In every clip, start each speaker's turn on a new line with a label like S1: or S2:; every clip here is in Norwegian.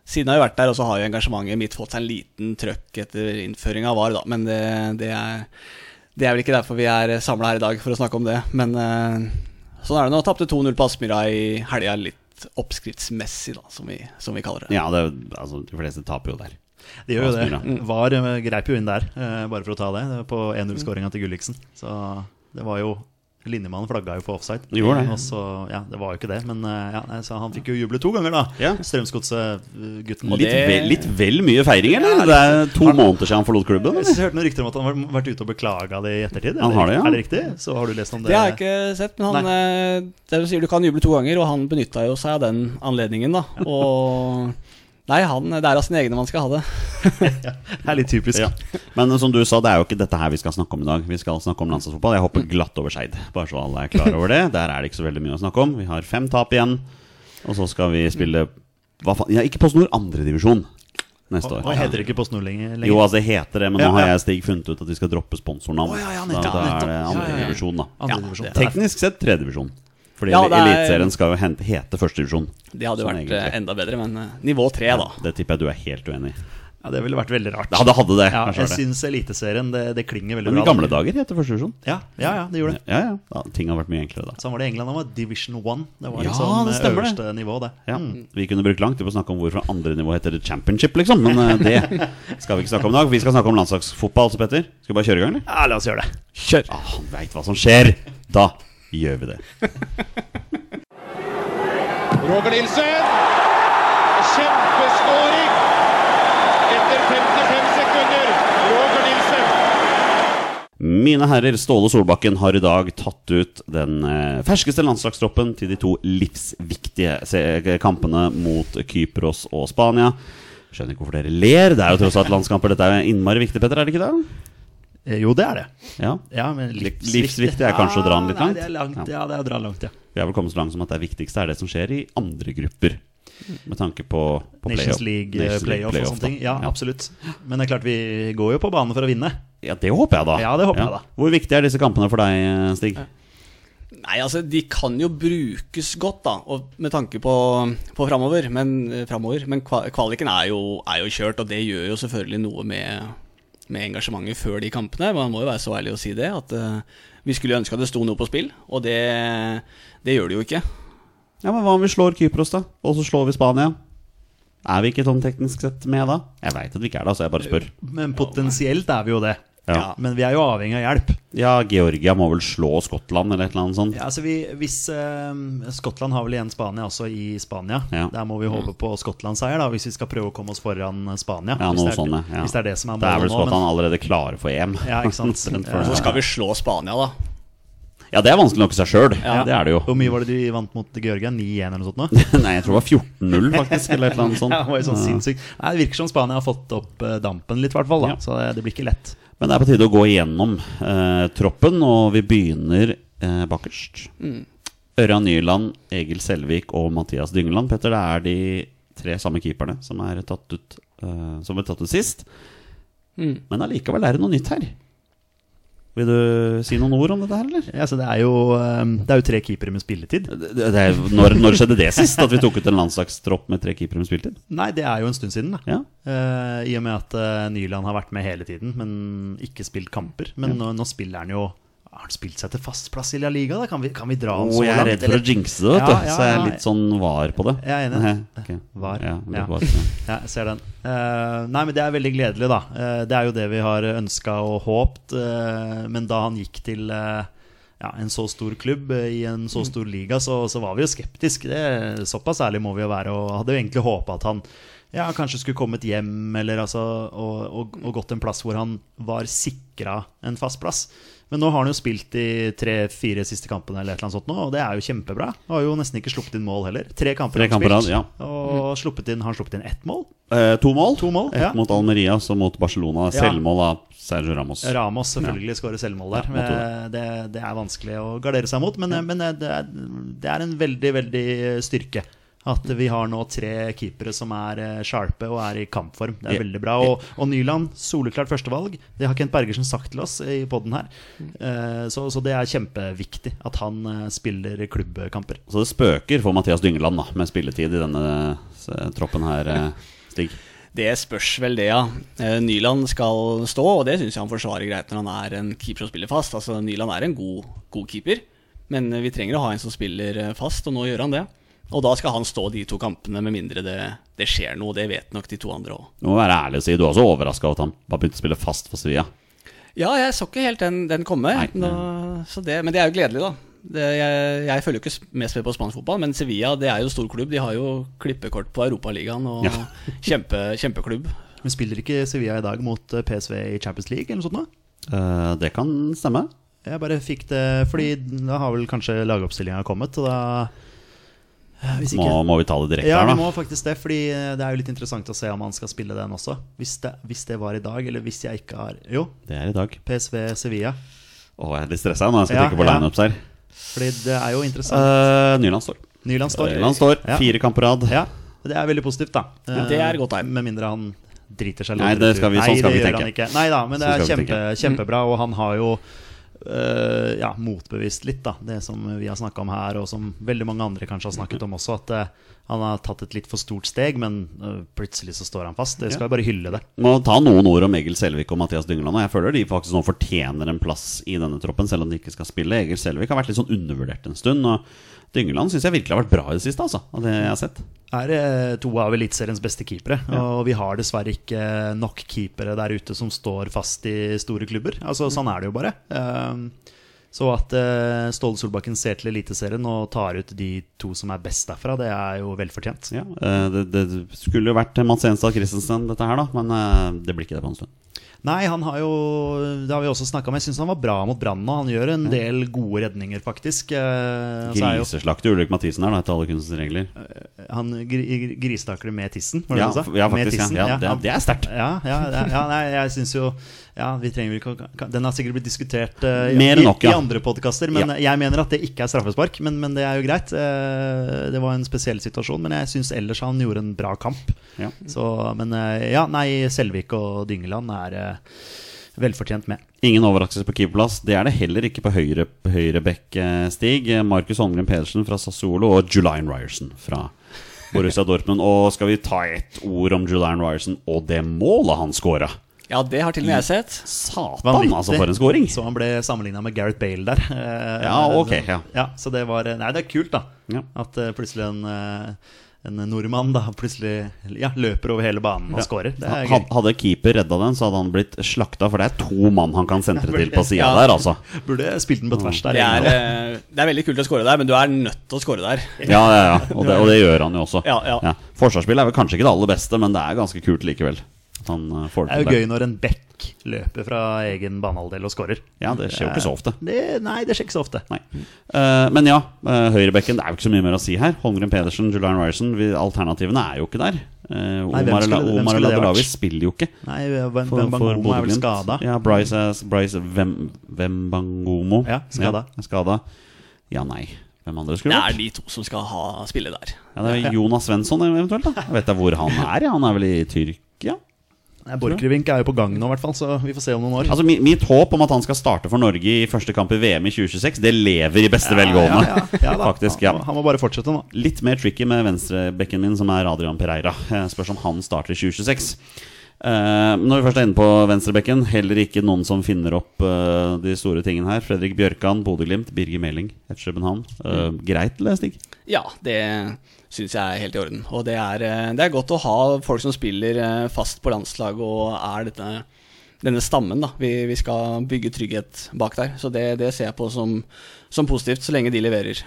S1: siden har jeg vært der, og så har jo engasjementet mitt fått seg en liten trøkk etter innføringa av VAR, da. Men det, det er Det er vel ikke derfor vi er samla her i dag for å snakke om det. Men eh, sånn er det nå. Tapte 2-0 på Aspmyra i helga, litt oppskriftsmessig, da, som vi, som vi kaller det.
S2: Ja, det, altså, de fleste taper jo der.
S3: Det gjør jo
S2: Asmyra.
S3: det. VAR eh, greip jo inn der, eh, bare for å ta det, det var på 1-0-skåringa til Gulliksen. Så det var jo Linjemannen flagga jo på offside.
S2: Det gjorde det.
S3: Og så, ja, det var jo ikke det, men eh, ja, nei, så han fikk jo juble to ganger, da.
S2: Ja.
S3: Strømsgodset-gutten.
S2: Litt,
S1: det-
S2: vel, litt vel mye feiring, eller? Det er to måneder siden han forlot klubben. eller?
S3: Jeg hørte noen rykter om at han har vært ute og beklaga det i ettertid. er
S2: Han har det, ja.
S3: Er det riktig? Så har du lest om det?
S1: Det har jeg ikke sett, men han eh, Det du sier, du kan juble to ganger, og han benytta jo seg av den anledningen, da. Og Nei, han, det er av sine egne man skal ha det.
S3: Det er litt typisk.
S2: Ja. Men som du sa, det er jo ikke dette her vi skal snakke om i dag. Vi skal snakke om landslagsfotball. Jeg hopper glatt over Skeid, bare så alle er klar over det. Der er det ikke så veldig mye å snakke om. Vi har fem tap igjen, og så skal vi spille hva faen? Ja, ikke PostNord, andredivisjon neste
S3: Og,
S2: år.
S3: og heter det ikke PostNord lenger? lenger.
S2: Jo, altså det heter det, men
S3: Ja,
S2: nå har
S3: ja.
S2: jeg Stig funnet ut at vi skal droppe sponsornavn.
S3: Å, ja, ja,
S2: da, da
S3: nettopp,
S2: er det
S3: nettopp. Ja, ja, ja.
S2: andredivisjon, da.
S3: Andre
S1: Ja,
S3: divisjon.
S1: det-
S2: Teknisk sett tredjedivisjon. Fordi
S1: Ja, det er-
S2: Eliteserien skal jo hente, hete førstedivisjon.
S1: Det hadde jo
S2: Sånn
S1: vært eh,
S2: egentlig.
S1: enda bedre, men eh, nivå tre, da.
S2: Det tipper jeg du er helt uenig i.
S3: Ja, det ville vært veldig rart.
S2: Ja, det hadde det.
S3: Ja,
S2: kanskje
S3: jeg
S2: var det.
S3: syns Eliteserien det, det klinger veldig
S2: Men i
S3: bra.
S2: gamle dager het det første divisjon.
S3: Ja, ja, ja, det gjorde det.
S2: Ja, ja. Da, ting har vært mye enklere da.
S3: Sånn var det i England. Det var division one. Det var
S2: Ja,
S3: liksom
S2: det
S3: eh,
S2: stemmer det.
S3: øverste nivå, det.
S2: Ja,
S3: Mm.
S2: Vi kunne brukt lang tid på å snakke om hvorfor andre nivå heter det championship, liksom. Men eh, det skal vi ikke snakke om i dag. Vi skal snakke om landslagsfotball, så Petter. Skal vi bare kjøre i gang, eller?
S3: Ja, la oss gjøre det.
S1: Kjør!
S2: Ah, han veit hva som skjer! Da gjør vi det.
S4: Roger Nilsen. Kjempeskåring etter 55 sekunder. Roger Nilsen.
S2: Mine herrer, Ståle Solbakken har i dag tatt ut den eh, ferskeste landslagstroppen til de to livsviktige se- eh, kampene mot Kypros og Spania. Skjønner ikke hvorfor dere ler. Det er jo tross alt landskamper. Dette er jo innmari viktig, Petter, er det ikke det?
S3: Eh, Jo, det er det.
S2: Ja.
S3: Ja, men
S2: Liv-
S3: livsviktig.
S2: livsviktig er kanskje å dra den litt
S3: Ah,
S2: langt.
S3: Nei, det er langt, ja, det er å dra langt, ja.
S2: Vi har vel kommet så langt som at det viktigste er det som skjer i andre grupper. Med tanke på, på
S3: Nations
S2: playoff.
S3: League, eh,
S2: Nations League
S3: playoff og sånne
S2: da.
S3: ting. Ja, absolutt. Men det er klart, vi går jo på banen for å vinne.
S2: ja, det håper jeg, da.
S3: Ja, det håper jeg da.
S2: Hvor viktig er disse kampene for deg, eh, Stig?
S1: Nei, altså, de kan jo brukes godt, da, og med tanke på, på framover. Men, eh, fremover. men kva- kvaliken er jo, er jo kjørt, og det gjør jo selvfølgelig noe med, med engasjementet før de kampene. Man må jo være så ærlig å si det, at eh, vi skulle ønske at det sto noe på spill, og det, det gjør det jo ikke.
S2: Ja, men Hva om vi slår Kypros, da? Og så slår vi Spania? Er vi ikke sånn teknisk sett med da? Jeg veit at vi ikke er det, så jeg bare spør.
S3: Men potensielt er vi jo det.
S2: Ja.
S3: Men vi er jo avhengig av hjelp.
S2: ja, Georgia må vel slå Skottland eller et eller annet sånt?
S3: Ja, altså vi, hvis eh, Skottland har vel igjen Spania også i Spania.
S2: Ja. Mm.
S3: Der må vi håpe på Skottland-seier, da, hvis vi skal prøve å komme oss foran Spania.
S2: Ja,
S3: hvis,
S2: noe
S3: det er,
S2: sånt, ja.
S3: hvis det er det som er
S2: Da er vel
S3: målet nå.
S2: Skottland allerede klare for EM.
S3: Ja, ikke sant.
S2: Omtrent
S3: Ja.
S1: Så
S2: for-
S1: skal vi slå Spania, da.
S2: Ja, det er vanskelig nok i seg sjøl.
S3: Ja.
S2: Det er det jo.
S3: Hvor mye var det de vant mot Georgia? 9-1 eller noe sånt? nå?
S2: Nei, jeg tror det var 14-0, faktisk, eller et eller annet sånt.
S3: Ja, det var jo sånn sinnssykt. Nei, det virker som Spania har fått opp eh, dampen litt, i hvert fall. da.
S2: Ja.
S3: Så det, det blir ikke lett.
S2: Men det er på tide å gå igjennom eh, troppen, og vi begynner eh, bakerst. Ørjan Nyland, Egil Selvik og Mathias Dyngeland. Petter, det er de tre samme keeperne som, er tatt ut, eh, som ble tatt ut sist. Men allikevel er det noe nytt her. Vil du si noen ord om dette her, eller?
S3: Ja, så det, er jo, eh, det er jo tre keepere med spilletid.
S2: Det, det, er- når, når skjedde det sist, at vi tok ut en landslagstropp med tre keepere med spiltid?
S3: Nei, det er jo en stund siden, da.
S2: Ja.
S3: Eh, I og med at eh, Nyland har vært med hele tiden, men ikke spilt kamper. Men nå, nå spiller han jo Har han spilt seg til fast plass i La Liga? Da? Kan, vi, kan vi dra han
S2: Og
S3: så
S2: jeg er
S3: langt?
S2: redd for å
S3: eller?
S2: jinxe det, vet du.
S3: Ja, ja,
S2: så jeg er
S3: ja.
S2: litt sånn var på det.
S3: Jeg er enig.
S2: Ok.
S3: Var.
S2: Ja, litt
S3: Ja.
S2: altså. var, ja.
S3: Ja, jeg ser den. Eh, nei, men det er veldig gledelig, da. Eh, det er jo det vi har ønska og håpt. eh, men da han gikk til eh, ja, en så stor klubb eh, i en
S2: Mm.
S3: så stor liga, så, så var vi jo skeptiske. Det, såpass ærlig må vi jo være. Og hadde jo egentlig håpa at han ja, kanskje skulle kommet hjem, eller altså og, og, og gått en plass hvor han var sikra en fast plass. Men nå har han jo spilt de tre-fire siste kampene, eller et eller annet sånt nå, og det er jo kjempebra. Har jo nesten ikke sluppet inn mål heller. Tre kamper
S2: Tre
S3: har han
S2: kamper,
S3: spilt.
S2: ja. Mm.
S3: Og sluppet inn, har han sluppet inn ett mål?
S2: Eh, to mål.
S3: To mål,
S2: Ett
S3: ja.
S2: mot Almeria, så mot Barcelona.
S3: Ja.
S2: Selvmål av Sergio Ramos.
S3: Ramos selvfølgelig skårer selvmål der.
S2: Ja, måtte
S3: men det, det er vanskelig å gardere seg mot, men, men eh, det, er, det er en veldig, veldig styrke. At vi har nå tre keepere som er eh, sharpe og er i kampform. Det er
S2: Ja.
S3: veldig bra. Og, og Nyland, soleklart førstevalg. Det har Kent Bergersen sagt til oss i poden her. Eh, Så, så det er kjempeviktig at han eh, spiller klubbkamper.
S2: Så det spøker for Mathias Dyngeland da, med spilletid i denne eh, troppen her, eh, Stig.
S1: Det spørs vel det, ja. Eh, Nyland skal stå, og det syns jeg han forsvarer greit når han er en keeper som spiller fast. Altså, Nyland er en god, god keeper, men eh, vi trenger å ha en som spiller eh, fast, og nå gjør han det. Og da skal han stå de to kampene, med mindre det, det skjer noe. Det vet nok de to andre òg.
S2: Du må være ærlig og si du er også overraska over at han har begynt å spille fast for Sevilla.
S1: Ja, jeg så ikke helt den, den komme,
S2: Nei.
S1: nå, så det, men det er jo gledelig, da. Det, jeg, jeg følger jo ikke s- mest med på spansk fotball, men Sevilla det er jo stor klubb. De har jo klippekort på Europaligaen og
S2: Ja.
S1: kjempe, kjempeklubb.
S3: Men spiller ikke Sevilla i dag mot eh, PSV i Champions League eller noe sånt? nå?
S2: Eh, det kan stemme.
S3: Jeg bare fikk det fordi da har vel kanskje lagoppstillinga kommet, og da Eh, Hvis
S2: Må,
S3: ikke
S2: må vi ta det direkte
S3: Ja, vi
S2: her,
S3: må
S2: da.
S3: faktisk det, fordi eh, det er jo litt interessant å se om han skal spille den også. Hvis det, hvis det var i dag, eller hvis jeg ikke har Jo,
S2: Det er i dag.
S3: PSV Sevilla.
S2: Å, jeg er litt stressa når jeg skal
S3: Ja,
S2: trykke på
S3: ja.
S2: lineups her.
S3: Fordi det er jo interessant.
S2: Eh, Nyland står.
S3: Nyland står.
S2: Nyland står.
S3: Ja.
S2: Fire kamper på rad.
S3: Ja, det er veldig positivt, da. Eh,
S1: Det er godt tegn.
S3: Med mindre han driter seg
S2: Nei,
S3: loddrett
S2: det skal vi-
S3: ut.
S2: sånn skal
S3: Nei,
S2: vi
S3: det gjør
S2: tenke.
S3: han ikke. Nei da, men det
S2: Sånn
S3: er
S2: skal vi
S3: kjempe, kjempebra, og han har jo eh, ja, motbevist litt, da. Det som vi har snakka om her, og som veldig mange andre kanskje har snakket om også, at eh, Han har tatt et litt for stort steg, men øh, plutselig så står han fast. Det skal jeg bare hylle det.
S2: Må ta noen ord om Egil Selvik og Mathias Dyngeland. og Jeg føler de faktisk nå fortjener en plass i denne troppen, selv om de ikke skal spille. Egil Selvik har vært litt sånn undervurdert en stund. Og Dyngeland syns jeg virkelig har vært bra i det siste, altså. Av det jeg har sett.
S3: Er eh, to av Eliteseriens beste keepere. Og vi har dessverre ikke nok keepere der ute som står fast i store klubber.
S2: Mm.
S3: Altså, Sånn er det jo bare. Ehm, Så at eh, Ståle Solbakken ser til Eliteserien og tar ut de to som er best derfra, det er jo velfortjent.
S2: Ja, eh, det, det skulle jo vært Mats Enstad Christensen, dette her, da. Men eh, det blir ikke det på en stund.
S3: Nei, han har jo Det har vi også snakka om. Jeg syns han var bra mot Brann nå. Han gjør en del gode redninger, faktisk. Eh, så er jo-
S2: Griseslakter Ulrik Mathisen her, da, etter alle kunstens regler.
S3: Han gri- gristakler med tissen, var det
S2: Ja,
S3: det du
S2: f-
S3: sa?
S2: ja,
S3: Med
S2: faktisk.
S3: tissen,
S2: Ja, ja,
S3: ja.
S2: det, er- det er sterkt.
S3: Ja, ja, ja, ja nei, jeg syns jo ja, vi trenger vel ikke å- ka- Den har sikkert blitt diskutert eh,
S2: Mer enn
S3: i,
S2: nok, ja.
S3: i andre podkaster, men jeg mener at det ikke er straffespark. Men, men det er jo greit. Eh, Det var en spesiell situasjon, men jeg syns ellers han gjorde en bra kamp.
S2: Ja.
S3: Så, men eh, ja, nei, Selvik og Dyngeland er eh, velfortjent med.
S2: Ingen overraskelse på keeperplass. Det er det heller ikke på høyre, på høyre bekk, eh, Stig. Eh, Markus Holmgren Pedersen fra Sassuolo og Julian Ryerson fra Borussia Dortmund. Og skal vi ta ett ord om Julian Ryerson og det målet han scora?
S1: Ja, det har til og med jeg sett.
S2: Satan, altså, for en scoring!
S3: Så han ble sammenligna med Gareth Bale der. Eh,
S2: Ja, ok,
S3: så-
S2: ja.
S3: ja. Så det var Nei, det er kult, da.
S2: Ja.
S3: At eh, plutselig en, eh, en nordmann da plutselig ja, løper over hele banen og scorer. Det er
S2: Had-
S3: gøy.
S2: Hadde keeper redda den, så hadde han blitt slakta, for det er to mann han kan sentre til på sida
S1: Ja.
S2: der, altså.
S3: Burde spilt den på tvers der.
S1: Det er,
S3: egentlig.
S1: eh, det er veldig kult å score der, men du er nødt til å score der.
S2: Ja, ja, ja. Og det, og det gjør han jo også.
S1: Ja, ja.
S2: Forsvarsspillet er vel kanskje ikke det aller beste, men det er ganske kult likevel. At han eh, får
S3: det
S2: det
S3: er
S2: til
S3: jo gøy
S2: der.
S3: når en back løper fra egen banehalvdel og scorer.
S2: Ja, det skjer jo ikke så ofte.
S3: Det, nei, det skjer ikke så ofte.
S2: Nei. Eh, men ja, eh, høyrebekken, det er jo ikke så mye mer å si her. Holmgren Pedersen, Julian Ryerson, vi, alternativene er jo ikke der. Eh,
S3: Nei, hvem
S2: Omar,
S3: skulle- hvem
S2: Omar
S3: skulle det
S2: Ladelawi
S3: vært?
S2: spiller jo ikke.
S3: Nei, Wem-
S2: for- for
S3: Wembangomo er vel
S2: Bodø-Glimt.
S3: skada.
S2: Ja, Bryce, er- Bryce Wem- Wembangomo.
S3: Ja, skada.
S2: Ja, skada. ja, nei. Hvem andre skulle
S1: Det
S2: vært?
S1: er de to som skal ha spille der.
S2: Ja, det er Jonas Svensson eventuelt, da. Jeg vet da hvor han er. ja. Han er vel i Tyrkia?
S3: Nei, Borchgrevink er jo på gang nå, i hvert fall, så vi får se om noen år.
S2: Altså, mi- Mitt håp om at han skal starte for Norge i første kamp i VM i 2026, det lever i beste velgående.
S3: Ja, ja, ja, da.
S2: Faktisk, ja.
S3: Han, han må bare fortsette nå.
S2: Litt mer tricky med venstrebekken min, som er Adrian Pereira. Jeg spørs om han starter i 2026. Eh, når vi først er inne på venstrebekken, heller ikke noen som finner opp eh, de store tingene her. Fredrik Bjørkan, Bodø-Glimt, Birger Meling, et København. Eh,
S3: Mm.
S2: Greit, eller, Stig?
S1: Ja, det syns jeg er helt i orden. Og det er, eh, det er godt å ha folk som spiller eh, fast på landslaget og er dette, denne stammen. da vi, vi skal bygge trygghet bak der. Så det, det ser jeg på som, som positivt, så lenge de leverer.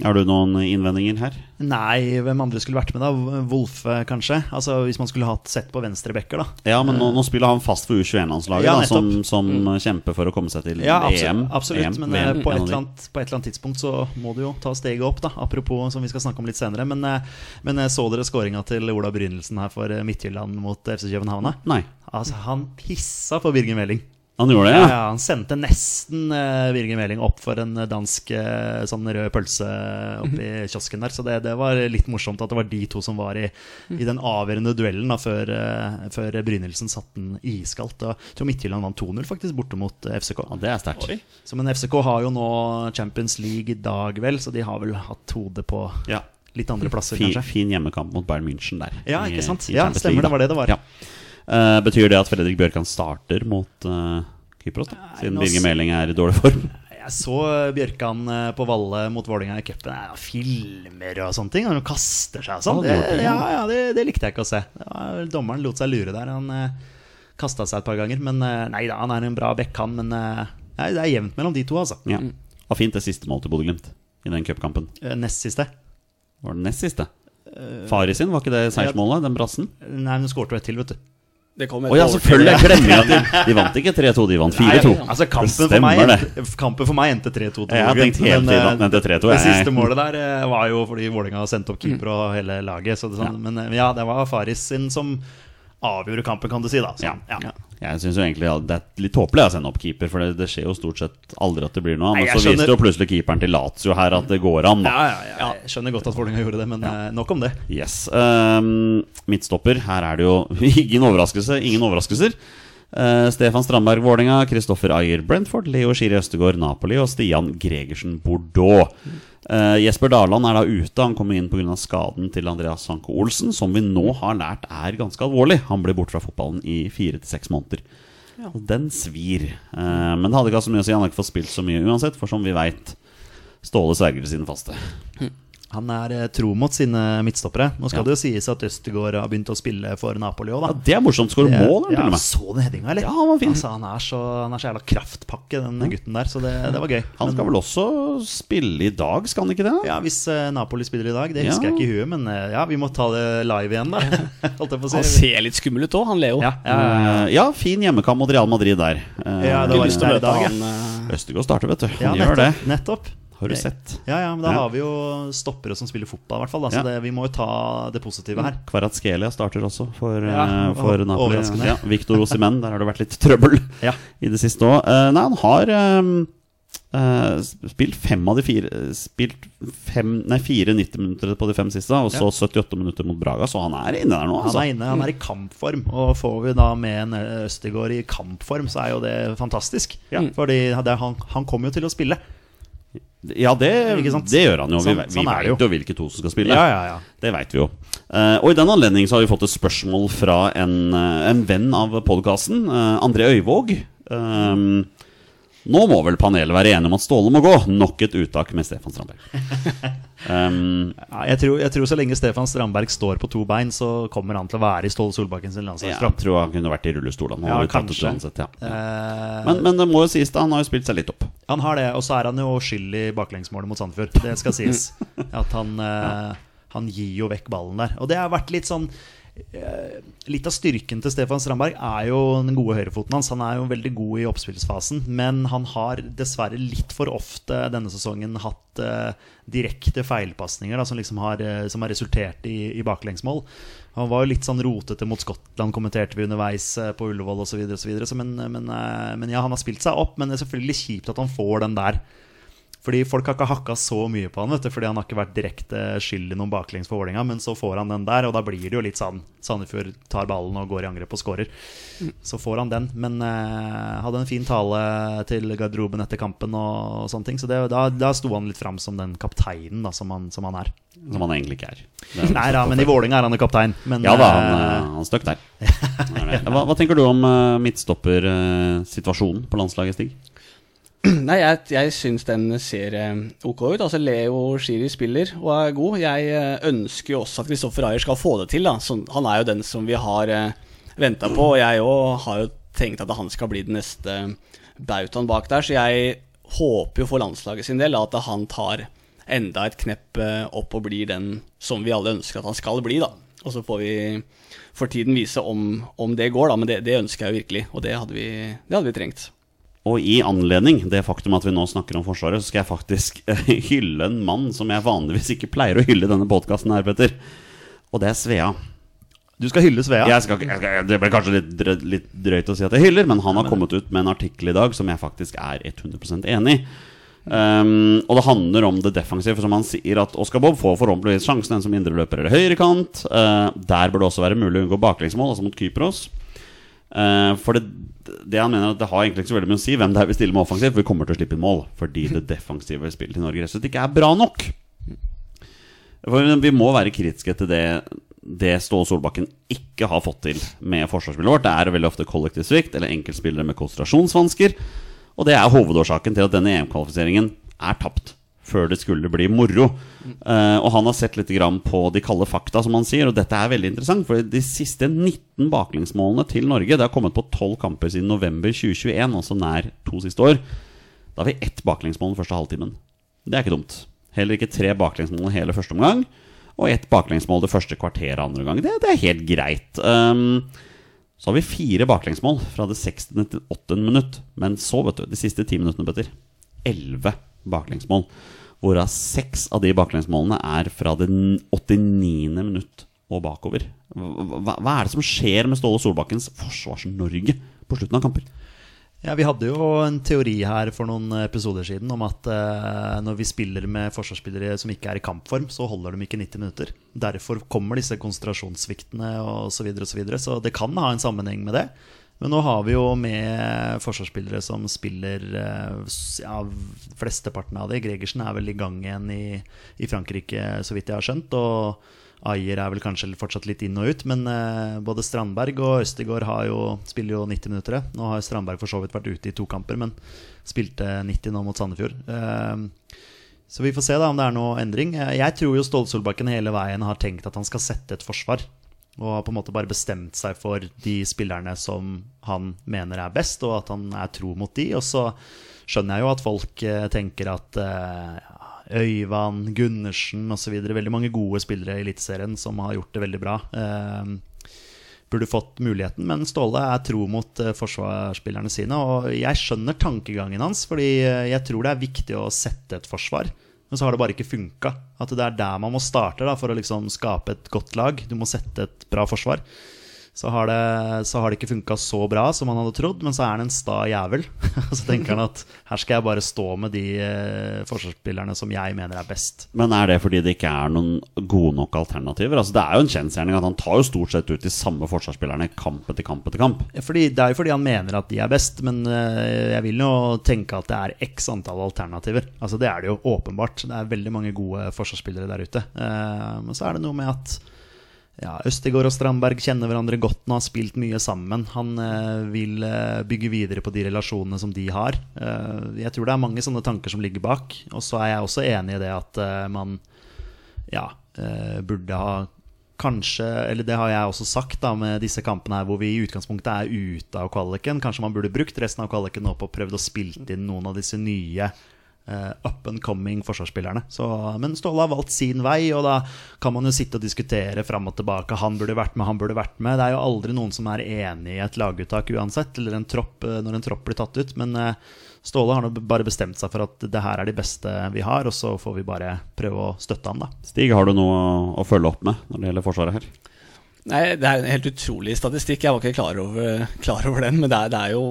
S2: Har du noen innvendinger her?
S3: Nei, hvem andre skulle vært med da? Wolfe, kanskje? Altså, Hvis man skulle hatt sett på venstrebacker, da.
S2: Ja, men nå, nå spiller han fast for U21-landslaget,
S3: Eh, Ja,
S2: da, som,
S3: nettopp. Mm.
S2: som kjemper for å komme seg til
S3: Ja, absolutt,
S2: EM.
S3: absolutt
S2: EM,
S3: men eh,
S2: VM,
S3: på, et
S2: en av de.
S3: eller annet, på et eller annet tidspunkt så må du jo ta steget opp, da. Apropos som vi skal snakke om litt senere. Men, eh, men eh, så dere skåringa til Ola Brynildsen her for eh, Midtjylland mot FC København? da?
S2: Nei,
S3: Altså, han pissa på Birger Meling.
S2: han gjorde det,
S3: Ja,
S2: ja.
S3: han sendte nesten eh, Birger Meling opp for en eh, dansk eh, sånn rød pølse oppi
S2: Mhm.
S3: kiosken der. Så det, det var litt morsomt at det var de to som var i, i den avgjørende duellen da, før, eh, før Brynildsen satte den iskaldt. Og jeg tror Midtjylland vant 2-0 faktisk borte mot eh, FCK.
S2: ja. Det er sterkt.
S3: Så, men FCK har jo nå Champions League i dag, vel, så de har vel hatt hodet på
S2: Ja.
S3: litt andre plasser,
S2: Fin,
S3: kanskje.
S2: fin hjemmekamp mot Bayern München der.
S3: Ja,
S2: i-
S3: ikke sant?
S2: i
S3: Ja,
S2: Champions
S3: stemmer,
S2: League,
S3: det var det det var.
S2: Ja. Eh, betyr det at Fredrik Bjørkan starter mot eh, Kypros, da? Siden
S3: nå
S2: Birger
S3: s-
S2: Meling er i dårlig form?
S3: Jeg så Bjørkan eh, på Valle mot Vålerenga i cupen. Ja, filmer og sånne ting. Han kaster seg og
S2: Ja,
S3: sånn. Det,
S2: det gjorde det,
S3: ja,
S2: ja.
S3: ja, det, det likte jeg ikke å se. Det var- Dommeren lot seg lure der. Han kasta seg et par ganger. Men eh, nei da, han er en bra back, han. Men eh, nei, det er jevnt mellom de to, altså.
S2: Ja. Og fint det siste målet til Bodø-Glimt i den cupkampen.
S3: Eh, Nest siste.
S2: Var det nest siste?
S3: Eh,
S2: Fari sin, var ikke det seiersmålet? Den brassen?
S3: Nei, hun skårte jo ett til, vet du.
S1: Det kom
S2: Å ja, selvfølgelig! Jeg glemmer jo at de, de vant ikke 3-2, de vant 4-2.
S3: Nei, Altså, kampen,
S2: Det
S3: for meg,
S2: stemmer,
S3: endte- kampen for meg endte 3-2. til
S2: Jeg har
S3: Bodø-Glimt,
S2: tenkt hele
S3: men, eh,
S2: tiden at den endte 3-2,
S3: Det
S2: jeg-
S3: siste målet der eh, var jo fordi Vålerenga sendte opp keeper og hele laget. Så det, er sånn, Men eh, ja, det var Faris sin som avgjorde kampen, kan du si. da så,
S2: Ja. Jeg syns jo egentlig ja, det er litt tåpelig å sende opp keeper, for det, det skjer jo stort sett aldri at det blir noe av.
S3: Nei,
S2: Men
S3: jeg
S2: så viste
S3: skjønner-
S2: jo plutselig keeperen til Lazio her at det går an, da.
S3: Ja, ja, ja. Jeg skjønner godt at Vålerenga gjorde det, men eh, nok om det.
S2: Yes. ehm, midtstopper, her er det jo ingen overraskelse. Ingen overraskelser. Eh, Stefan Strandberg Vålinga, Kristoffer Ayer Brentford, Leo Skiri Østegård Napoli og Stian Gregersen Bordeaux. Eh, Jesper Daland er da ute. Han kom inn pga. skaden til Andreas Sanko Olsen, som vi nå har lært er ganske alvorlig. Han ble borte fra fotballen i fire til seks måneder. Og Den svir. Eh, Men det hadde ikke hatt så mye å si. Han har ikke fått spilt så mye uansett, for som vi veit, Ståle sverger til sine faste.
S3: Han er eh, tro mot sine midtstoppere. Nå skal
S2: Ja.
S3: det jo sies at Østegård har begynt å spille for Napoli òg,
S2: Ja,
S3: da.
S2: det er morsomt. Skårer
S3: Det-
S2: mål,
S3: ja,
S2: han til og med.
S3: Så du headinga, eller?
S2: Ja, han var fin.
S3: Altså, han, er så, han er så jævla kraftpakke, den gutten der, så det, det var gøy.
S2: Han skal vel også spille i dag, skal han ikke det?
S3: Ja, Hvis eh, Napoli spiller i dag, det husker
S2: Ja.
S3: jeg ikke i huet, men eh, ja, vi må ta det live igjen, da. Holdt jeg på å
S1: Han
S3: si.
S1: ser litt skummel ut òg, han Leo.
S3: Ja, ja, ja.
S2: Eh, ja, fin hjemmekamp mot Real Madrid der. Eh,
S3: Ja, det
S1: Ikke
S3: var
S1: lyst til å
S3: det er i
S1: møte
S3: dag, ja.
S1: han. eh,
S2: Østegård starter, vet du.
S3: ja
S2: Han gjør det.
S3: nettopp, nettopp.
S2: Har du sett?
S3: Ja, ja, men da
S2: Ja.
S3: har vi jo stoppere som spiller fotball, i hvert fall. Da, så
S2: Ja. Mm.
S3: det, vi må jo ta det positive her.
S2: Kvaratskhelia starter også for,
S3: Ja,
S2: eh, for Napoli.
S3: overraskende.
S2: Ja, Victor Osimen, der har det vært litt trøbbel
S3: Ja.
S2: i det siste òg. nei, han har eh, eh, spilt fem av de fire eh, Spilt fem, nei, fire 90-minutter på de fem siste, og så 78 minutter mot Braga, så han er inne der nå.
S3: Han
S2: Altså.
S3: er inne, han er i kampform, og får vi da med en eh, Østegård i kampform, så er jo det fantastisk. Mm.
S2: Ja.
S3: Fordi det, han, han kommer jo til å spille.
S2: Ja, det,
S3: Ikke sant?
S2: det gjør han jo. Vi,
S3: Sånn-
S2: vi
S3: sånn er
S2: vet
S3: det jo.
S2: jo hvilke to som skal spille.
S3: ja, ja.
S2: Det veit vi jo. Eh, og i den anledning så har vi fått et spørsmål fra en, eh, en venn av podkasten, eh, André Øyvåg. Ehm, nå må vel panelet være enige om at Ståle må gå. Nok et uttak med Stefan Strandberg. Ehm,
S3: Ja, Jeg tror, jeg tror så lenge Stefan Strandberg står på to bein, så kommer han til å være i Ståle Solbakken sin
S2: jeg
S3: landslagstropp.
S2: tror han kunne vært i rullestol. Han
S3: Ja,
S2: hadde tatt det
S3: kanskje.
S2: uansett, ja.
S3: Eh,
S2: men, men det må jo sies, da. Han har jo spilt seg litt opp.
S3: han har det, og så er han jo skyld i baklengsmålet mot Sandefjord. Det skal sies. At han, eh, han gir jo vekk ballen der. Og det har vært litt sånn eh, Litt av styrken til Stefan Strandberg er jo den gode høyrefoten hans. Han er jo veldig god i oppspillsfasen, men han har dessverre litt for ofte denne sesongen hatt eh, direkte feilpasninger da, som, liksom har, eh, som har resultert i, i baklengsmål. Han var jo litt sånn rotete mot Skottland, kommenterte vi underveis eh, på Ullevål osv. Men, men, eh, men ja, han har spilt seg opp, men det er selvfølgelig kjipt at han får den der. Fordi Folk har ikke hakka så mye på han, vet du, fordi han har ikke vært direkte skyld i noen baklengs for Vålerenga, men så får han den der, og da blir det jo litt sånn Sandefjord tar ballen og går i angrep og skårer. Så får han den. Men eh, hadde en fin tale til garderoben etter kampen og, og sånne ting, så det, da, da sto han litt fram som den kapteinen da, som, han, som han er.
S2: Som han egentlig ikke er. Det er
S3: Nei da, men i Vålerenga er han jo kaptein. Men,
S2: ja da, han,
S3: eh,
S2: eh, han støkk der. Det er det. Hva, hva tenker du om eh, midtstoppersituasjonen på landslaget, Stig?
S1: Nei, jeg, jeg syns den ser eh, ok ut. Altså Leo Shiri spiller og er god. Jeg eh, ønsker jo også at Kristoffer Ayer skal få det til. Da. Så, han er jo den som vi har eh, venta på. Og jeg òg har jo tenkt at han skal bli den neste bautaen bak der. Så jeg håper jo for landslaget sin del at han tar enda et knepp eh, opp og blir den som vi alle ønsker at han skal bli. da og så får vi for tiden vise om, om det går, da. Men det, det ønsker jeg jo virkelig, og det hadde vi, det hadde vi trengt.
S2: Og i anledning det faktum at vi nå snakker om Forsvaret, så skal jeg faktisk eh, hylle en mann som jeg vanligvis ikke pleier å hylle i denne podkasten her, Petter. Og det er Svea.
S3: du skal hylle Svea.
S2: Jeg skal, ikke- jeg skal, det ble kanskje litt, drø- litt drøyt å si at jeg hyller, men han har kommet ut med en artikkel i dag som jeg faktisk er 100 enig i. Um, og det handler om det defensive, som han sier at Oscar Bob får forhåpentligvis sjansen enten som indreløper eller høyrekant. Uh, der bør det også være mulig å unngå baklengsmål, altså mot Kypros. Eh, for det, det han mener er at det har egentlig ikke så veldig mye å si hvem det er vi stiller med offensivt, for vi kommer til å slippe inn mål. Fordi det defensive spillet til Norge rett og slett ikke er bra nok. For vi må være kritiske til det, det Ståle Solbakken ikke har fått til med forsvarsspillet vårt. Det er veldig ofte kollektiv svikt eller enkeltspillere med konsentrasjonsvansker. Og det er hovedårsaken til at denne EM-kvalifiseringen er tapt før det skulle bli moro. Eh, og han har sett litt grann på de kalde fakta, som han sier. Og dette er veldig interessant, for de siste 19 baklengsmålene til Norge Det har kommet på 12 kamper siden november 2021, altså nær to siste år. Da har vi ett baklengsmål den første halvtimen. Det er ikke dumt. Heller ikke tre baklengsmål hele første omgang. Og ett baklengsmål det første kvarteret andre omgang. Det, det er helt greit. Um, så har vi fire baklengsmål fra det 60. til 80. minutt. Men så, vet du, de siste ti minuttene, Petter, elleve baklengsmål. Hvorav seks av de baklengsmålene er fra det 89. minutt og bakover. Hva, hva- hva er det som skjer med Ståle Solbakkens Forsvars-Norge på slutten av kamper?
S3: Ja, Vi hadde jo en teori her for noen episoder siden om at eh, når vi spiller med forsvarsspillere som ikke er i kampform, så holder de ikke 90 minutter. Derfor kommer disse konsentrasjonssviktene osv. Så, videre og så, videre. så det kan ha en sammenheng med det. Men nå har vi jo med forsvarsspillere som spiller eh, s- ja, flesteparten av det. Gregersen er vel i gang igjen i, i Frankrike, så vidt jeg har skjønt. Og Ayer er vel kanskje fortsatt litt inn og ut. Men eh, både Strandberg og Østegård har jo, spiller jo 90 minutter. det. Nå har Strandberg for så vidt vært ute i to kamper, men spilte 90 nå mot Sandefjord. Eh, så vi får se da om det er noe endring. Eh, Jeg tror jo Ståle Solbakken hele veien har tenkt at han skal sette et forsvar. Og har på en måte bare bestemt seg for de spillerne som han mener er best, og at han er tro mot de. Og så skjønner jeg jo at folk eh, tenker at eh, ja, Øyvand, Gundersen osv. Veldig mange gode spillere i Eliteserien som har gjort det veldig bra. Eh, burde fått muligheten, men Ståle er tro mot eh, forsvarsspillerne sine. Og jeg skjønner tankegangen hans, fordi eh, jeg tror det er viktig å sette et forsvar. Men så har det bare ikke funka. At det er der man må starte da, for å liksom skape et godt lag. Du må sette et bra forsvar. Så har det, så har det ikke funka så bra som han hadde trodd, men så er han en sta jævel. Og så tenker han at her skal jeg bare stå med de eh, forsvarsspillerne som jeg mener er best.
S2: Men er det fordi det ikke er noen gode nok alternativer? Altså Det er jo en kjensgjerning at han tar jo stort sett ut de samme forsvarsspillerne kamp etter kamp etter kamp.
S3: Ja, Fordi, det er jo fordi han mener at de er best, men eh, jeg vil jo tenke at det er x antall alternativer. Altså Det er det jo åpenbart. Det er veldig mange gode forsvarsspillere der ute. Eh, Men så er det noe med at ja, Østegård og Strandberg kjenner hverandre godt og har spilt mye sammen. Han eh, vil eh, bygge videre på de relasjonene som de har. Eh, jeg tror det er mange sånne tanker som ligger bak. Og så er jeg også enig i det at eh, man ja, eh, burde ha Kanskje, eller det har jeg også sagt da med disse kampene her hvor vi i utgangspunktet er ute av kvaliken. Kanskje man burde brukt resten av kvaliken opp og prøvd å spille inn noen av disse nye eh, up and coming forsvarsspillerne. Så, men Ståle har valgt sin vei, og da kan man jo sitte og diskutere fram og tilbake. Han burde vært med, han burde vært med. Det er jo aldri noen som er enig i et laguttak uansett, eller en tropp eh, når en tropp blir tatt ut. Men eh, Ståle har nå bare bestemt seg for at det her er de beste vi har, og så får vi bare prøve å støtte han, da.
S2: Stig, har du noe å følge opp med når det gjelder Forsvaret her?
S1: Nei, det er en helt utrolig statistikk. Jeg var ikke klar over, klar over den, men det er, det er jo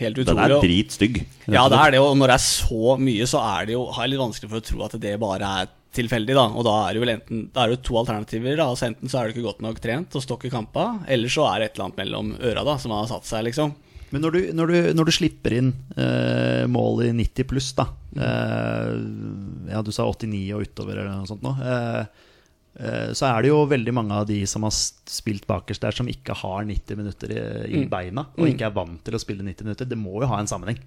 S1: helt utrolig.
S2: Den er
S1: og-
S2: dritstygg.
S1: Ja, det er det, og når det er så mye, så er det jo, har jeg litt vanskelig for å tro at det bare er tilfeldig. da, og Da er det vel enten, da er det jo to alternativer. da, altså Enten så er du ikke godt nok trent og stokker kampa, eller så er det et eller annet mellom øra da, som har satt seg. liksom.
S3: Men når du, når du, når du slipper inn eh, mål i 90 pluss, da
S1: Mm.
S3: eh, Ja, du sa 89 og utover eller noe sånt nå. Eh, eh, så er det jo veldig mange av de som har spilt bakerst der, som ikke har 90 minutter i, i
S1: Mm.
S3: beina, og ikke er vant til å spille 90 minutter. Det må jo ha en sammenheng.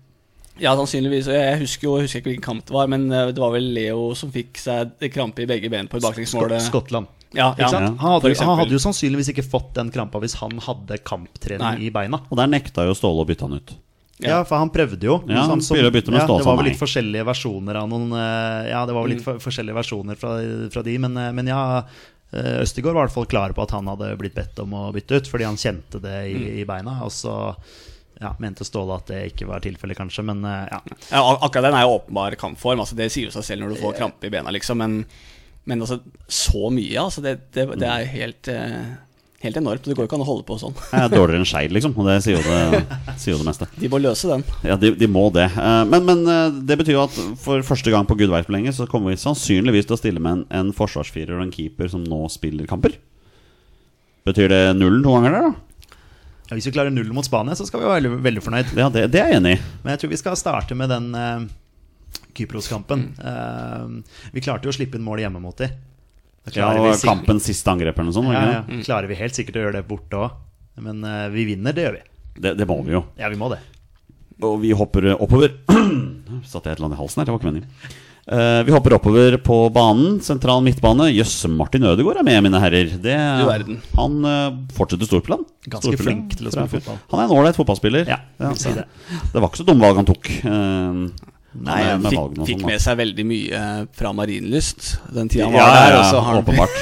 S1: Ja, sannsynligvis. og Jeg jeg husker jo, jeg husker ikke hvilken kamp det var, men eh, det var vel Leo som fikk seg krampe i begge ben på et baklengsmål.
S3: Skot- Skottland.
S1: Ja, ja.
S3: Ikke sant? Han,
S1: for
S3: hadde, han
S1: eksempel.
S3: hadde jo sannsynligvis ikke fått den krampa hvis han hadde kamptrening
S1: Nei.
S3: i beina.
S2: Og der nekta jo Ståle å bytte han ut.
S1: Ja.
S3: Ja, for han prøvde jo. sånn
S2: Ja, han
S3: som-
S2: begynner å bytte med
S3: ja,
S2: stål,
S3: Det var
S2: sa
S3: vel
S2: nei.
S3: litt forskjellige versjoner av noen eh, Ja, det var vel litt for, forskjellige versjoner fra, fra de, men, eh, men ja. eh, Østegård var i hvert fall klar på at han hadde blitt bedt om å bytte ut, fordi han kjente det i, i beina. Og så ja, mente Ståle at det ikke var tilfellet, kanskje, men eh, ja.
S1: Ja, ak- akkurat den er jo åpenbar kampform. altså Det sier jo seg selv når du får krampe i bena, liksom. Men, men altså, så mye, altså. Det, det, det er helt, eh, helt enormt. Det går jo ikke an å holde på sånn.
S2: Jeg er dårligere enn Skeid, liksom. Og det sier jo det, sier jo det meste.
S1: De må løse den.
S2: Ja, de, de må det. Eh, Men, men eh, det betyr jo at for første gang på gud veit hvor lenge, så kommer vi sannsynligvis til å stille med en, en forsvarsfirer og en keeper som nå spiller kamper. Betyr det nullen to ganger der, da?
S3: ja hvis vi klarer null mot Spania, så skal vi være veldig, veldig fornøyd.
S2: Ja, det, det er jeg enig i.
S3: Men jeg tror vi skal starte med den eh, Kypros-kampen. Eh, vi klarte jo å slippe inn mål hjemme mot de. Da
S2: Ja,
S3: klarer
S2: og
S3: vi sikk-
S2: kampens siste angrep eller noe sånt. var det
S3: Ja,
S2: ikke
S3: ja. Mm.
S1: Mm.
S3: Klarer vi helt sikkert å gjøre det borte òg. Men eh, vi vinner, det gjør vi.
S2: det? Det, det må vi jo.
S3: Ja, vi må det.
S2: Og vi hopper oppover. Satte jeg et eller annet i halsen her? Det var ikke meningen. Eh, vi hopper oppover på banen. Sentral midtbane. Jøss, Martin Ødegaard er med, mine herrer. Det,
S1: Du verden.
S2: Han eh, fortsetter storplan.
S3: Ganske flink til å spille fotball.
S2: Han er en ålreit fotballspiller.
S3: Ja, vil si det.
S2: det var ikke så dumme valg han tok. eh,
S1: Nei,
S2: med-
S1: han
S2: med
S1: fikk,
S2: valgene og
S1: fikk
S2: sånn, da.
S1: med seg veldig mye eh, fra Marienlyst den tida han
S2: ja,
S1: var
S2: ja,
S1: der.
S2: ja,
S1: Og så har han
S2: åpenbart.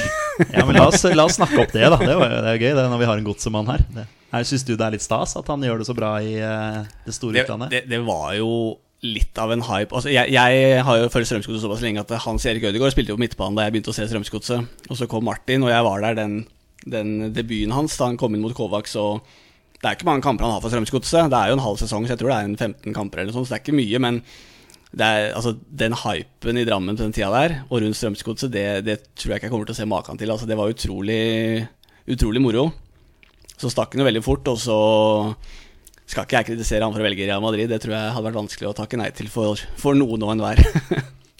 S3: Ja, men la oss, la oss snakke opp det, da. Det, var, det er gøy det, når vi har en godsemann her. Det. her Syns du det er litt stas at han gjør det så bra i eh, det store
S1: det,
S3: utlandet?
S1: det, det var jo litt av en hype. Altså, jeg, jeg har jo følt Strømsgodset såpass lenge at Hans Erik Ødegaard spilte jo på midtbanen da jeg begynte å se Strømsgodset. Og så kom Martin, og jeg var der den, den debuten hans da han kom inn mot Kovacs. Og det er ikke mange kamper han har for Strømsgodset. Det er jo en halv sesong, så jeg tror det er en 15 kamper eller noe sånt, så det er ikke mye. men det er, altså, den hypen i Drammen på den tida der, og rundt Strømsgodset, det, det tror jeg ikke jeg kommer til å se maken til. Altså, det var utrolig, utrolig moro. Så stakk han jo veldig fort, og så skal ikke jeg kritisere han for å velge Real Madrid. Det tror jeg hadde vært vanskelig å takke nei til for, for noen og enhver.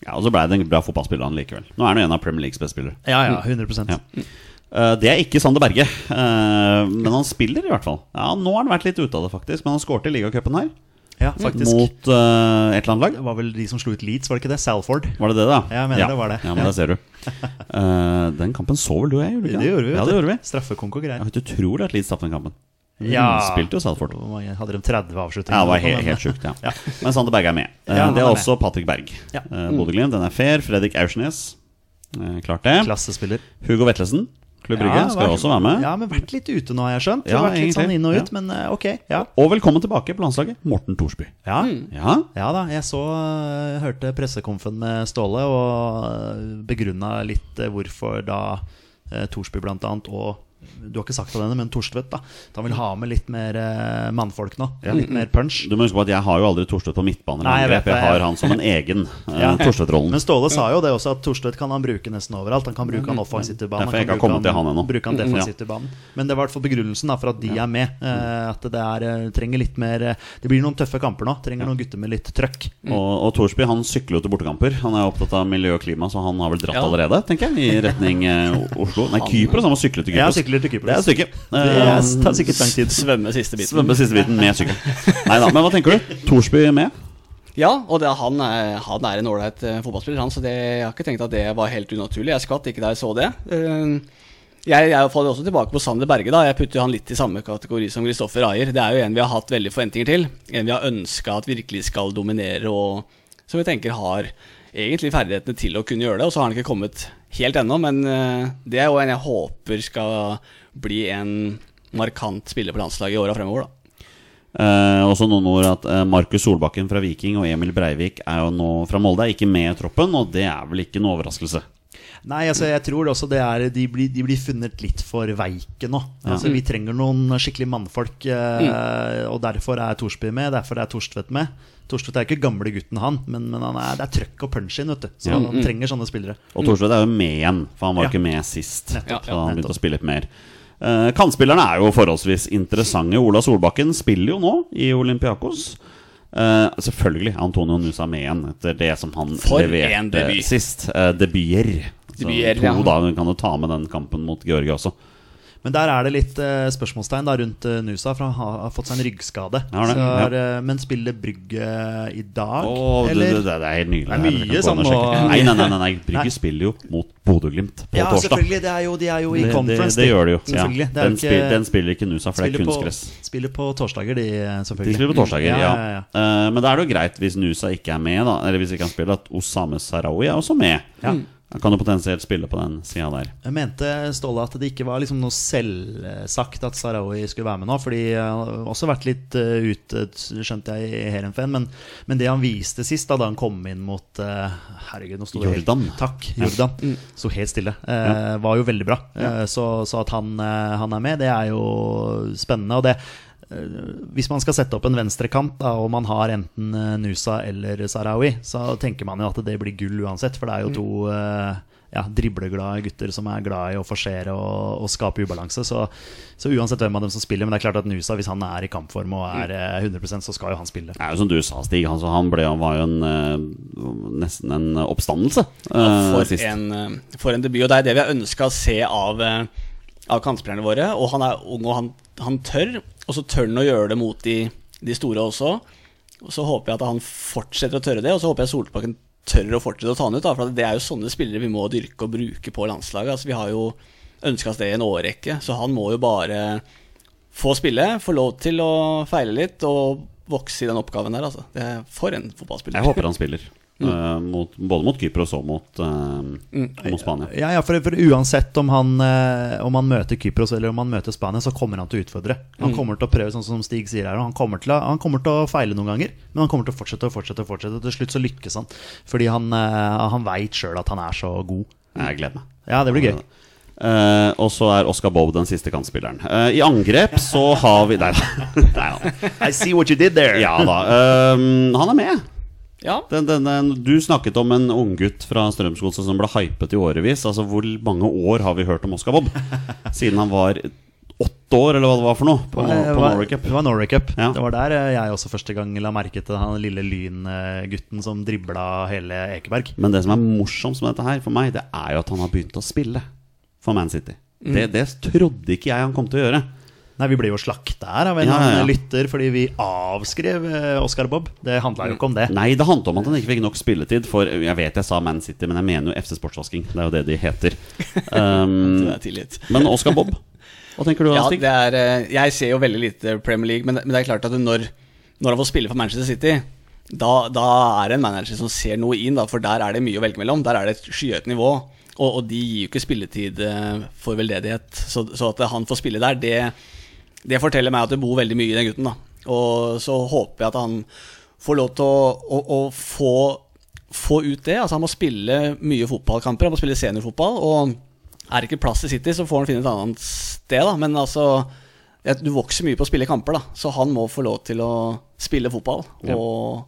S2: Ja, Og så ble det en bra fotballspiller han likevel. Nå er han jo en av Premier Leagues beste spillere.
S3: Ja, ja, 100
S2: Ja. Eh, det er ikke Sander Berge, eh, men han spiller i hvert fall. Ja, Nå har han vært litt ute av det, faktisk, men han skårte i ligacupen her.
S3: Ja, faktisk.
S2: Mot eh, et eller annet lag.
S3: Det var vel de som slo ut Leeds, var det ikke det? Salford.
S2: Var det det, da?
S3: Ja, jeg mener
S2: ja.
S3: det var det.
S2: Ja, men
S3: Ja.
S2: det ser du. Eh, den kampen så vel du og jeg, gjorde vi ikke?
S3: Det gjorde vi. vet
S2: Ja, det
S3: du.
S2: gjorde vi.
S3: Straffekonk og
S2: Jeg
S3: greier.
S2: vet utrolig at Leeds tapte den kampen.
S3: Ja.
S2: Mm, Spilte jo Salford.
S3: Hvor mange- Hadde de 30 avslutninger?
S2: Ja, det var
S3: eller noe,
S2: helt,
S3: men-
S2: helt sjukt, ja. Men Sander Berge er med. Eh,
S3: Ja, han
S2: det er
S3: er
S2: også Patrick Berg.
S3: Ja.
S2: Eh, Bodø-Glimt, den er fair. Fredrik Aursnes, eh, klart det.
S3: Klassespiller.
S2: Hugo Vetlesen, Klubb Brygge,
S3: Ja,
S2: skal
S3: vært-
S2: også være med.
S3: Ja, men vært litt ute nå, har jeg skjønt. Det
S2: Ja,
S3: har vært litt sånn
S2: egentlig.
S3: inn og ut,
S2: Ja.
S3: men eh, ok. Ja.
S2: Og velkommen tilbake på landslaget, Morten Thorsby.
S3: Ja.
S1: Mm.
S2: Ja,
S3: Ja da, jeg så eh, hørte pressekonfen med Ståle og begrunna litt eh, hvorfor da eh, Thorsby blant annet og du har ikke sagt det ennå, men Torstvedt da at han vil ha med litt mer eh, mannfolk nå. Litt mer punch.
S2: Du må huske på at jeg har jo aldri Torstvedt på midtbane. eller
S3: Nei, jeg
S2: angrep.
S3: vet det,
S2: jeg har
S3: ja.
S2: han som en egen eh,
S3: Ja.
S2: Torstvedt-rollen.
S3: Men Ståle sa jo det også, at Torstvedt kan han bruke nesten overalt. Han kan bruke han offensivt i banen.
S2: Derfor jeg
S3: kan
S2: ikke har kommet
S3: bruke
S2: til han ennå.
S3: Bruke han
S2: Mm, ja.
S3: defensivt i banen. Men det var i hvert fall begrunnelsen da, for at de er med. eh, At det er, eh, trenger litt mer eh, Det blir noen tøffe kamper nå. Trenger noen gutter med litt trøkk.
S2: Og, og Thorsby han sykler jo til bortekamper. Han er jo opptatt av miljø og klima, så han har vel dratt
S1: Ja.
S2: allerede, tenker jeg, i retning eh, Oslo. Nei, Kypros. Han må sykle til
S3: Ja,
S2: Kypros.
S3: sykler til Kypros.
S2: Det er et stykke. Eh,
S3: Det tar sikkert lang tid.
S1: Svømme siste biten.
S2: Svømme siste biten med sykkel. Nei da, men hva tenker du? Thorsby med?
S1: Ja, og det, han, er, han er en ålreit eh, fotballspiller, han, så det, jeg har ikke tenkt at det var helt unaturlig. Jeg skvatt ikke da jeg så det. Eh, Jeg, jeg faller også tilbake på Sander Berge. da Jeg putter han litt i samme kategori som Kristoffer Ayer. Det er jo en vi har hatt veldig forventninger til. En vi har ønska at virkelig skal dominere, og som vi tenker har egentlig ferdighetene til å kunne gjøre det. Og så har han ikke kommet helt ennå, men eh, det er jo en jeg håper skal bli en markant spiller på landslaget i åra fremover, da.
S2: Eh, også noen ord at eh, Markus Solbakken fra Viking og Emil Breivik er jo nå fra Molde, er ikke med i troppen, og det er vel ikke noe overraskelse.
S3: Nei, altså jeg tror det også det er De blir, de blir funnet litt for veike nå. Altså Vi trenger noen skikkelig mannfolk, eh,
S2: Mm.
S3: og derfor er Thorsby med. Derfor er Torstvedt med. Torstvedt er ikke gamle gutten, han, men, men han er, det er trøkk og punch in, vet du. Så
S2: Mm.
S3: han trenger sånne spillere.
S2: Og Thorstvedt er jo med igjen, for han var
S3: Ja.
S2: ikke med sist.
S3: Nettopp,
S2: så han
S3: nettopp.
S2: begynte å spille litt mer. Eh, kantspillerne er jo forholdsvis interessante. Ola Solbakken spiller jo nå i Olympiakos. Eh, selvfølgelig Antonio Nusa med igjen etter det som han
S1: For en
S2: leverte
S1: debut.
S2: sist. Eh, debuter. Så
S1: Debuter,
S2: to
S1: ja.
S2: da, hun kan jo ta med den kampen mot Georgia også.
S3: Men der er det litt eh, spørsmålstegn da, rundt eh, Nusa, for han har, har fått seg en ryggskade.
S2: Ja, det,
S3: Så
S2: ja.
S3: er, eh, men spiller Brygge i dag,
S2: Åh, det,
S3: eller?
S2: det, det er helt nydelig.
S3: Det er mye sånn
S2: Jeg kan gå inn og
S3: som
S2: sjekke.
S3: må-
S2: Nei, nei, nei, nei, nei.
S3: Nei.
S2: Brygge spiller jo mot Bodø-Glimt på
S3: ja,
S2: torsdag.
S3: selvfølgelig. Det er jo, de er jo i
S2: Det, det,
S3: conference.
S2: det
S3: de.
S2: gjør det jo. Ja.
S3: Selvfølgelig. Det er
S2: Den,
S3: jo
S2: spiller,
S3: ikke-
S2: den spiller ikke Nusa, for det er
S3: Spiller på,
S2: kunstgress.
S3: spiller på torsdager, de, eh,
S2: De
S3: selvfølgelig.
S2: spiller på torsdager, ja.
S3: Ja, ja, ja.
S2: Eh, men da er det jo greit hvis Nusa ikke er med, da. Eller hvis ikke han spiller, at Osame Sarawi er også med.
S1: Mm.
S2: Han kan jo potensielt spille på den sida der.
S3: Jeg mente Ståle at det ikke var liksom noe selvsagt at Sarawi skulle være med nå. Fordi han har også vært litt eh, ute, skjønte jeg, i Heerenveen. Men, men det han viste sist, da, da han kom inn mot eh, Herregud, nå sto det helt-
S2: Jordan.
S3: Takk, Jordan. Sto helt stille. Eh, var jo veldig bra. Eh, så, så at han, eh, han er med, det er jo spennende. Og det eh, hvis man skal sette opp en venstrekant, da, og man har enten eh, Nusa eller Sarawi, så tenker man jo at det blir gull uansett, for det er jo to eh, ja, dribleglade gutter som er glad i å forsere og, og skape ubalanse. Så, så uansett hvem av dem som spiller, men det er klart at Nusa, hvis han er i kampform og er eh, 100 så skal jo han spille.
S2: Det er jo som du sa, Stig. Han, han, ble, han var jo en, eh, nesten en oppstandelse eh,
S1: For
S2: sist.
S1: en, eh, for en debut. Og det er det vi har ønska å se av, eh, av kantspillerne våre. Og han er ung, og han, han tør. Og så tør han å gjøre det mot de, de store også. Og så håper jeg at han fortsetter å tørre det, og så håper jeg Solbakken tør å fortsette å ta han ut. Da, for det er jo sånne spillere vi må dyrke og bruke på landslaget. Altså, vi har jo ønska oss det i en årrekke, så han må jo bare få spille, få lov til å feile litt og vokse i den oppgaven der, altså. Det er for en fotballspiller.
S2: Jeg håper han spiller.
S1: Mm.
S2: eh, mot, både mot Kypros og mot, eh,
S1: Mm.
S2: mot Spania.
S3: Ja, ja for, for uansett om han, eh, om han møter Kypros eller om han møter Spania, så kommer han til å utfordre.
S2: Mm.
S3: Han kommer til å prøve, sånn som Stig sier her, og han kommer, til å, han kommer til å feile noen ganger. Men han kommer til å fortsette og fortsette, og fortsette og til slutt så lykkes han. Fordi han, eh, han veit sjøl at han er så god.
S2: Jeg gleder meg.
S3: Ja, det blir gøy.
S2: Eh, og så er Oscar Bob den siste kantspilleren. Eh, I angrep så har vi Nei da. Nei da.
S3: I see what you did there!
S2: Ja da. eh, han er med.
S1: Ja.
S2: Den, den, den, du snakket om en unggutt fra Strømsgodset som ble hypet i årevis. Altså Hvor mange år har vi hørt om Oscar Bob? Siden han var åtte åtte år, eller hva det var for noe, på,
S3: Det
S2: på
S3: var-
S2: Norway Cup.
S3: Eh, Det var Norway Cup.
S2: Ja.
S3: Det var der eh, jeg også første gang la merke til han lille lyngutten som dribla hele Ekeberg.
S2: Men det som er morsomst med dette her for meg, det er jo at han har begynt å spille for Man City. Det, det trodde ikke jeg han kom til å gjøre.
S3: Nei, vi ble jo slakta her av en
S2: Ja, ja, ja.
S3: annen lytter fordi vi avskrev eh, Oscar Bob. Det handla jo ikke om det.
S2: Nei, det handlet om at han ikke fikk nok spilletid. For jeg vet jeg sa Man City, men jeg mener jo FC Sportsvasking. Det er jo det de heter.
S1: Det
S2: Um,
S1: er tilgitt.
S2: men Oscar Bob, hva tenker du?
S1: Ja,
S2: Stig?
S1: det er, eh, jeg ser jo veldig lite Premier League, men, men det er klart at når, når han får spille for Manchester City, da, da er det en manager som ser noe inn, da, for der er det mye å velge mellom. Der er det et skyhøyt nivå, og, og de gir jo ikke spilletid eh, for veldedighet. Så, så at han får spille der, det, det forteller meg at det bor veldig mye i den gutten. Da. Og så håper jeg at han får lov til å, å, å få, få ut det. Altså, han må spille mye fotballkamper, han må spille seniorfotball. og er det ikke plass i City, så får han finne et annet sted, da. Men altså ja, Du vokser mye på å spille kamper, da. Så han må få lov til å spille fotball
S2: Ja.
S1: og,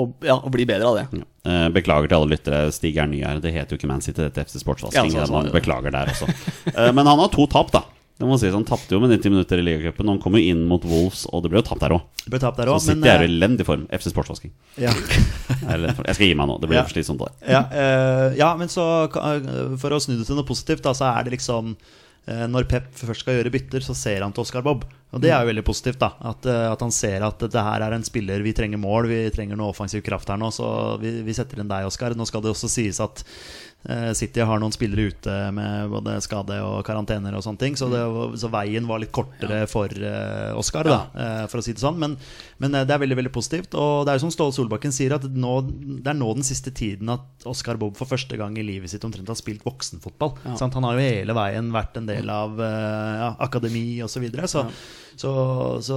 S1: og, ja, og bli bedre av det.
S2: Ja. Eh, Beklager til alle lyttere, Stig er ny her. Det heter jo ikke Man City, det heter FC Sportsvasking.
S3: altså,
S1: Ja, sånn, sånn.
S2: Man Beklager der også. Eh, Men han har to tap, da. Det må sies, Han tapte jo med 90 minutter i ligacupen. Han kom jo inn mot Wolves, og det ble jo tapt der òg.
S3: Det Ble tapt der
S2: Så
S3: òg,
S2: City
S3: men
S2: er jo i
S3: eh,
S2: elendig form. FC Sportsvasking.
S3: ja.
S2: er i elendig form. Jeg skal gi meg nå. Det blir
S3: Ja.
S2: for slitsomt. av det.
S3: ja, eh, ja, men så ka- eh, for å snu det til noe positivt, da, så er det liksom eh, Når Pep først skal gjøre bytter, så ser han til Oscar Bob. Og det er jo veldig positivt. da At, eh, at han ser at det her er en spiller vi trenger mål, vi trenger noe offensiv kraft her nå. Så vi, vi setter inn deg, Oscar. Nå skal det også sies at eh, City har noen spillere ute med både skade og karantener og sånne ting, så, det, var- så veien var litt kortere for eh, Oscar, da, eh, for å si det sånn. Men, men eh, det er veldig veldig positivt. Og det er jo som Ståle Solbakken sier, at nå, det er nå den siste tiden at Oscar Bob for første gang i livet sitt omtrent har spilt voksenfotball. Sant? Han har jo hele veien vært en del av eh, ja, akademi osv. Så, videre, så, så, så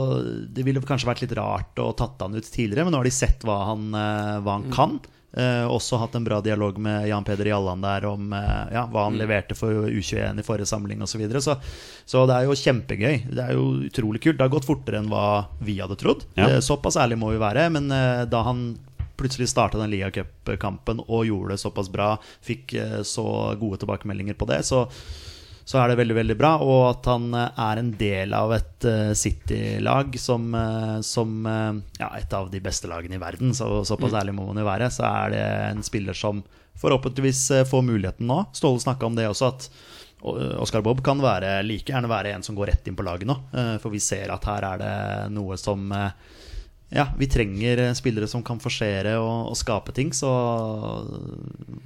S3: det ville kanskje vært litt rart å tatt han ut tidligere, men nå har de sett hva han, eh, hva han kan. Eh, også hatt en bra dialog med Jan Peder Jalland der om eh, ja, hva han leverte for U21 i forrige samling osv. Så, videre. så Så det er jo kjempegøy. Det er jo utrolig kult. Det har gått fortere enn hva vi hadde trodd.
S2: Ja.
S3: Eh, såpass ærlig må vi være. Men eh, da han plutselig starta den Liacup-kampen og gjorde det såpass bra, fikk eh, så gode tilbakemeldinger på det, så så er det veldig veldig bra. Og at han eh, er en del av et eh, City-lag som, eh, som eh, ja, et av de beste lagene i verden, så, såpass ærlig må man jo være, så er det en spiller som forhåpentligvis eh, får muligheten nå. Ståle snakka om det også, at Oskar Bob kan være, like gjerne være en som går rett inn på laget nå. eh, For vi ser at her er det noe som eh, Ja, vi trenger eh, spillere som kan forsere og, og skape ting. Så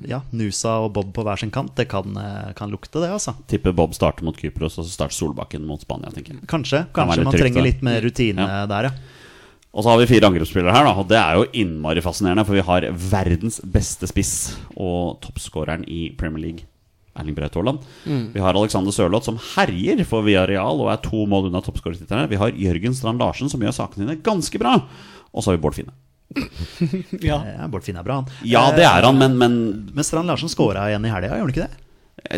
S3: ja, Nusa og Bob på hver sin kant, det kan, eh, kan lukte, det, altså.
S2: Tipper Bob starter mot Kypros, og så starter Solbakken mot Spania, tenker jeg.
S3: Kanskje.
S2: Kan være litt
S3: Kanskje man
S2: trygt, da.
S3: trenger litt mer rutine
S2: Ja.
S3: der, ja.
S2: Og så har vi fire angrepsspillere her, da, og det er jo innmari fascinerende. For vi har verdens beste spiss og toppskåreren i Premier League, Erling Braut Haaland.
S3: Mm.
S2: Vi har Alexander Sørloth, som herjer for Villarreal og er to mål unna toppskårertittelen. Vi har Jørgen Strand Larsen, som gjør sakene sine ganske bra. Og så har vi Bård Finne.
S1: Ja.
S3: Eh, Bård Finn er bra, han.
S2: Ja, det er han, men, men
S3: Men Strand Larsen skåra igjen i helga, gjorde han ikke det?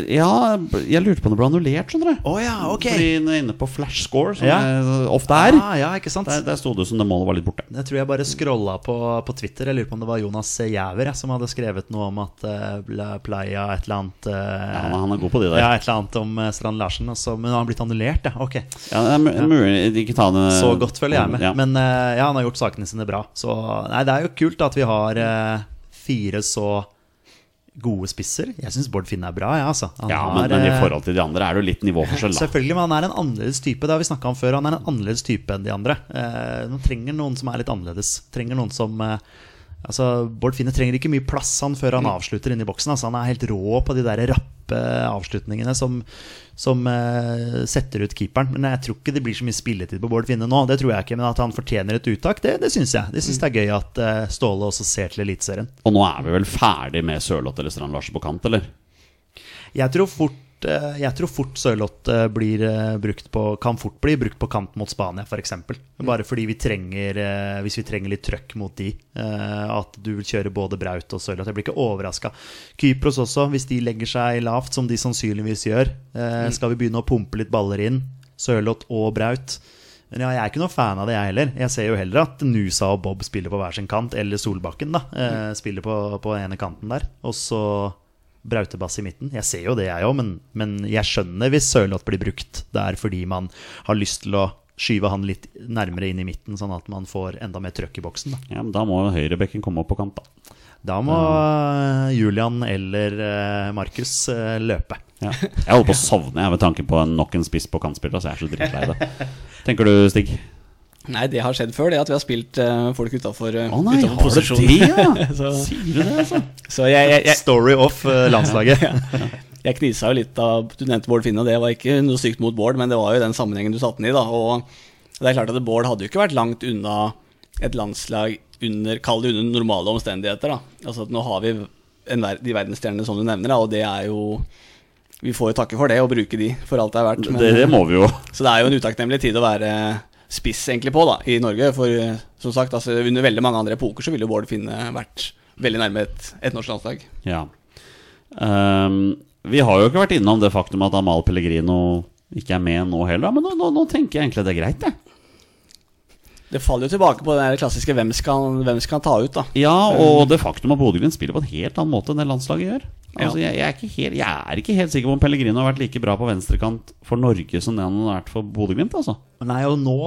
S2: Ja, jeg lurte på om det ble annullert, skjønner du.
S3: Å ja, ok.
S2: Fordi den er inne på flash score, som
S3: Ja.
S2: jeg ofte er.
S3: Ah, ja, ikke sant?
S2: Der, der sto det jo som det målet var litt borte.
S3: Jeg tror jeg bare scrolla på, på Twitter. Jeg lurer på om det var Jonas Jæver jeg, som hadde skrevet noe om at eh, Bla- Playa et eller annet eh,
S2: Ja, han, er- han er god på de der.
S3: Ja, et eller annet om eh, Strand Larsen. og så- men han har blitt annullert, ja. Ok.
S2: Ja, det er mu- mulig Ikke ta det
S3: Så godt følger jeg med.
S2: Eh, Ja.
S3: Men eh, ja, han har gjort sakene sine bra. Så nei, det er jo kult at vi har eh, fire så gode spisser. Jeg syns Bård Finn er bra, jeg, ja, altså. Han
S2: ja,
S3: har,
S2: men, men i
S3: eh,
S2: forhold til de andre er det jo litt nivåforskjell, da.
S3: Selvfølgelig, men han er en annerledes type. Det har vi snakket om før. Han er en annerledes type enn de andre. Eh, han trenger noen som er litt annerledes. Trenger noen som eh, Altså, Bård Finne trenger ikke mye plass han før han avslutter inne i boksen. Altså, han er helt rå på de der rappe avslutningene som, som eh, setter ut keeperen. Men jeg tror ikke det blir så mye spilletid på Bård Finne nå. Det tror jeg ikke, Men at han fortjener et uttak, det, det syns jeg. Det syns det er gøy at eh, Ståle også ser til Eliteserien.
S2: Og nå er vi vel ferdig med Sørloth eller Strand Larsen på kant, eller?
S3: Jeg tror fort eh, jeg tror fort Sørloth eh, blir eh, brukt på, kan fort bli brukt på kant mot Spania, f.eks. Bare fordi vi trenger eh, Hvis vi trenger litt trøkk mot de. eh, At du vil kjøre både Braut og Sørloth. Jeg blir ikke overraska. Kypros også, hvis de legger seg lavt, som de sannsynligvis gjør, eh, skal vi begynne å pumpe litt baller inn. Sørloth og Braut. Men ja, jeg er ikke noe fan av det, jeg heller. Jeg ser jo heller at Nusa og Bob spiller på hver sin kant, eller Solbakken, da. eh, Spiller på, på ene kanten der. Og så brautebass i midten. Jeg ser jo det, jeg òg, men, men jeg skjønner hvis Sørloth blir brukt der fordi man har lyst til å skyve han litt nærmere inn i midten, sånn at man får enda mer trøkk i boksen. Da.
S2: Ja, men Da må jo høyrebekken komme opp på kant, da.
S3: Da må eh, Julian eller eh, Markus eh, løpe.
S2: Ja. Jeg holder på å sovne jeg, ved tanken på en- nok en spiss på kantspiller. Så jeg er så dritlei det. Tenker du, Stig?
S1: Nei, det har skjedd før, det at vi har spilt eh, folk utafor
S2: Å nei, har du
S1: posisjon.
S2: det, ja?
S1: Så-
S2: Sier du det, altså?
S1: Så jeg, jeg, jeg,
S3: Story off eh, landslaget.
S1: Jeg knisa jo litt av Du nevnte Bård Finne, og det var ikke noe stygt mot Bård, men det var jo den sammenhengen du satte den i, da. Og det er klart at Bård hadde jo ikke vært langt unna et landslag under Kall det under normale omstendigheter, da. Altså at nå har vi en, ver- de verdensstjernene som du nevner, da, og det er jo Vi får jo takke for det, og bruke de for alt det er verdt. men-
S2: Det, det må vi jo.
S1: så det er jo en utakknemlig tid å være spiss egentlig på da, i Norge. For eh, som sagt, altså, under veldig mange andre epoker så ville jo Bård Finne vært veldig nærme et, et norsk landslag.
S2: Ja. Ehm, vi har jo ikke vært innom det faktum at Amal Pellegrino ikke er med nå heller, men nå, nå, nå tenker jeg egentlig det er greit, jeg.
S1: Det faller jo tilbake på den der klassiske hvem skal, hvem skal han ta ut, da.
S2: Ja, og det faktum at Bodø-Glimt spiller på en helt annen måte enn det landslaget gjør. Altså,
S1: Ja.
S2: jeg, jeg, er ikke helt, jeg er ikke helt sikker på om Pellegrino har vært like bra på venstrekant for Norge som det han har vært for Bodø-Glimt. Altså.
S3: Nei, og nå,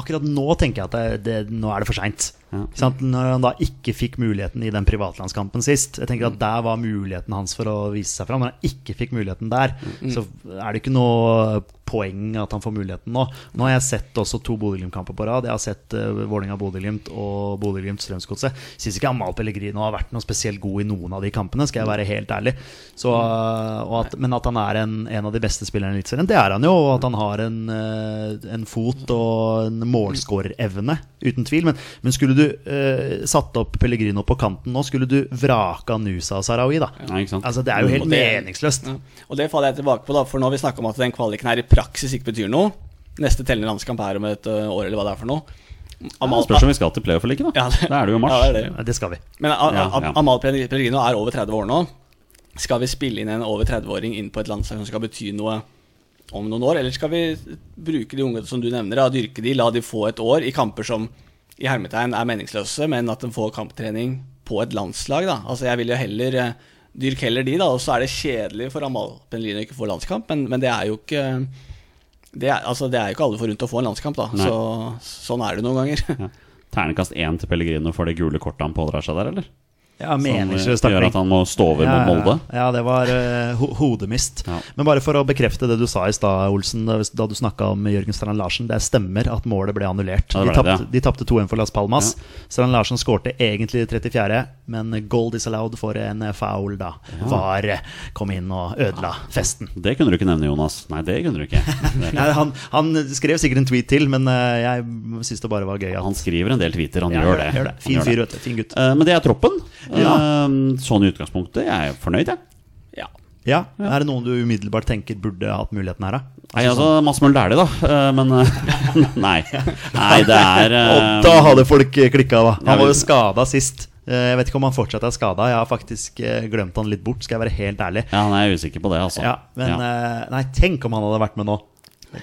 S3: akkurat nå tenker jeg at det, det, nå er det for seint.
S2: Ja.
S3: Når han da ikke fikk muligheten i den privatlandskampen sist Jeg tenker at Der var muligheten hans for å vise seg fram. Når han ikke fikk muligheten der, Mm. så er det ikke noe poeng at han får muligheten nå. Nå har jeg sett også to Bodø-Glimt-kamper på rad. Jeg har sett uh, Vålerenga-Bodø-Glimt og Bodø-Glimt-Strømsgodset. Syns ikke Amal Pellegrino har vært noe spesielt god i noen av de kampene, skal jeg være helt ærlig. Så, øh, og at, men at han er en, en av de beste spillerne i Eliteserien, det er han jo. Og at han har en, øh, en fot og en målskårerevne, uten tvil. Men, men skulle du øh, satt opp Pellegrino på kanten nå, skulle du vraka Nusa og Sarawi, da.
S2: Ja, ikke sant?
S3: Altså, det er jo helt
S1: Og det-
S3: meningsløst.
S1: Ja. Og det faller jeg tilbake på, da, for nå har vi snakka om at den kvaliken her i praksis ikke betyr noe. Neste tellende landskamp er om et ø, år, eller hva det er for noe.
S2: Ja,
S1: Amal,
S2: spørs om vi skal til playoff eller ikke, da.
S1: Ja, det-
S2: Da er det jo i mars.
S1: Ja, det er det.
S3: Det skal vi.
S1: Men A- A-
S2: Ja, ja.
S1: Amal Pellegrino er over 30 år nå. Skal vi spille inn en over 30-åring inn på et landslag som skal bety noe om noen år, eller skal vi bruke de unge som du nevner, da, dyrke de, la de få et år i kamper som i hermetegn er meningsløse, men at de får kamptrening på et landslag, da. Altså, jeg vil jo heller eh, dyrke heller de, da, og så er det kjedelig for Amal Pellegrino å ikke få landskamp, men, men det er jo ikke det er, altså, det er jo ikke alle forunt å få en landskamp, da.
S2: Nei.
S1: Så, sånn er det noen ganger.
S2: Ja. Ternekast én til Pellegrino for det gule kortet han pådrar seg der, eller?
S3: Ja,
S2: Som
S3: meningsløs
S2: eh, gjør
S3: takling.
S2: at han må stå over mot Molde?
S3: Ja, ja, det var eh, ho hodemist.
S2: Ja.
S3: Men bare for å bekrefte det du sa i stad, Olsen, da da du snakka om Jørgen Strand Larsen. Det stemmer at målet ble annullert.
S2: Ja, det ble
S3: de
S2: det,
S3: tapte- de tapte 2-1 for Las Palmas. Strand Larsen skårte egentlig i 34., men goal disallowed for en eh, foul da. Var eh, kom inn og ødela festen.
S2: Det kunne du ikke nevne, Jonas. Nei, det kunne du ikke.
S3: Nei, han, han skrev sikkert en tweet til, men eh, jeg syns det bare var gøy. at-
S2: Han skriver en del tweeter, han
S3: Ja,
S2: gjør det.
S3: gjør
S2: Han
S3: Fin
S2: gjør
S3: fyr,
S2: det.
S3: vet du. Fin gutt.
S2: Eh, Men det er troppen.
S3: Ja.
S2: Eh, Sånn i utgangspunktet. Jeg er fornøyd, jeg.
S1: Ja.
S3: Ja, Er det noen du umiddelbart tenker burde hatt muligheten her, da?
S2: Nei, altså, Mads Møller Dæhlie, da. eh, Men eh, nei. Nei, det er eh,
S3: Og da hadde folk klikka, da.
S2: Ja,
S3: Han var
S2: men-
S3: jo skada sist. Eh, Jeg vet ikke om han fortsatt er skada. Jeg har faktisk eh, glemt han litt bort, skal jeg være helt ærlig.
S2: Ja, nei, jeg er usikker på det, altså.
S3: Ja, men
S2: ja.
S3: eh, Nei, tenk om han hadde vært med nå.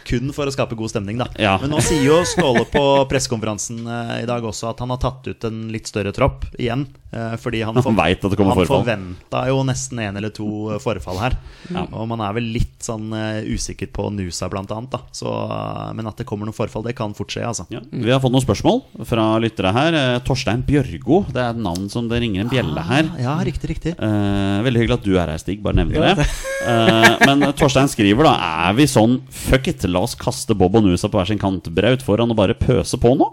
S3: Kun for å skape god stemning, da.
S2: Ja.
S3: Men nå sier jo Ståle på pressekonferansen eh, i dag også at han har tatt ut en litt større tropp igjen. eh, fordi han,
S2: Han vet at det kommer
S3: han
S2: forfall.
S3: forventa jo nesten én eller to eh, forfall her. Og man er vel litt sånn eh, usikker på Nusa, blant annet. Da. Så, eh, men at det kommer noen forfall, det kan fort skje, altså.
S2: Ja. Vi har fått noen spørsmål fra lyttere her. Eh, Torstein Bjørgo. Det er et navn som det ringer en bjelle her.
S3: Ah, Ja, riktig, riktig.
S2: Eh, veldig hyggelig at du er her, Stig. Bare nevner det. Eh, men Torstein skriver da Er vi sånn fuck it, la oss kaste Bob og Nusa på hver sin kant braut foran og bare pøse på nå?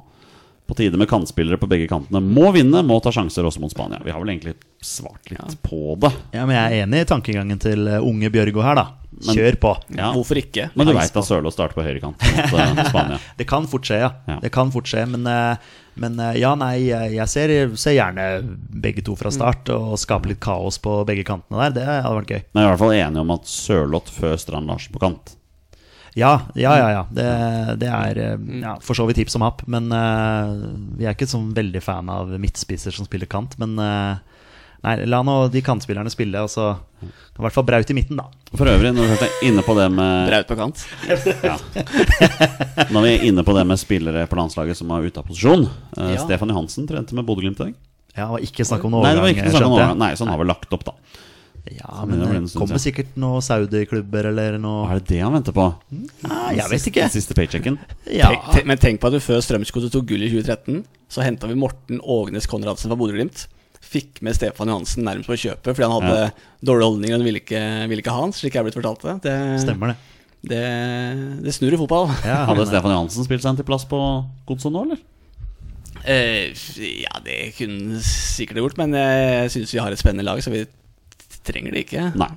S2: På tide med kantspillere på begge kantene. Må vinne, må ta sjanser også mot Spania. Vi har vel egentlig svart litt på det.
S3: Ja, men jeg er enig i tankegangen til eh, unge Bjørgo her, da. Kjør på.
S2: Ja.
S1: Hvorfor ikke?
S2: Men du veit at Sørloth starter på høyrekant mot eh, Spania.
S3: Det kan fort skje, ja.
S2: Ja.
S3: Det kan fort skje, men, eh, men eh, ja, nei, eh, jeg ser, ser gjerne begge to
S2: Mm.
S3: fra start og skape litt kaos på begge kantene der. Det hadde vært gøy.
S2: Men jeg er i hvert fall enig om at Sørloth før Strand Larsen på kant.
S3: Ja, ja, ja. ja. Det, det er
S2: Mm.
S3: eh, ja, for så vidt hipp som happ, men eh, vi er ikke sånn veldig fan av midtspisser som spiller kant. Men eh, nei, la nå de kantspillerne spille, og så i hvert fall Braut i midten, da.
S2: For øvrig, når vi først er inne på det med
S1: Braut på kant.
S2: ja. Når vi er inne på det med spillere på landslaget som er ute av posisjon eh,
S1: Ja.
S2: Stefan Johansen trente med Bodø-Glimt i dag.
S3: Ja, og ikke snakk om noe
S2: Nei, det var
S3: overgang,
S2: ikke snakk om
S3: skjønte jeg.
S2: overgang. Nei, så han har vel lagt opp, da.
S3: Ja,
S2: men
S3: men
S2: det var
S3: det
S2: en stund
S3: kommer
S2: siden.
S3: sikkert noen Saudi-klubber eller noe
S2: Er det det han venter på?
S3: Nei, Jeg vet ikke.
S2: Den siste paychecken?
S3: Ja.
S1: Tenk, tenk, men tenk på at du før Strømsgodset tok gull i 2013, så henta vi Morten Ågnes Konradsen fra Bodø-Glimt. Fikk med Stefan Johansen nærmest på kjøpet fordi han hadde dårlige holdninger og han ville ikke, ville ikke ha han, slik jeg er blitt fortalt det. Det,
S3: Stemmer det.
S1: det, det snur i fotball.
S3: Ja,
S2: Hadde
S3: men-
S2: Stefan Johansen spilt seg inn til plass på godset nå, eller?
S1: Eh, ja, det kunne han sikkert gjort, men jeg syns vi har et spennende lag, så vi trenger det ikke.
S2: Nei.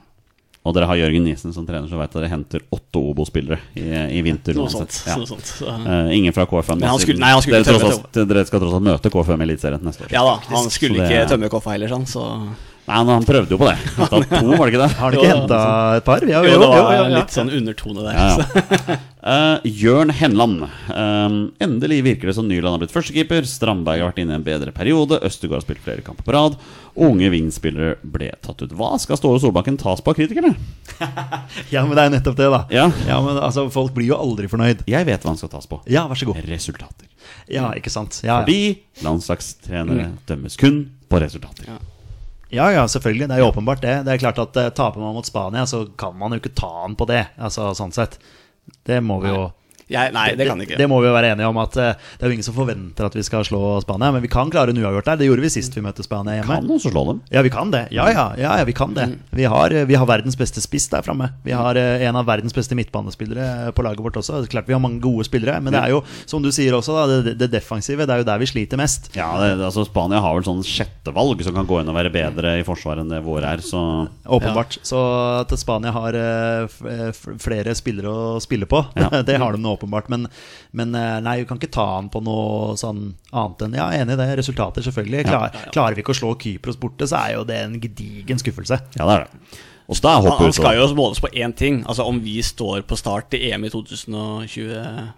S2: Og dere har Jørgen Nisen som trener, så veit dere henter åtte Obo-spillere i, i vinter.
S1: Noe
S2: uansett.
S1: sånt.
S2: Ja.
S1: Noe sånt. Så.
S2: Eh, ingen fra KFM.
S1: Men han
S2: da,
S1: skulle-
S2: siden
S1: nei, han skulle
S2: dere,
S1: ikke
S2: tross
S1: tømme
S2: alt, dere skal tross alt møte KFM i Eliteserien neste år.
S1: Ja da, han
S2: Så
S1: skulle
S2: det-
S1: ikke tømme koffa heller, sånn, så
S2: Nei, han, han prøvde jo på det. Henta to, var det ikke det?
S3: Har han
S1: Jo,
S3: ikke henta et par? Vi har
S1: Jo,
S3: jo,
S1: det
S3: jo,
S1: var
S3: jo, jo.
S1: litt sånn undertone der.
S2: Ja,
S1: så.
S2: ja. Eh, Jørn Henland. Eh, endelig virker det som Nyland har blitt førstekeeper. Strandberg har vært inne i en bedre periode. Østegård har spilt flere kamper på rad. Unge Wing-spillere ble tatt ut. Hva skal Ståle Solbakken tas på av kritikerne?
S3: Ja, men det er nettopp det, da.
S2: Ja.
S3: men altså, Folk blir jo aldri fornøyd.
S2: Jeg vet hva han skal tas på.
S3: Ja, vær så god.
S2: Resultater.
S3: Ja, ikke sant. Ja, ja.
S2: Fordi landslagstrenere dømmes kun på resultater.
S1: Mm. Ja.
S3: ja, ja selvfølgelig. Det er jo åpenbart, det. Det er klart at eh, Taper man mot Spania, så kan man jo ikke ta han på det. Altså, sånn sett. Det må vi jo
S1: Jeg, nei, det kan jeg
S3: det,
S1: ikke.
S3: det må vi jo være enige om. at eh, Det er jo ingen som forventer at vi skal slå Spania, men vi kan klare en uavgjort der. Det gjorde vi sist vi møtte Spania hjemme.
S2: Kan også slå dem.
S3: Ja, vi kan det. Ja, ja,
S2: Mm.
S3: ja, ja vi kan det. Vi har, eh, vi har verdens beste spiss der framme. Vi
S2: Mm.
S3: har eh, en av verdens beste midtbanespillere eh, på laget vårt også. Det er Klart vi har mange gode spillere, men
S2: Mm.
S3: det er jo, som du sier også, da, det, det defensive. Det er jo der vi sliter mest.
S2: Ja, det, det- altså Spania har vel sånn sjettevalg som kan gå inn og være bedre i forsvaret enn det våre er. Så
S3: Åpenbart. Så at Spania har eh, f- eh, f- flere spillere å spille på,
S2: Ja.
S3: det har de nå åpenbart. Men, men eh, nei, vi kan ikke ta han på noe sånn annet enn Ja, enig i det. Resultater, selvfølgelig. Klar, Klarer vi ikke å slå Kypros borte, så er jo det en gedigen skuffelse.
S2: ja, det er det. Og da
S1: Han,
S2: hopper
S1: han
S2: ut
S1: skal jo måles på én ting, altså om vi står på start i EM i 2024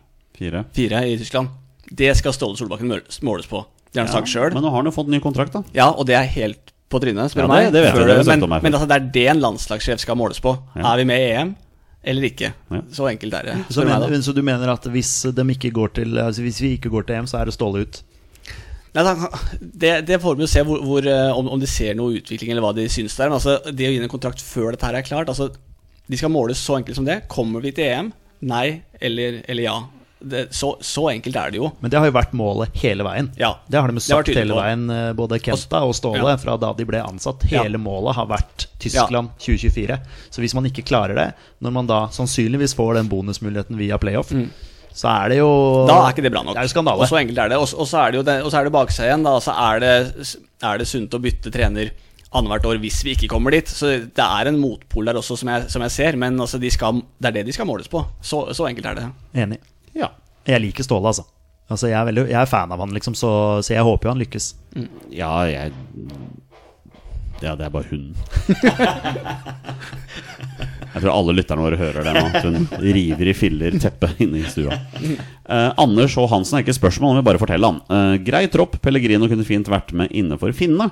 S2: fire.
S1: i Tyskland. Det skal Ståle Solbakken mø- måles på. Det har han sagt
S2: Men
S1: sjøl.
S2: nå har han jo fått ny kontrakt, da.
S1: Ja, og det er helt på trynet, spør
S2: Ja,
S1: du
S2: det-
S1: meg.
S2: det vet
S1: Før
S2: jeg, det har du sagt
S1: men
S2: om meg før.
S1: men altså, det er det en landslagssjef skal måles på.
S2: Ja.
S1: Er vi med i EM eller ikke?
S2: Ja.
S1: Så enkelt er det.
S3: Så,
S1: spør du meg
S3: mener,
S1: da.
S3: så du mener at hvis, dem ikke går til, altså hvis vi ikke går til EM, så er det Ståle ut?
S1: Nei, da, det, det får vi jo se hvor, hvor, eh, om, om de ser noe utvikling, eller hva de syns det er. Men altså, det å gi en kontrakt før dette her er klart altså, De skal måles så enkelt som det. Kommer vi til EM? Nei eller, eller ja. Det, så, så enkelt er det jo.
S3: Men det har jo vært målet hele veien.
S1: Ja.
S3: Det har
S1: Det har
S3: de
S1: vært
S3: sagt
S1: tydelig
S3: hele
S1: på.
S3: veien, eh, både Kenta og Ståle,
S1: Ja.
S3: fra da de ble ansatt. Hele
S1: Ja.
S3: målet har vært Tyskland 2024. Så hvis man ikke klarer det, når man da sannsynligvis får den bonusmuligheten via playoff, så er det jo
S1: Mm. Da er ikke det bra nok.
S3: Det er jo skandale.
S1: Og så enkelt er det. Og så- og så er det jo det, og så er det baksida igjen. Da. Altså, er, det, er det sunt å bytte trener annethvert år hvis vi ikke kommer dit? Så det er en motpol der også, som jeg, som jeg ser. Men altså, de skal, det er det de skal måles på. Så, så enkelt er det.
S3: Enig.
S2: Ja.
S3: Jeg liker Ståle, altså. Altså, jeg, er veldig, jeg er fan av han, liksom, så, så jeg håper jo han lykkes.
S2: Ja, jeg Ja, det er bare hunden. Jeg tror alle lytterne våre hører det nå. at Hun river i filler teppet inne i stua. Eh, Anders H. Hansen er ikke spørsmål, han vil bare fortelle han. Eh, grei tropp, Pellegrino kunne fint vært med innenfor Finne.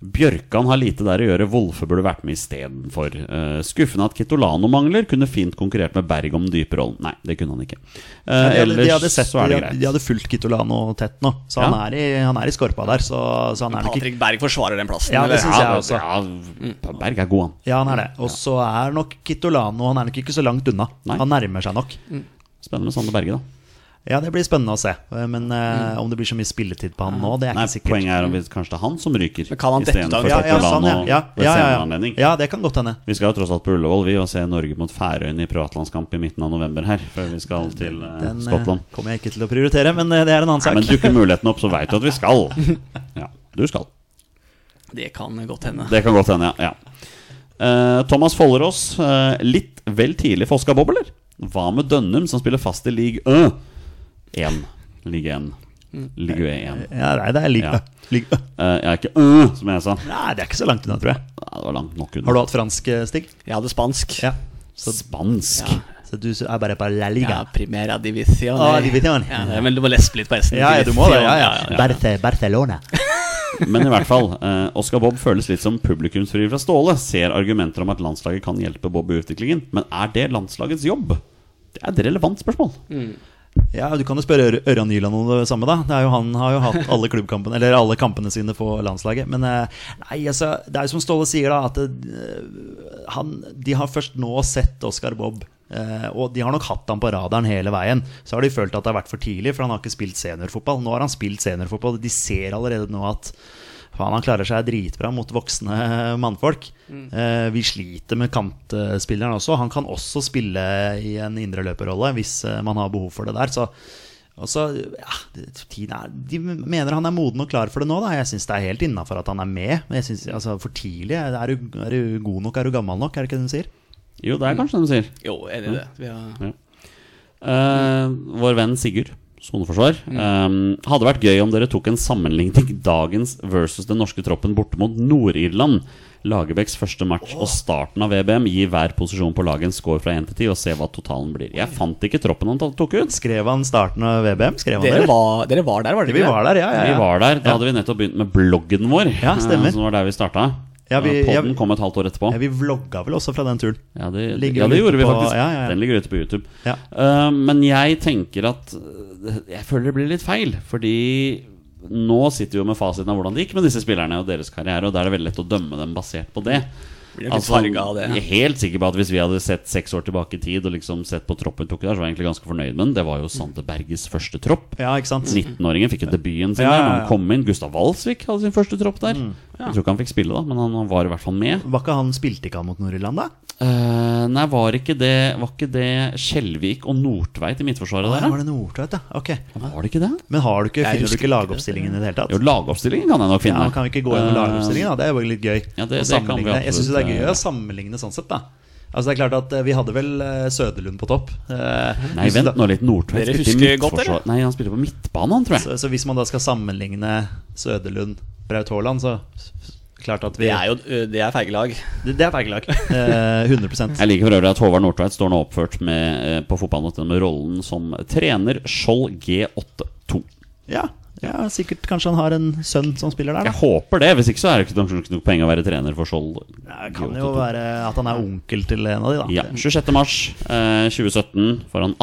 S2: Bjørkan har lite der å gjøre, Wolfe burde vært med istedenfor. Uh, skuffende at Kitolano mangler, kunne fint konkurrert med Berg om dyperollen. Nei, det kunne han ikke. Eh,
S3: De hadde,
S2: ellers
S3: de hadde sett,
S2: så er det
S3: de
S2: greit.
S3: hadde, de hadde fulgt Kitolano tett nå, så
S2: Ja.
S3: han, er i, han er i skorpa der. Så, så han er nok ikke
S1: Patrick Berg forsvarer den plassen.
S3: Ja, det
S1: eller?
S3: synes jeg også. Mm.
S2: Ja, Berg er god, han.
S3: Ja, han er det. Og så er nok Kitolano Han er nok ikke så langt unna.
S2: Nei.
S3: Han nærmer seg nok.
S2: Spennende med Sander Berge, da.
S3: Ja, Det blir spennende å se. Eh, Men eh, om det blir så mye spilletid på han nå, det er
S2: Nei,
S3: ikke sikkert.
S2: Poenget er om vi, kanskje det er han som ryker.
S1: Men kan han dette ut av-
S2: Istedenfor
S3: ja, ja, sånn, ja.
S2: Tortolano
S3: Ja,
S2: ved
S3: ja,
S2: senere
S3: ja, ja.
S2: anledning.
S3: ja, det kan godt hende.
S2: Vi skal jo tross alt på Ullevål vi og se Norge mot Færøyene i privatlandskamp i midten av november her. Før vi skal til eh,
S3: Den eh,
S2: Skottland.
S3: kommer jeg ikke til å prioritere, men eh, det er en annen
S2: Nei,
S3: sak.
S2: men dukker muligheten opp, så veit du at vi skal. Ja, du skal.
S1: Det kan godt hende.
S2: Det kan godt hende, ja. ja. Eh, Thomas Follerås, eh, litt vel tidlig foska bobler. Hva med Dønnum, som spiller fast i league Ø? 1. League 1. League 1.
S3: Ja, Mm. nei, det er lik,
S2: Ja.
S3: lik.
S2: Eh, Jeg er ikke Ø, som jeg sa.
S3: Nei, det er ikke så langt unna, tror jeg.
S2: Ja, det var langt nok unna.
S3: Har du hatt fransk, eh, Stig?
S1: Jeg hadde spansk.
S3: Ja.
S2: Spansk.
S3: Så du er bare på La Liga?
S1: Ja, Primera división.
S3: Ah, división.
S1: Ja, det er- men du må lespe litt på S-en.
S3: Ja, ja, du må det. Ja, ja.
S1: División,
S3: Barte, Barcelona.
S2: Men i hvert fall, eh, Oscar Bob føles litt som publikumsfri fra Ståle. Ser argumenter om at landslaget kan hjelpe Bob i utviklingen, men er det landslagets jobb? Det er et relevant spørsmål.
S3: Ja, Du kan jo spørre Ør Ørjan Nyland om det samme. da det er jo, Han har jo hatt alle klubbkampene Eller alle kampene sine på landslaget. Men eh, nei, altså, det er jo som Ståle sier, da at eh, han, de har først nå sett Oscar Bob. eh, og de har nok hatt han på radaren hele veien. Så har de følt at det har vært for tidlig, for han har ikke spilt seniorfotball. Nå har han spilt seniorfotball. De ser allerede nå at Faen, han klarer seg dritbra mot voksne mannfolk. Eh, vi sliter med kantspilleren også. Han kan også spille i en indreløperrolle hvis eh, man har behov for det der. Så også, ja, det- tiden er, de mener han er moden og klar for det nå. Da. Jeg syns det er helt innafor at han er med. Men jeg synes, altså, For tidlig. Er du, er du god nok? Er du gammel nok? Er det ikke det de sier?
S2: Jo, det er kanskje det de sier.
S1: Jo, enig i det. Vi har
S2: Eh, vår venn Sigurd, soneforsvar. eh, hadde vært gøy om dere tok en sammenligning til dagens versus den norske troppen borte mot Nord-Irland. Lagerbäcks første match og starten av E VBM. Gi hver posisjon på laget en score fra 1 til 10 og se hva totalen blir. Jeg fant ikke troppen han tok ut.
S3: Skrev han starten av VBM? Skrev han
S1: Dere
S3: det?
S1: var, dere var der, var dere
S3: Vi var der, ja. ja,
S2: Vi
S3: ja.
S2: var der, Da hadde vi nettopp begynt med bloggen vår.
S3: Ja, stemmer.
S2: eh, Som var der vi starta.
S3: Ja, vi-
S2: Podden
S3: ja, vi-
S2: kom et halvt år etterpå.
S3: ja, vi vlogga vel også fra den turen.
S2: Ja, det,
S3: Ligger
S2: ja,
S3: vel
S2: det
S3: ute
S2: gjorde vi
S3: på-
S2: faktisk.
S3: ja, ja, ja.
S2: Den ligger ute på YouTube.
S3: Ja.
S2: Eh, men jeg tenker at eh, Jeg føler det blir litt feil, fordi nå sitter vi jo med fasiten av hvordan det gikk med disse spillerne og deres karriere, og da er det veldig lett å dømme dem basert på det. Altså,
S1: Blir nok litt farget av det.
S2: Jeg er helt sikker på at Hvis vi hadde sett seks år tilbake i tid og liksom sett på troppen tok der, så var jeg egentlig ganske fornøyd med den. Det var jo Sande Berges første tropp.
S3: Ja, ikke sant?
S2: 19-åringen fikk jo debuten sin
S3: Ja,
S2: der.
S3: ja,
S2: Når
S3: ja. Mm.
S2: han kom inn Gustav Walsvik hadde sin første tropp der. Jeg tror ikke han fikk spille, da, men han var i hvert fall med.
S3: Var ikke han Spilte ikke han mot Nord-Irland, da?
S2: Eh, nei, var ikke det Var ikke det Skjelvik og Nordtveit i Midtforsvaret
S3: Var
S2: der?
S3: det Nordtveit, ja? Ok.
S2: da? Var det ikke det?
S3: Men har du ikke,
S1: Jeg
S3: finner du
S1: husker
S3: ikke lagoppstillingen i det hele tatt?
S2: Jo, lagoppstillingen kan jeg nok
S3: Ja,
S2: finne. Eh,
S3: men kan vi ikke gå gjennom lagoppstillingen? da? Det er jo litt gøy
S2: Ja, det-
S3: å
S2: det kan vi
S3: sammenligne. Jeg syns det er
S2: absolutt,
S3: gøy
S2: eh,
S3: å sammenligne sånn sett, da. Altså det er klart at eh, Vi hadde vel eh, Søderlund på topp. Eh,
S2: Nei,
S3: hvis
S2: vent
S3: da-
S2: nå litt. Nordtveit
S1: Dere
S2: spilte i
S1: husker godt,
S2: midtforsvar- Nei, han spilte på midtbanen, han, tror jeg.
S3: Så, så hvis man da skal sammenligne Søderlund Braut Haaland, så s- s- klart at vi
S1: Det er jo ø, det er feige lag.
S3: det, det er feigelag. Eh, 100
S2: Jeg liker for øvrig at Håvard Nordtveit står nå oppført med, eh, på fotball.no med rollen som trener Skjold G82.
S3: ja, ja, sikkert kanskje han har en sønn som spiller der,
S2: Jeg
S3: da.
S2: håper det, hvis ikke så er det ikke nok- nok poeng å være trener for Skjold.
S3: Det kan jo
S2: G82.
S3: være at han er onkel til en av de, da.
S2: Ja, 26. mars eh, 2017 foran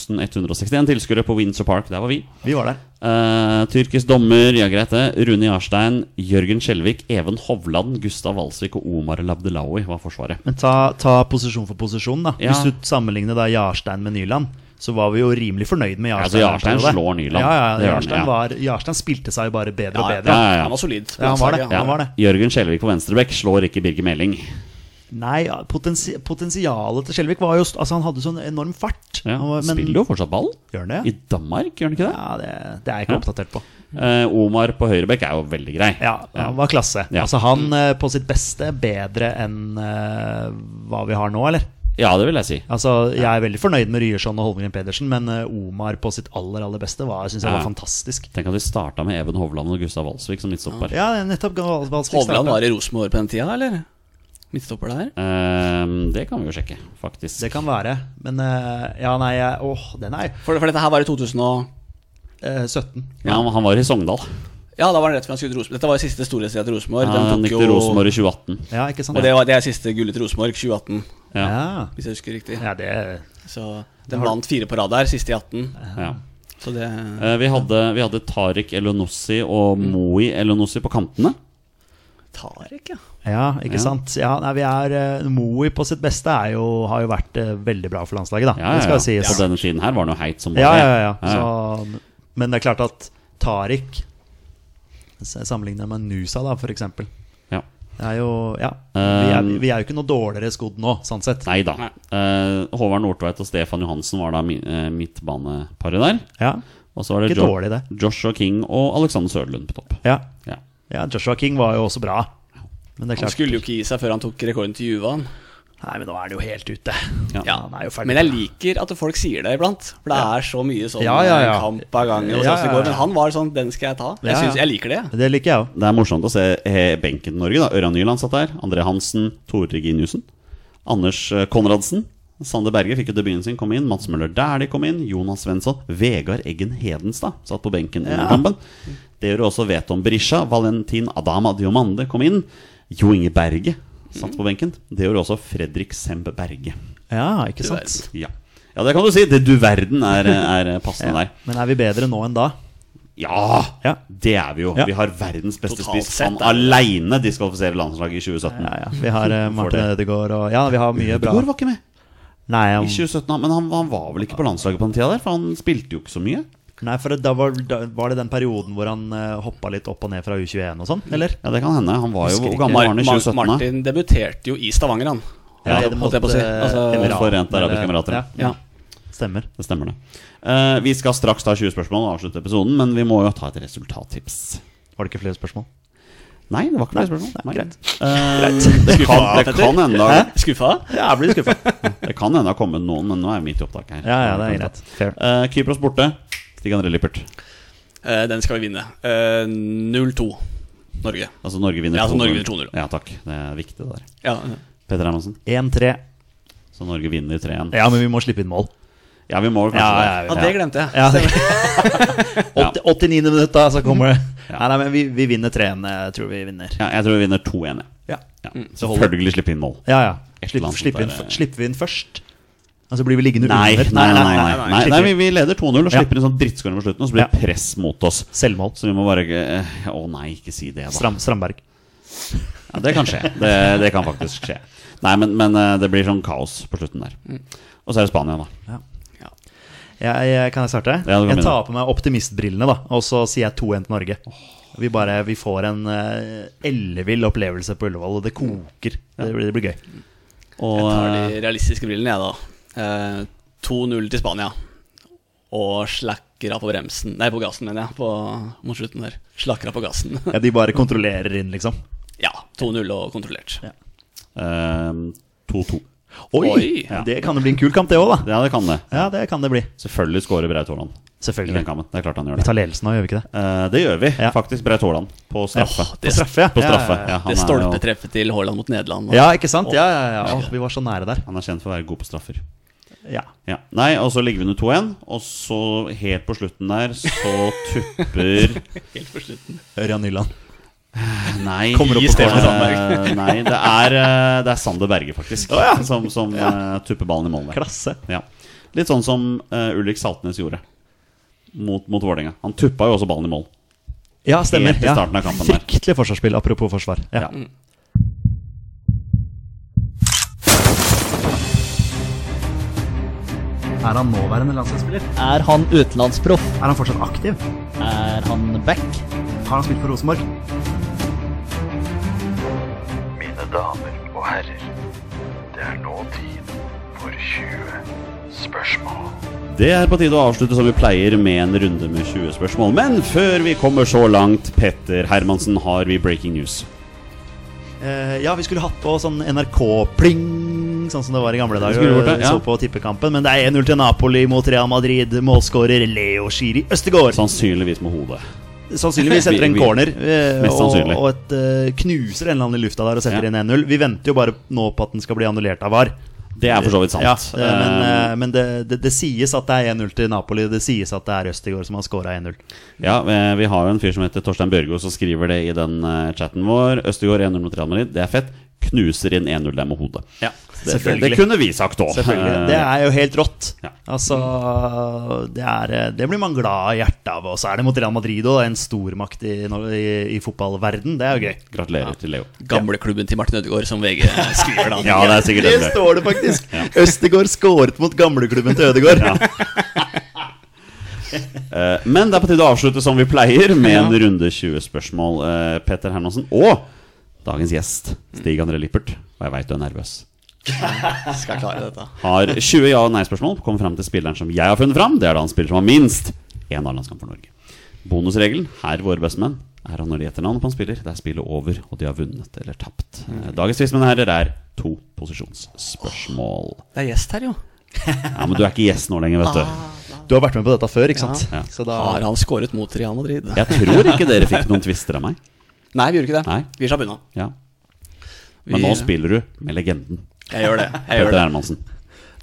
S2: 18.161 tilskuere på Windsor Park. Der var vi.
S3: Vi var der.
S2: Eh, tyrkisk dommer, ja greit det. Rune Jarstein, Jørgen Skjelvik, Even Hovland, Gustav Walsvik og Omar Labdelawi var forsvaret.
S3: Men ta, ta posisjon for posisjon, da.
S2: Ja.
S3: Hvis du sammenligner da Jarstein med Nyland, så var vi jo rimelig fornøyd med Jarstein.
S2: Altså, Jarstein
S3: i hvert fall,
S2: slår Nyland.
S3: Ja, ja,
S2: Det gjør han,
S3: Jarstein,
S2: ja.
S3: Var, Jarstein spilte seg jo bare bedre og bedre.
S2: ja, ja, ja.
S1: Han var solid.
S3: Ja, han var det.
S1: Ja.
S3: Han var det.
S2: Jørgen Skjelvik på venstrebekk slår ikke Birger Meling.
S3: Nei, ja, potensi potensialet til Skjelvik var jo st- Altså, han hadde sånn enorm fart.
S2: Ja,
S3: og- men-
S2: Spiller jo fortsatt ball.
S3: Gjør han det?
S2: I Danmark, gjør han ikke det?
S3: Ja, det, det er jeg ikke
S2: Ja.
S3: oppdatert på.
S2: Eh, Omar på høyrebekk er jo veldig grei.
S3: Ja, han var klasse.
S2: Ja.
S3: Altså, han eh, på sitt beste bedre enn eh, hva vi har nå, eller?
S2: Ja, det vil jeg si.
S3: Altså, Jeg er veldig fornøyd med Ryerson og Holmgren Pedersen, men eh, Omar på sitt aller aller beste var, synes jeg var
S2: Ja.
S3: fantastisk.
S2: Tenk at vi starta med Even Hovland og Gustav Walsvik som midtstopper.
S3: Ja, det er nettopp Gal- Valsvik
S1: Hovland
S3: startet.
S1: var i Rosenborg på den tida, eller? Midtstopper der?
S2: Eh, det kan vi jo sjekke, faktisk.
S3: Det kan være. Men eh, ja, nei, jeg- åh, den er
S1: For, for dette her var i 2000 og
S3: eh, 17.
S2: Ja, han- han var i Sogndal.
S1: Ja, da var det rett før han skulle til Rosenborg. Dette var jo siste storhetstida til Rosenborg. Den
S2: Han
S1: tok
S2: gikk
S1: jo
S2: til Eh, Rosenborg i 2018.
S3: Ja, ikke sant?
S1: Og det, var, det er siste gullet til Rosenborg, 2018,
S2: Ja.
S3: ja.
S1: hvis jeg husker riktig.
S3: ja, det
S1: Så den vant fire på rad der, siste i 18.
S2: Ja.
S1: Så det
S2: Eh, Vi hadde, vi hadde Tariq Elonossi og
S3: Mm.
S2: Moi Elonossi på kantene.
S1: tar ikke, ja.
S3: Ja, ikke sant. Ja, nei, vi er, eh, Moe på sitt beste er jo, har jo vært eh, veldig bra for landslaget, da.
S2: Ja, ja,
S3: Det skal
S2: ja.
S3: sies.
S2: På denne tiden her var han jo heit som
S3: Ja,
S2: bare det.
S3: ja, ja. Så, men det er klart at Tariq Sammenlignet med Nusa, da, for eksempel.
S2: Ja.
S3: Det er jo Ja. Vi er, vi er jo ikke noe dårligere skodd nå, sånn sett.
S2: Nei da. Eh, Håvard Nordtveit og Stefan Johansen var da mi- eh, midtbaneparet der.
S3: Ja.
S2: Og så var det
S3: Ikke
S2: jo
S3: dårlig, det.
S2: Joshua King og Alexander Søderlund på topp.
S3: Ja.
S2: Ja.
S3: ja, Joshua King var jo også bra. Men det er
S1: Han
S3: klart
S1: skulle jo ikke gi seg før han tok rekorden til Juva. han.
S3: Nei, men nå er det jo helt ute.
S2: Ja.
S3: han er jo ferdig.
S1: Men jeg liker at folk sier det iblant. For det er så mye sånn
S3: Ja, ja, ja.
S1: kamp av gangen. Og sånn
S3: Ja,
S1: som det
S3: ja, ja.
S1: går. Men han var sånn 'den skal jeg ta'. Jeg,
S3: Ja,
S1: synes,
S3: ja.
S1: jeg liker det. jeg.
S3: Det liker jeg òg.
S2: Det er morsomt å se eh, benken til Norge. da Ørjan Nyland satt der. André Hansen, Tore Reginiussen. Anders eh, Konradsen. Sander Berge fikk jo debuten sin, kom inn. Mats Møller Dæhlie kom inn. Jonas Svensson. Vegard Eggen Hedenstad satt på benken under kampen. Det gjør også Veton Berisha. Valentin Adama Diomande kom inn. Jo Inge Berge satt på benken. Det gjør også Fredrik Semb Berge.
S3: Ja, ikke
S1: Du
S3: sant.
S2: Ja. Ja, det kan du si. Det du verden er, eh, er passende der.
S3: Men er vi bedre nå enn da?
S2: Ja!
S3: Ja.
S2: Det er vi jo.
S3: Ja.
S2: Vi har verdens beste
S1: Totalt
S2: spiss.
S1: sett,
S2: Han
S1: da.
S2: aleine diskvalifiserer landslaget i 2017.
S3: Ja, ja. Vi har eh, Martin
S2: det.
S3: Ødegaard og Ja, vi har mye bra.
S2: Ødegaard var ikke med
S3: Nei, han-
S2: i 2017, han- men han, han var vel ikke på landslaget på den tida der? For han spilte jo ikke så mye.
S3: nei for da var, da var det den perioden hvor han uh, hoppa litt opp og ned fra U21 og sånn, eller?
S2: Ja, det kan hende. Han var jo
S3: Husker
S2: Hvor
S3: ikke.
S2: gammel var han i 2017? da?
S1: Martin debuterte jo i Stavanger, han.
S2: Ja,
S1: Holdt jeg på å si.
S3: eh,
S1: Altså,
S2: eller Forente Arabiske
S3: eller-
S2: Emirater.
S3: eh, Ja,
S1: ja.
S3: stemmer.
S2: Det stemmer, det. Eh, vi skal straks ta 20 spørsmål og avslutte episoden, men vi må jo ta et resultattips.
S3: Var det ikke flere spørsmål?
S2: Nei, det var ikke noe spørsmål. Nei,
S3: greit.
S2: Eh, det kan, det kan enda
S1: Skuffa?
S3: Ja, jeg blir skuffa.
S2: Det kan hende det har kommet noen, men nå er vi midt i opptak her.
S3: ja, ja, det er greit. Fair.
S2: Eh, Kypros borte. Stig-André Lippert.
S1: Eh, den skal vi vinne. Eh, 0-2 Norge.
S2: Altså Norge vinner
S1: Ja, altså,
S2: 2-0.
S1: Norge vinner 2-0.
S2: Ja, takk. Det er viktig, det der.
S1: Ja.
S2: Petter Hermansen.
S3: 1-3.
S2: Så Norge vinner 3-1. Ja.
S3: Ja, men vi må slippe inn mål.
S2: vi må vel kanskje
S3: Ja, ja,
S2: det.
S1: ja, det glemte jeg.
S3: Ja. 80, 89. minutt, da, så kommer det. Nei, nei, men vi, vi vinner 3-1. Jeg tror vi vinner.
S2: Ja, jeg tror vi vinner 2-1. jeg.
S3: Ja,
S2: Ja. Selvfølgelig slippe inn mål.
S3: ja. ja.
S2: Et eller
S3: Slipp,
S2: annet
S3: slipp inn,
S2: der, eh.
S3: slipper vi inn først? Altså blir vi liggende
S2: Nei, nei,
S3: under?
S2: nei. nei, nei, nei,
S3: slipper
S2: nei vi,
S3: vi.
S2: vi leder 2-0 og
S3: Ja.
S2: slipper inn sånn drittskåring på slutten, og så blir det
S3: Ja.
S2: press mot oss.
S3: Selvmål.
S2: Så vi må bare eh, Å nei, ikke si det, da.
S3: Stram, Stramberg.
S2: Ja, det kan skje. Det, det kan faktisk skje. Nei, men, men eh, det blir sånn kaos på slutten der. Og så er det Spania, da.
S3: Jeg, jeg, kan jeg starte?
S2: Ja, du kan
S3: jeg
S2: begynne.
S3: tar på meg optimistbrillene, da, og så sier jeg 2-1 til Norge. Vi bare, vi får en eh, ellevill opplevelse på Ullevål, og det koker. Det blir, det blir gøy.
S2: Og
S1: Jeg
S2: eh,
S1: tar de realistiske brillene, jeg, da. Eh, 2-0 til Spania. Og slakra på bremsen Nei, på gassen, mener jeg. På, mot slutten der. Slakra på gassen.
S3: Ja, de bare kontrollerer inn, liksom.
S1: ja. 2-0 og kontrollert.
S3: Ja.
S2: eh, 2-2.
S3: Oi!
S1: Oi.
S3: Det kan jo bli en kul kamp, det òg, da.
S2: Ja, det kan det.
S3: Ja, det kan det bli.
S2: Selvfølgelig scorer Braut Haaland i den
S3: Selvfølgelig.
S2: kampen. Det er klart han gjør
S3: Vi
S2: det.
S3: tar ledelsen nå, gjør vi ikke det?
S2: Eh, det gjør vi,
S3: Ja.
S2: faktisk. Braut Haaland på straffe.
S1: Åh,
S3: På
S1: det,
S3: straffe, ja.
S2: På straffe.
S3: Ja,
S2: Ja,
S1: det
S2: han, er jo,
S1: stolpetreffet til Haaland mot Nederland.
S3: ja, ikke sant? Ja, ja, ja. Å, vi var så nære der.
S2: han er kjent for å være god på straffer.
S3: Ja.
S2: Ja. Nei, og så ligger vi under 2-1, og så helt på slutten der så tupper
S1: Helt på slutten.
S3: Ørjan Nyland.
S2: Nei,
S1: Kommer opp
S2: i
S1: på
S2: stedet for
S1: corner.
S2: Sandberg. Eh, Nei, det er, eh, det er Sander Berge, faktisk, som, som eh, tupper ballen i mål der.
S3: Klasse.
S2: Ja. Litt sånn som eh, Ulrik Saltnes gjorde mot, mot Vålerenga. Han tuppa jo også ballen i mål.
S3: Ja, stemmer.
S2: Helt i
S3: Ja.
S2: starten av kampen der.
S3: Fryktelig forsvarsspill, apropos forsvar. Ja. Er han nåværende landslagsspiller?
S5: Er han utenlandsproff?
S3: Er han fortsatt aktiv?
S5: Er han back?
S3: Har han spilt for Rosenborg?
S6: Mine damer og herrer, det er nå tid for 20 spørsmål.
S2: Det er på tide å avslutte som vi pleier med en runde med 20 spørsmål. Men før vi kommer så langt, Petter Hermansen, har vi breaking news.
S3: Eh, ja, vi skulle hatt på sånn NRK-pling, sånn som det var i gamle dager.
S2: skulle vært det, ja.
S3: Så på tippekampen, Men det er 1-0 til Napoli mot Real Madrid. Målskårer Leo Shiri Østegård.
S2: Sannsynligvis med hodet.
S3: Sannsynligvis etter
S2: Vi-
S3: en
S2: vi-
S3: corner. eh,
S2: Mest
S3: og,
S2: sannsynlig.
S3: og et eh, knuser en eller annen i lufta der og setter
S2: Ja.
S3: inn 1-0. Vi venter jo bare nå på at den skal bli annullert av VAR.
S2: Det er for så vidt sant.
S3: Ja, eh, men
S2: Eh,
S3: eh, men det, det, det sies at det er 1-0 til Napoli. Det sies at det er Østegård som har scora 1-0.
S2: Ja, eh, Vi har jo en fyr som heter Torstein Bjørgo, som skriver det i den eh, chatten vår. Østegård 1-0 mot Real Madrid. Det er fett. Knuser inn 1-0 der med hodet.
S3: Ja,
S2: Det, det, det kunne vi sagt òg.
S3: Selvfølgelig. Det er jo helt rått.
S2: Eh, Ja.
S3: Altså, det, er, eh, det blir man glad i hjertet av. Og så er det mot Real Madrid òg, en stormakt i, Nor- i, i fotballverden. Det er jo gøy.
S2: Eh, Gratulerer til Leo.
S1: Gamleklubben til Martin Ødegaard, som VG skriver da.
S2: Ja, det er sikkert det.
S3: står det faktisk! Østegård skåret mot gamleklubben til Ødegård.
S2: Eh, Men det er på tide å avslutte som vi pleier, med en runde 20 spørsmål. Eh, Petter Hermansen og dagens gjest, Stig André Lippert, og jeg veit du er nervøs,
S1: Skal klare dette.
S2: har 20 ja- og nei-spørsmål. Kommer fram til spilleren som jeg har funnet fram. Det er da en spiller som har minst én A-landskamp for Norge. Bonusregelen her, våre bestemenn, er at når de gjetter navnet på en spiller, det er spillet over, og de har vunnet eller tapt. Eh, Dagens quiz, mine herrer, er to posisjonsspørsmål.
S1: Det er gjest her, jo.
S2: Ja, Men du er ikke gjest nå lenger, vet du.
S3: Du har vært med på dette før, ikke sant?
S2: Ja.
S3: Så da
S1: Har han skåret mot Real Madrid?
S2: Jeg tror ikke dere fikk noen twister av meg.
S1: Nei, vi gjorde ikke det.
S2: Nei.
S1: Vi slapp unna.
S2: Ja
S1: Vi-
S2: Men nå spiller du med legenden
S1: Jeg gjør det. Jeg,
S2: Petter
S1: gjør det.
S2: Hermansen.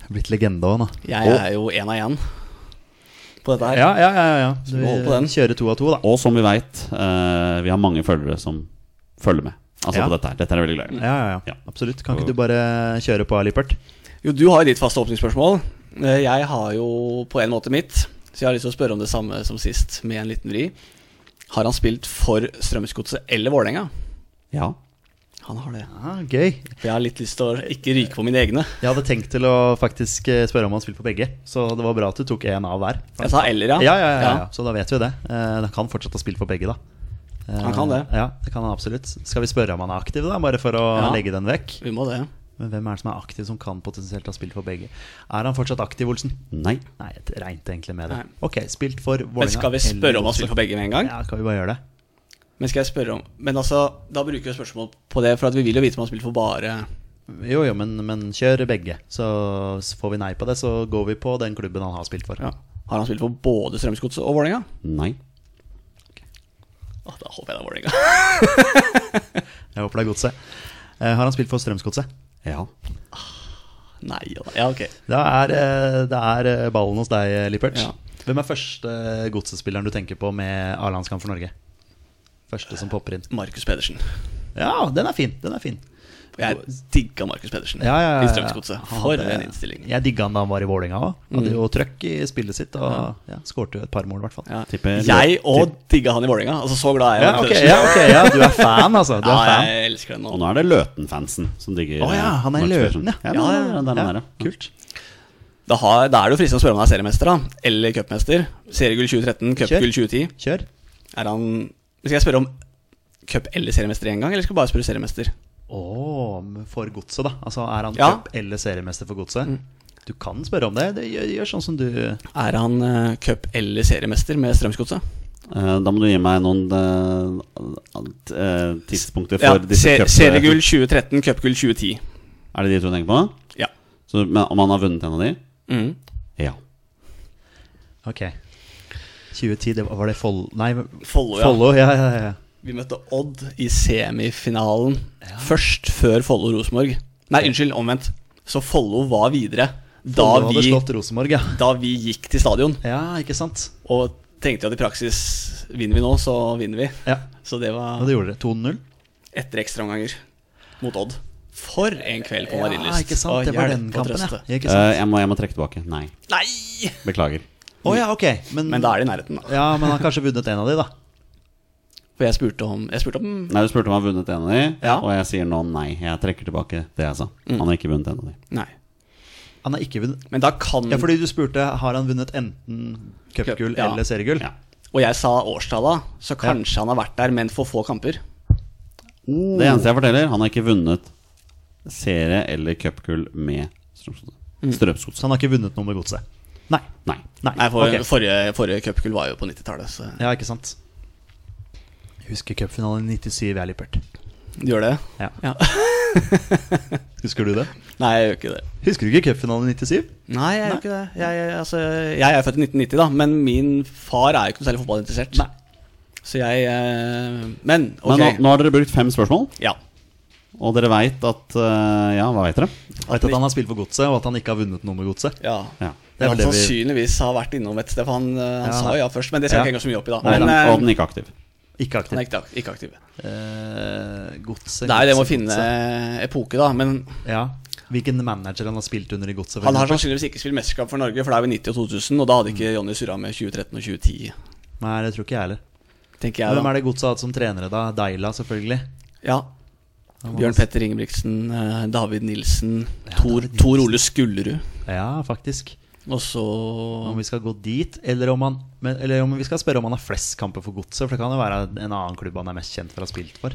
S3: blitt legende òg, nå.
S1: jeg er jo én av én på dette her.
S3: Ja, ja, ja. ja. Du
S1: vi holder på den.
S3: kjører to av to, da.
S2: Og som vi veit, vi har mange følgere som følger med. Altså
S3: Ja.
S2: på dette her. Dette er jeg veldig glad i.
S3: Ja, ja,
S2: Ja.
S3: ja. Absolutt. Kan ikke du bare kjøre på, Lippert?
S1: Jo, du har jo ditt faste åpningsspørsmål. Eh, Jeg har jo på en måte mitt, så jeg har lyst til å spørre om det samme som sist, med en liten vri. Har han spilt for Strømsgodset eller Vålerenga?
S2: Ja.
S1: Han har det.
S3: Ja, gøy.
S1: For jeg har litt lyst til å ikke ryke på mine egne.
S3: Jeg hadde tenkt til å faktisk eh, spørre om han spilte på begge, så det var bra at du tok én av hver.
S1: Jeg sa eller, ja.
S3: Ja, ja, ja, ja, ja. Så da vet vi det. Eh, Han kan fortsatt ha spilt for begge, da. Eh,
S1: Han kan det.
S3: Ja, det kan han absolutt. Skal vi spørre om han er aktiv, da? Bare for å
S1: Ja.
S3: legge den vekk.
S1: Vi må det.
S3: Men hvem er det som er aktiv, som kan potensielt ha spilt for begge? Er han fortsatt aktiv, Olsen?
S2: Nei.
S3: Nei, jeg regnet egentlig med det.
S1: Nei.
S3: Ok, spilt for Vålerenga.
S1: Men skal vi
S3: eller
S1: spørre om han
S3: Godset?
S1: spiller for begge med en gang?
S3: Ja, kan vi bare gjøre det?
S1: Men skal jeg spørre om Men altså, da bruker vi spørsmål på det, for at vi vil jo vite om han spiller for bare
S3: Jo, jo, men, men kjør begge. Så s- får vi nei på det, så går vi på den klubben han har spilt for.
S1: ja. Har han spilt for både Strømsgodset og Vålerenga?
S2: Nei.
S1: Å, Da håper jeg det er Vålerenga.
S3: Jeg håper det er Godset. Eh, Har han spilt for Strømsgodset?
S2: Ja.
S1: Nei og da. Ja, ok.
S3: Det er, eh, det er eh, ballen hos deg, eh, Lippert.
S1: Ja.
S3: Hvem er første eh, godsespilleren du tenker på med A-landskamp for Norge? Første som popper inn.
S1: Markus Pedersen.
S3: Ja, den er fin. Den er fin.
S1: Jeg digga Markus Pedersen
S3: Ja, ja, ja, ja.
S1: i Strømsgodset.
S3: Han
S1: For
S3: hadde-
S1: en innstilling. Mm.
S3: Jeg digga han da han var i Vålerenga òg. Hadde jo trøkk i spillet sitt og ja, skårte jo et par mål, i hvert fall.
S1: Ja.
S2: Tipper-
S1: Jeg òg digga han i Vålerenga. Altså, så glad er jeg i
S3: Ja,
S1: Markus
S3: ok,
S1: Pedersen.
S3: ja, ok, ja, du er fan, altså. Du er
S1: Ja,
S3: fan.
S1: jeg elsker den
S2: Og
S1: nå.
S2: nå er det Løten-fansen som digger eh,
S3: Å ja, han er
S2: Max
S3: Løten,
S2: Persson.
S3: ja.
S2: ja,
S3: Ja,
S2: ja,
S3: ja,
S2: ja, det er han
S3: ja.
S2: der, ja. Kult.
S1: Da, har, da er det jo fristende å spørre om han er seriemester da eller cupmester. Seriegull 2013, cupgull 2010.
S3: Kjør.
S1: Er han Skal jeg spørre om cup eller seriemester én gang, eller skal jeg bare spørre seriemester?
S3: Å, men for godset, da. Altså, er han
S1: Ja. Mm.
S3: cup- eller seriemester for godset? Du kan spørre om det. det gjør, gjør sånn som du
S1: Er han eh, cup eller seriemester med Strømsgodset?
S2: Eh, Da må du gi meg noen eh, eh, tidspunkter
S1: Ja,
S2: for disse
S1: se-
S2: cup-
S1: seriegull 2013, cupgull 2010.
S2: Er det de to du tenker på?
S1: Ja.
S2: Så, men om han har vunnet en av de?
S1: Mm.
S2: Ja.
S3: Ok. 2010, det var, var det Follo Nei,
S1: Follo, ja.
S3: Follo. Ja, ja, ja.
S1: Vi møtte Odd i semifinalen først før Follo-Rosenborg. Nei, unnskyld, omvendt. Så Follo var videre da
S3: Follo hadde
S1: vi,
S3: slått Rosenborg, ja.
S1: da vi gikk til stadion.
S3: Ja, ikke sant?
S1: Og tenkte at i praksis vinner vi nå, så vinner vi.
S3: Ja,
S1: Så det
S3: Og
S1: var
S3: det gjorde dere. 2-0?
S1: etter ekstraomganger mot Odd. For en kveld på
S3: Ja,
S1: Marienlyst.
S3: ikke sant?
S1: Og
S3: Det var
S1: hjelp
S3: den
S1: og
S3: kampen, ja.
S1: trøste.
S3: Ikke sant?
S2: Eh, jeg, må, jeg må trekke tilbake. Nei.
S1: Nei!
S2: Beklager.
S3: Å ja, ok. Men,
S1: Men da er det i nærheten, da.
S3: Ja, men han har kanskje vunnet en av de, da.
S1: For jeg spurte om, jeg spurte om
S2: Nei, Du spurte om han har vunnet en av de,
S1: Ja.
S2: og jeg sier nå nei. Jeg trekker tilbake det jeg sa. Han har ikke vunnet en av de.
S1: Nei.
S3: Han har ikke vunnet
S1: Men da kan
S3: Ja, fordi du spurte har han vunnet enten cupgull
S1: Cup, Mm. ja.
S3: eller seriegull.
S2: Ja.
S1: Og jeg sa årstalla, så kanskje han har vært der, men for få kamper.
S3: Oh.
S2: Det eneste jeg forteller, han har ikke vunnet serie eller cupgull med Strømsgodset. Strømsgodset.
S3: Så han har ikke vunnet noe med godset. Nei.
S2: Mm. Nei.
S3: Nei,
S1: Nei, for,
S3: ok.
S1: Forrige, forrige cupgull var jo på 90-tallet, så
S3: Ja, ikke sant. Jeg husker cupfinalen i 97, jeg, Lippert.
S1: du gjør det?
S3: Ja.
S1: Ja.
S3: Husker du det?
S1: Nei, jeg gjør ikke det.
S3: Husker du ikke cupfinalen i 97?
S1: Nei, jeg gjør ikke det. Jeg, jeg, altså, jeg er født i 1990, da, men min far er jo ikke noe særlig fotballinteressert.
S3: Nei.
S1: Så jeg eh, Men ok.
S2: Men nå, nå har dere brukt fem spørsmål,
S1: Ja.
S2: og dere veit at eh, Ja, hva veit dere?
S3: Jeg vet at han har spilt for godset, og at han ikke har vunnet noe med godset.
S1: ja.
S2: Ja.
S3: Det er
S1: han
S3: vel det vi-
S1: sannsynligvis har vært innom et sted, for han, eh, han
S3: Ja,
S1: sa
S3: nei.
S1: ja først. Men det skal jeg
S3: Ja.
S1: ikke henge så mye opp i,
S2: Og,
S1: da.
S2: den,
S1: Men eh,
S2: og den ikke aktiv.
S3: Ikke
S1: han er
S3: aktiv.
S1: ikke, ak- ikke aktiv.
S3: Eh, godset
S1: Det er jo det med å
S3: Godset,
S1: finne eh,
S3: Godset.
S1: epoke, da. Men
S3: Ja. Hvilken manager han har spilt under i godset. for
S1: han har
S3: eksempel.
S1: sannsynligvis ikke spilt mesterskap for Norge, for det er jo i 90 og 2000, og da hadde ikke Jonny surra med 2013 og 2010,
S3: Nei, det tror ikke jeg heller.
S1: tenker jeg.
S3: Hvem
S1: da
S3: er det godset har hatt som trenere, da? Deila, selvfølgelig.
S1: Ja.
S3: Han var
S1: Bjørn
S3: nesten-
S1: Petter Ingebrigtsen, eh, David Nilsen,
S3: Ja,
S1: Tor,
S3: David
S1: Tor
S3: Nilsen.
S1: Ole Skullerud.
S3: Ja, faktisk.
S1: Og så
S3: Om vi skal gå dit, eller om, han, men, eller om vi skal spørre om han har flest kamper for godset. For det kan jo være en annen klubb han er mest kjent for å ha spilt for.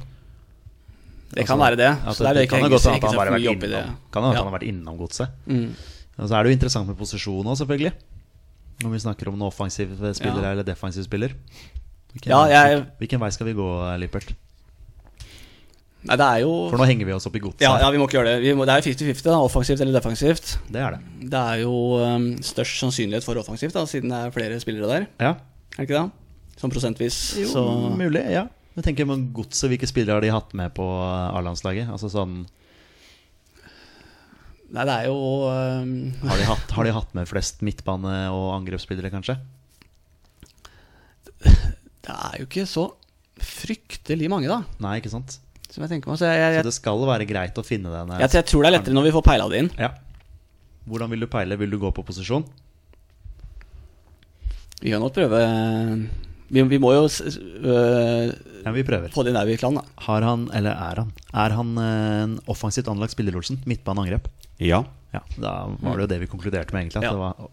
S1: Det kan være det. Så
S3: Altså,
S1: der vil jeg
S3: kan
S1: ikke
S3: jo
S1: henge
S3: godt
S1: så
S3: hende at
S1: ikke
S3: han
S1: så
S3: bare har
S1: mye
S3: vært
S1: opp i det.
S3: innom, kan jo hende at
S1: Ja.
S3: han har vært innom godset.
S1: Mm.
S3: Og så er det jo interessant med posisjon òg, selvfølgelig. Om vi snakker om en offensiv spiller
S1: Ja.
S3: eller defensiv spiller. Hvilken,
S1: Ja, jeg-
S3: hvilken vei skal vi gå, Lippert?
S1: Nei, det er jo
S3: For nå henger vi oss opp i godset.
S1: ja, ja, vi må ikke gjøre det. Vi må, det er jo 50-50, da, offensivt eller defensivt.
S3: Det er det.
S1: Det er jo ehm, størst sannsynlighet for offensivt, da, siden det er flere spillere der.
S3: Ja.
S1: Er det ikke det? Sånn prosentvis.
S3: Jo,
S1: så
S3: mulig. Ja. Jeg tenker men godset, hvilke spillere har de hatt med på A-landslaget? Altså sånn,
S1: Nei, det er jo ehm,
S3: har, de hatt, har de hatt med flest midtbane- og angrepsspillere, kanskje?
S1: Det er jo ikke så fryktelig mange, da,
S3: Nei, ikke sant?
S1: som jeg tenker meg. Så jeg, jeg,
S3: Så
S1: jeg,
S3: det skal være greit å finne den. eh.
S1: jeg, jeg tror det er lettere når vi får peila det inn.
S3: Ja. Hvordan vil du peile? Vil du gå på posisjon?
S1: Vi kan godt prøve Vi, vi må jo s- s- øh,
S3: Ja, vi prøver.
S1: få det i Nauvik-land, da.
S3: Har han, eller er han, er han eh, en offensivt anlagt spiller, Olsen? Midtbaneangrep?
S2: Ja.
S3: Ja, da var det jo det vi konkluderte med, egentlig. At
S1: Ja.
S3: det var,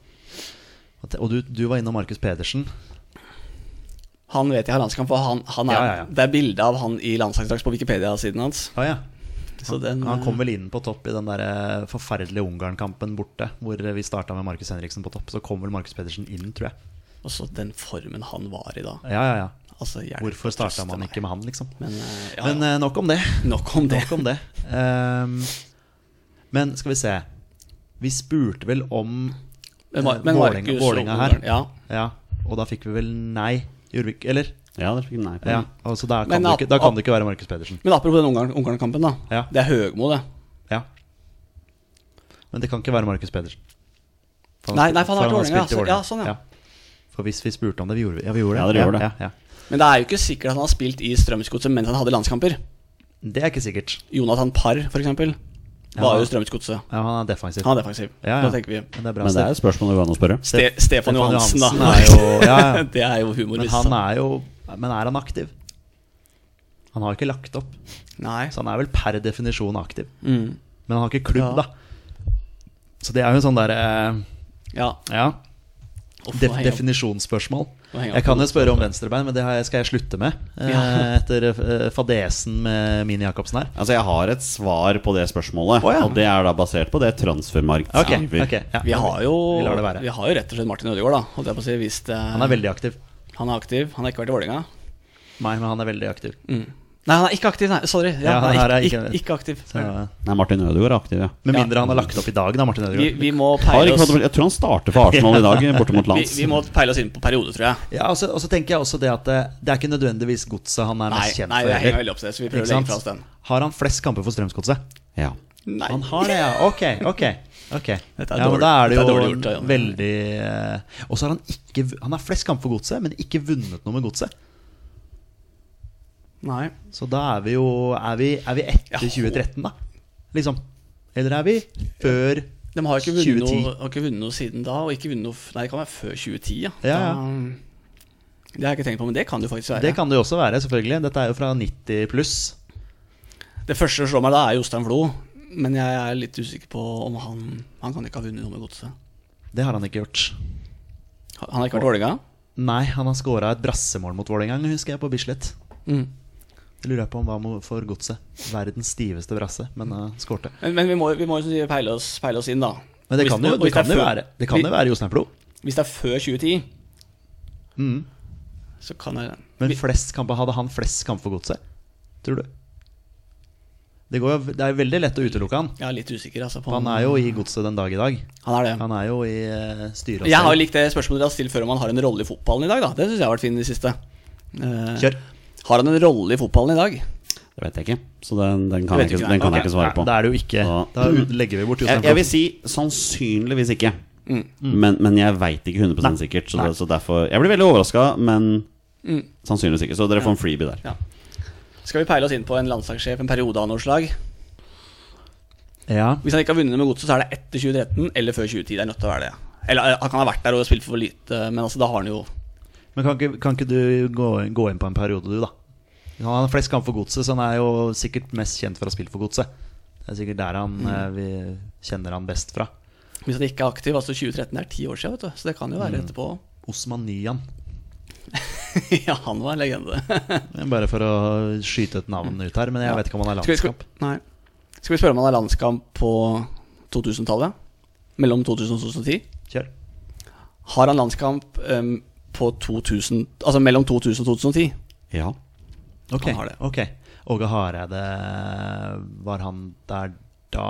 S3: at, og du, du var innom Markus Pedersen.
S1: Han vet jeg har landskamp, for han, han er,
S3: Ja, ja, ja.
S1: det er bilde av han i landslagsdrakt på Wikipedia-siden hans.
S3: Ah, ja.
S1: Så den, eh,
S3: Han kom vel inn på topp i den der eh, forferdelige Ungarn-kampen borte, hvor eh, vi starta med Markus Henriksen på topp. Så kom vel Markus Pedersen inn, tror jeg.
S1: Og så den formen han var i da.
S3: Ja, ja, ja.
S1: Altså, hjelp
S3: Hvorfor
S1: og trøste
S3: starta man
S1: meg.
S3: ikke med han, liksom?
S1: Men, eh, ja,
S3: Men eh, nok om det.
S1: nok om det.
S3: Nok om det. Ehm, men skal vi se. Vi spurte vel om
S1: Men, Mar-
S3: eh,
S1: men
S3: Vålerenga-
S1: Markus
S3: Vålerenga her.
S1: Rogaland, Ja.
S3: Ja, og da fikk vi vel nei. Gjorde vi ikke Eller?
S2: Ja, der fikk jeg nei på
S3: Ja,
S2: den.
S3: altså da kan,
S1: Mm. Men
S3: det
S1: at-
S3: ikke, da
S1: at-
S3: kan det ikke være Markus Pedersen.
S1: Men apropos den Ungarn- Ungarn-kampen, da.
S3: Ja.
S1: Det er Høgmo, det.
S3: Ja. Men det kan ikke være Markus Pedersen. For
S1: Nei, nei, for han har vært i
S3: spilt i
S1: Vålerenga, ja,
S3: Vålerenga.
S1: sånn, ja.
S3: For hvis vi spurte om det, vi gjorde det. Ja, vi gjorde det.
S2: Ja, dere gjorde det.
S3: Ja, ja.
S1: Men det er jo ikke sikkert at han har spilt i Strømsgodset mens han hadde landskamper.
S3: Det er ikke sikkert.
S1: Jonathan Parr, f.eks., var jo Strømsgodset.
S3: Ja, han er defensiv.
S1: Han er defensiv.
S3: ja, ja.
S1: Da tenker vi
S3: Men det er bra.
S2: Men det er et spørsmål det går an å spørre.
S1: Ste Stefan Johansen, da.
S3: Johansen er jo- ja, ja.
S1: det er jo humor.
S3: Men
S1: hvis
S3: han er jo Men er han aktiv? Han har jo ikke lagt opp,
S1: Nei.
S3: så han er vel per definisjon aktiv.
S1: Mm.
S3: Men han har ikke klubb,
S1: Ja.
S3: da. Så det er jo en sånn derre eh,
S1: Ja.
S3: Ja.
S1: Uff,
S3: Def
S1: nå henger jeg-
S3: definisjonsspørsmål.
S1: Nå henger jeg
S3: Jeg
S1: på
S3: kan jo spørre om venstrebein, men det har jeg- skal jeg slutte med. eh,
S1: Ja.
S3: Etter eh, fadesen med Mini Jacobsen her.
S2: Altså, jeg har et svar på det spørsmålet,
S3: Å, ja.
S2: og det er da basert på det transfermarkt
S3: Ok, ok, ja.
S1: Vi har, jo,
S3: Vi lar det være.
S1: vi har jo rett og slett Martin Ødegaard, da. Holdt jeg på å si, hvis det,
S3: Han er veldig aktiv.
S1: han er aktiv. Han har ikke vært i Vålerenga.
S3: Nei, men han er veldig aktiv.
S1: Mm. Nei, han er ikke aktiv, nei. Sorry. Ja,
S3: Ja,
S1: han
S3: her
S1: er
S3: er
S1: ikke,
S3: ikke-
S1: ikke, ikke aktiv.
S3: Så, eh,
S2: Nei, Martin Ødegaard er aktiv, ja.
S3: med mindre han har lagt opp i dag, da, Martin
S1: Vi,
S3: Ødegaard.
S1: vi må
S2: Har
S1: peile
S2: ikke
S1: oss
S2: fått, jeg tror han starter for Arsenal i dag, borte mot
S1: vi,
S2: lands.
S1: vi må peile oss inn på periode, tror jeg.
S3: Ja, og så og så tenker jeg også det at eh, det er ikke nødvendigvis godset han er
S1: Nei,
S3: mest kjent
S1: nei
S3: for.
S1: jeg henger
S3: heller.
S1: veldig opp til det, så vi
S3: Ikke
S1: prøver å legge fra oss den.
S3: sant? Har han flest kamper for Strømsgodset?
S2: Ja.
S1: Nei.
S3: Han har det, ja. Ok, ok. ok
S1: Dette er
S3: ja, men
S1: dårlig-
S3: Da er
S1: dette
S3: det jo
S1: er dårlig gjort, da, Jan.
S3: veldig eh, Og så har han ikke vu- Han har flest kamper for Godset, men ikke vunnet noe med Godset.
S1: Nei.
S3: Så da er vi jo Er vi, er vi etter
S1: Ja.
S3: 2013, da? Liksom. Eller er vi før
S1: De har ikke vunnet,
S3: 2010.
S1: noe, har ikke vunnet noe siden da, og ikke vunnet noe f- Nei, det kan være før 2010, ja.
S3: Ja, ja.
S1: Da, mm, det har jeg ikke tenkt på, men det kan det jo faktisk være.
S3: Det kan det jo også være, selvfølgelig. Dette er jo fra 90 pluss.
S1: Det første som slår meg da, er Jostein Flo. Men jeg er litt usikker på om han Han kan ikke ha vunnet noe med godset.
S3: Det har han ikke gjort.
S1: Han har ikke vært Vålerenga?
S3: Nei, han har scora et brassemål mot Vålerenga, husker jeg, på Bislett.
S1: Mm.
S3: Det lurer jeg på om hva må- for Godset. Verdens stiveste brasse, men uh, skårte.
S1: Men, men vi må vi må jo som sier, peile, oss, peile oss inn, da.
S3: Men det
S1: Hvis-
S3: kan
S1: og
S3: jo, det
S1: hvis
S3: kan
S1: er
S3: jo
S1: før-
S3: være Det kan jo være Jostein Flo.
S1: Hvis det er før 2010,
S3: Mm.
S1: så kan jeg
S3: Men
S1: Vi-
S3: flest kamper, hadde han flest kamper for godset? Tror du? Det, går jo, det er veldig lett å utelukke han.
S1: Jeg er litt usikker, altså. På
S3: For han er jo i godset den dag i dag.
S1: Han er det.
S3: Han er jo i eh, styret. og
S1: Jeg har jo
S3: stell.
S1: likt det spørsmålet dere har stilt før om han har en rolle i fotballen i dag, da. Det syns jeg har vært fint i det siste. Eh,
S3: Kjør.
S1: Har han en rolle i fotballen i dag?
S2: Det vet jeg ikke, så den, den kan,
S1: Det
S2: jeg
S1: vet
S2: ikke,
S1: ikke,
S2: den kan
S1: nei.
S2: jeg ikke svare på.
S3: Nei, Da er det jo ikke
S2: Så-
S3: Da legger vi bort
S2: Jeg, jeg
S3: Jostein Flo.
S2: vil si sannsynligvis ikke.
S1: Mm.
S3: Mm.
S2: Men, men jeg veit ikke 100 sikkert. Så, det, så derfor Jeg blir veldig overraska, men sannsynligvis ikke. Så dere får en freebie der.
S1: Mm. Ja. Skal vi peile oss inn på en landslagssjef en periode av noe slag?
S3: Ja.
S1: Hvis han ikke har vunnet med godset, så er det etter 2013 eller før 2010. Det er nødt til å være det. Eller eh, han kan ha vært der og spilt for lite, men altså, da har han jo
S3: Men kan ikke, kan ikke du gå, gå inn på en periode, du, da? Han har flest kamper for godset, så han er jo sikkert mest kjent for å ha spilt for godset. Det er sikkert der han, eh, vi kjenner han best fra.
S1: Hvis han ikke er aktiv, altså 2013 er ti år siden, vet du. Så det kan jo
S3: Mm.
S1: være etterpå.
S3: Osman Nyan.
S1: ja, han var en legende.
S3: Bare for å skyte et navn ut her, men jeg vet ikke om han er
S1: Skal vi,
S3: landskamp.
S1: skal, nei. skal vi spørre om han er landskamp på 2000-tallet? Mellom 2000 og 2010?
S3: Kjør.
S1: Har han landskamp em, på 2000, altså mellom 2000 og 2010?
S2: Ja.
S3: Ok,
S1: Han har det.
S3: ok Åge Hareide Var han der da?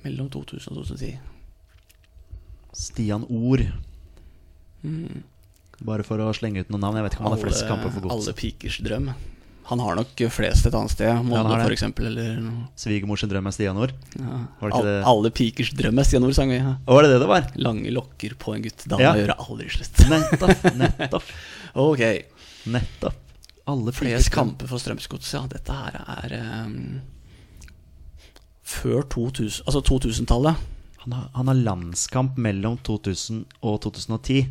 S1: Mellom 2000 og 2010.
S3: Stian Ord Bare for å slenge ut noen navn Jeg vet ikke om han har flest kamper for
S1: Mm. alle
S3: godset
S1: pikers drøm. Han har nok flest et annet sted.
S3: han har
S1: Molde,
S3: det.
S1: for eksempel, eller noe.
S3: Svigermors drøm er Stian Ord
S1: Ja.
S3: Var det ikke
S1: Al-
S3: det?
S1: Alle pikers drøm er Stian Ord, sang vi. ja.
S3: Var det det det var?
S1: Lange lokker på en gutt. Da
S3: Ja.
S1: gjør det aldri slutt.
S3: Nettopp, nettopp,
S1: Ok.
S3: nettopp Alle
S1: Flest
S3: kamp
S1: kamper for Strømsgodset, ja. Dette her er em, ehm, før 2000, altså 2000-tallet.
S3: Han har, han har landskamp mellom 2000 og 2010.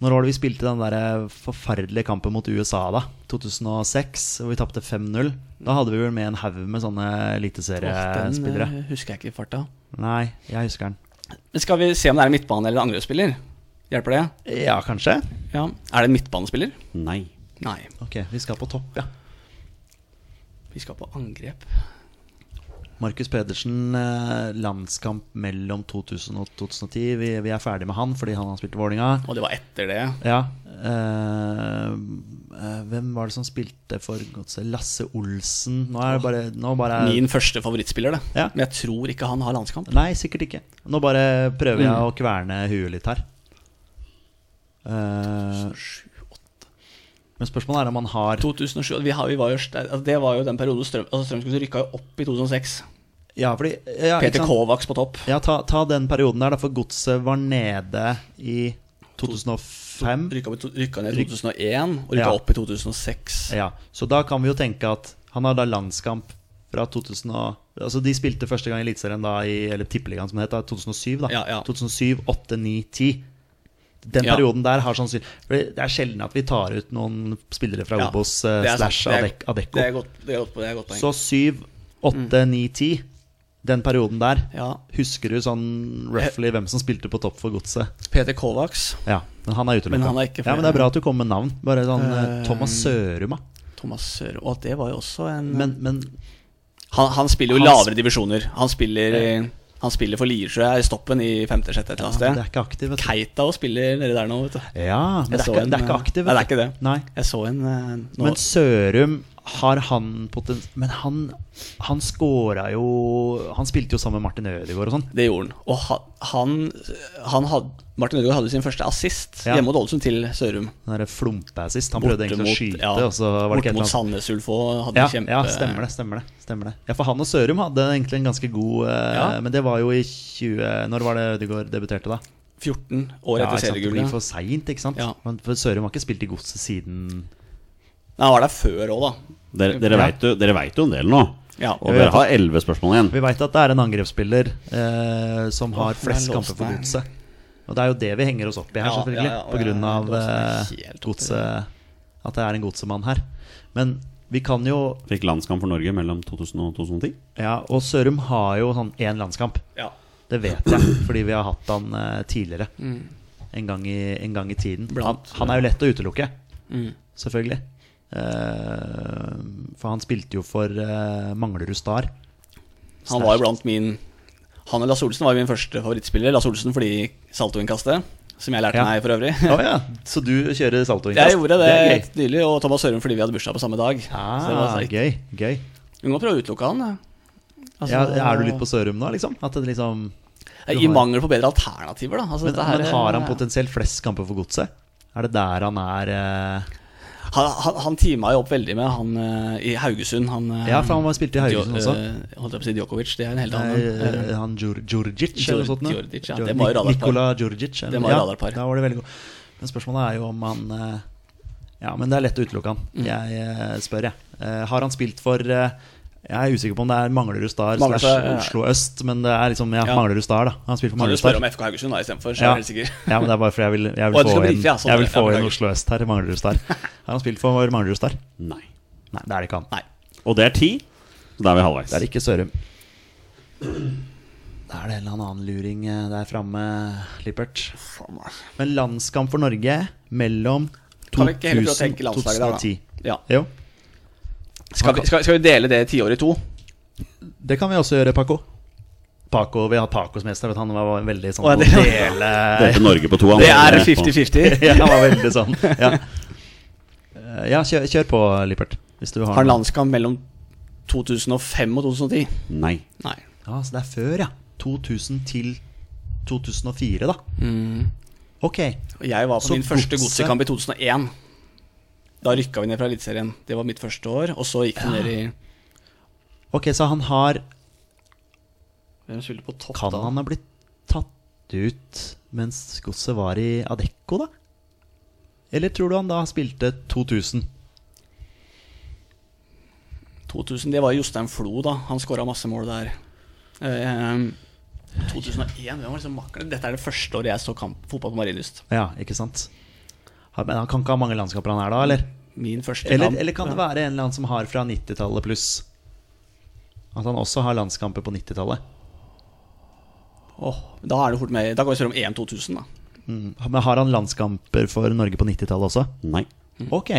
S3: Når var det vi spilte den der eh, forferdelige kampen mot USA, da? 2006, hvor vi tapte 5-0. Da hadde vi vel med en haug med sånne
S1: Åh, Den
S3: eliteseriespillere.
S1: eh, husker jeg ikke i farta.
S3: Nei, jeg husker den.
S1: Men skal vi se om det er en midtbane eller en angrepsspiller? Hjelper det?
S3: Ja, kanskje?
S1: Ja. Er det en midtbanespiller?
S2: Nei.
S1: Nei.
S3: Ok, vi skal på topp, ja.
S1: Vi skal på angrep.
S3: Markus Pedersen, eh, landskamp mellom 2000 og 2010. Vi, vi er ferdig med han fordi han har spilt i Vålinga.
S1: Og det var etter det.
S3: Ja. eh, eh, hvem var det som spilte for godset? Lasse Olsen? Nå er det bare, nå bare
S1: Min første favorittspiller, det.
S3: Ja.
S1: Men jeg tror ikke han har landskamp.
S3: Nei, sikkert ikke. Nå bare prøver jeg
S1: Mm.
S3: å kverne huet litt her. Eh, men spørsmålet er om han har
S1: 2007, vi, har, vi var jo, st- altså det var jo den perioden Strøm, altså Strømsgodset rykka jo opp i 2006.
S3: Ja, fordi ja, ikke
S1: Peter
S3: sant?
S1: Kovacs på topp.
S3: Ja, ta, ta den perioden der, da, for godset var nede i 2005.
S1: Rykka, opp i to- rykka ned i 2001 og rykka
S3: Ja.
S1: opp i 2006.
S3: Ja, Så da kan vi jo tenke at han har da landskamp fra 2000 og, Altså De spilte første gang i Eliteserien da i Eller Tippeligaen, som det het. da, 2007, da.
S1: Ja, ja.
S3: 2007, 8, 9, 10. Den
S1: Ja.
S3: perioden der har sannsynlig For Det er sjelden at vi tar ut noen spillere fra
S1: Ja,
S3: Obos
S1: det
S3: eh,
S1: er sant.
S3: slash
S1: Det er-
S3: Adec- Adecco.
S1: Det er godt, det er godt, det er godt poeng. Mm.
S3: Så 7, 8, 9, 10. Den perioden der.
S1: Ja.
S3: Husker du sånn roughly hvem som spilte på topp for godset?
S1: Peter Kovacs,
S3: Ja, men han er utelukka.
S1: Men han er ikke
S3: Ja, men det er bra at du kommer med navn. Bare sånn eh,
S1: Eh,
S3: Thomas Sørum, da.
S1: Thomas Søre Og at det var jo også en eh,
S3: Men, men
S1: han, han spiller jo i
S3: Han
S1: lavere divisjoner. Han spiller, i- han spiller for Lier, tror jeg, i stoppen i femte, sjette et eller
S3: Ah, det er
S1: annet sted.
S3: ikke aktiv, vet du.
S1: Keita og spiller nedi der nå, vet du.
S3: Ja,
S1: Jeg
S3: men det er,
S1: så
S3: ikke,
S1: en,
S3: det er ikke
S1: eh,
S3: aktiv.
S1: Nei, det
S3: vet
S1: er ikke det.
S3: du. Nei.
S1: Jeg så en eh, nå,
S3: Men Sørum, har han poten... Men han, han scora jo Han spilte jo sammen med Martin Ødegaard og sånn.
S1: Det gjorde han. Og ha- han, han had, Martin Ødegaard hadde sin første assist
S3: Ja.
S1: hjemme mot Ålesund til Sørum.
S3: Den derre flompeassist. Han prøvde egentlig å skyte,
S1: ja,
S3: og så var det
S1: borte
S3: ikke et eller
S1: mot
S3: annet.
S1: Sandnes Ulf og hadde
S3: Ja,
S1: kjempe...
S3: ja, stemmer det. stemmer det, stemmer det Ja, For han og Sørum hadde egentlig en ganske god eh,
S1: Ja.
S3: Men det var jo i 20 Når var det Ødegaard debuterte, da?
S1: 14 år etter
S3: ikke sant, det blir
S1: seriegullet.
S3: for seint, ikke sant?
S1: Ja.
S3: Men for Sørum har ikke spilt i godset siden
S1: Nei, Han var der før òg, da.
S2: Dere, dere
S3: Ja.
S2: veit jo, dere vet jo en del nå.
S1: Ja.
S2: Og dere har elleve spørsmål igjen.
S3: Vi veit at det er en angrepsspiller eh, som har
S1: Åh,
S3: flest
S1: det er
S3: kamper for
S1: Låsberg.
S3: godset. Og det er jo det vi henger oss opp i her,
S1: Ja,
S3: selvfølgelig.
S1: ja, ja, og det
S3: på
S1: er-
S3: grunn av
S1: Låsberg er
S3: eh,
S1: helt oppe
S3: godset At det er en godsemann her. Men vi kan jo
S2: Fikk landskamp for Norge mellom 2000 og 2010.
S3: Ja, og Sørum har jo sånn én landskamp.
S1: Ja.
S3: Det vet jeg, fordi vi har hatt han eh, tidligere. En, gang i, en gang i tiden. Han,
S1: Mm. Blant- Mm.
S3: han er jo lett å utelukke, selvfølgelig. Eh, for han spilte jo for eh, Manglerud Star.
S1: Han var jo blant min Han og Lasse Olsen var jo min første favorittspiller. Lasse Olsen fordi saltoinnkastet, som jeg lærte
S3: Ja.
S1: meg for øvrig.
S3: Å ja, så du kjører saltoinnkast?
S1: Jeg gjorde det,
S3: er gøy.
S1: helt nylig, og Thomas Sørum fordi vi hadde bursdag på samme dag. Så det var
S3: Ah,
S1: sterkt.
S3: gøy. gøy.
S1: Du kan prøve å utelukke han. da. Altså,
S3: Ja, er du litt på Sørum nå, liksom? At det liksom
S1: I mangel på bedre alternativer, da. Altså,
S3: men,
S1: dette her
S3: men
S1: er-
S3: har han potensielt flest kamper for godset? Er det der han er eh,
S1: Han, han, han teama jo opp veldig med han eh, i Haugesund. Han, eh,
S3: Ja, for han var spilt i Haugesund
S1: Djo-
S3: også.
S1: eh, holdt jeg på å si Djokovic, det er en helt
S3: Nei,
S1: annen.
S3: eh,
S1: eh,
S3: han Djur- Djurdjic eller noe sånt? nå?
S1: Djurdjic, ja,
S3: Djur-
S1: det var jo radarpar.
S3: Nikola Djurdjic. eller-
S1: Det var jo radarpar.
S3: Da var det veldig god. Men spørsmålet er jo om han eh, Ja, men det er lett å utelukke han.
S1: Mm.
S3: Jeg eh, spør, jeg. Eh, Har han spilt for eh, jeg er usikker på om det er Manglerud Star
S1: Manglerud
S3: slash
S1: Star, ja.
S3: Oslo Øst, men det er liksom ja,
S1: Ja.
S3: Manglerud Star, da. Han har spilt for
S1: Kan du
S3: Manglerud Star.
S1: spørre om FK Haugesund da istedenfor, så
S3: Ja.
S1: er jeg helt sikker.
S3: ja, men det er bare fordi jeg vil, jeg
S1: Å,
S3: vil
S1: du
S3: få
S1: skal
S3: inn,
S1: brife, ja, sånn,
S3: jeg vil
S1: ja,
S3: få inn
S1: beklager.
S3: Oslo Øst her. Manglerud Star. Har han spilt for Manglerud Star?
S2: Nei.
S3: Nei, det er det ikke han.
S1: Nei.
S2: Og det er ti. Så da er vi halvveis.
S3: Det er ikke Sørum. Da er det en eller annen luring eh, der framme, Lippert. Men landskamp for Norge mellom
S1: Kan vi ikke heller prøve å
S3: 2000
S1: tenke landslaget der, da?
S3: 2010.
S1: Ja.
S3: Jo,
S1: Skal, vi, skal, skal vi dele det tiåret i to?
S3: det kan vi også gjøre, Paco. Paco, Vi har Pacos mester. vet du, Han var veldig sånn
S1: Å, ja, det-
S3: på å dele
S2: Delte Norge på to. han
S1: Det
S2: var
S1: er
S2: med på-
S1: 50-50.
S3: Ja, han var veldig sånn. Ja, Eh, ja kjør, kjør på, Lippert. Hvis du har
S1: Har en
S3: noe.
S1: landskamp mellom 2005 og 2010?
S2: Nei.
S1: Nei.
S3: Ja, så det er før, ja. 2000 til 2004, da. Ok.
S1: Og Jeg var på
S3: Så
S1: min første
S3: godset-
S1: godsekamp i 2001. Da rykka vi ned fra Eliteserien. Det var mitt første år. Og så gikk vi ned i
S3: Ok, så han har
S1: Hvem spilte på topp
S3: Kan
S1: da?
S3: han ha blitt tatt ut mens godset var i Adecco, da? Eller tror du han da spilte 2000?
S1: 2000, det var Jostein Flo, da. Han skåra masse mål der. Eh, 2001, hvem var liksom makker? Dette er det første året jeg så kamp, fotball på Marienlyst.
S3: Ja, ikke sant? Han- Men han kan ikke ha mange landskaper han er da, eller?
S1: Min første
S3: Eller,
S1: kamp.
S3: eller kan det være en eller annen som har fra 90-tallet pluss? At han også har landskamper på 90-tallet?
S1: Åh, da er det fort med Da går vi selv om EM 2000, da.
S3: Men har han landskamper for Norge på 90-tallet også?
S2: Nei.
S3: Ok,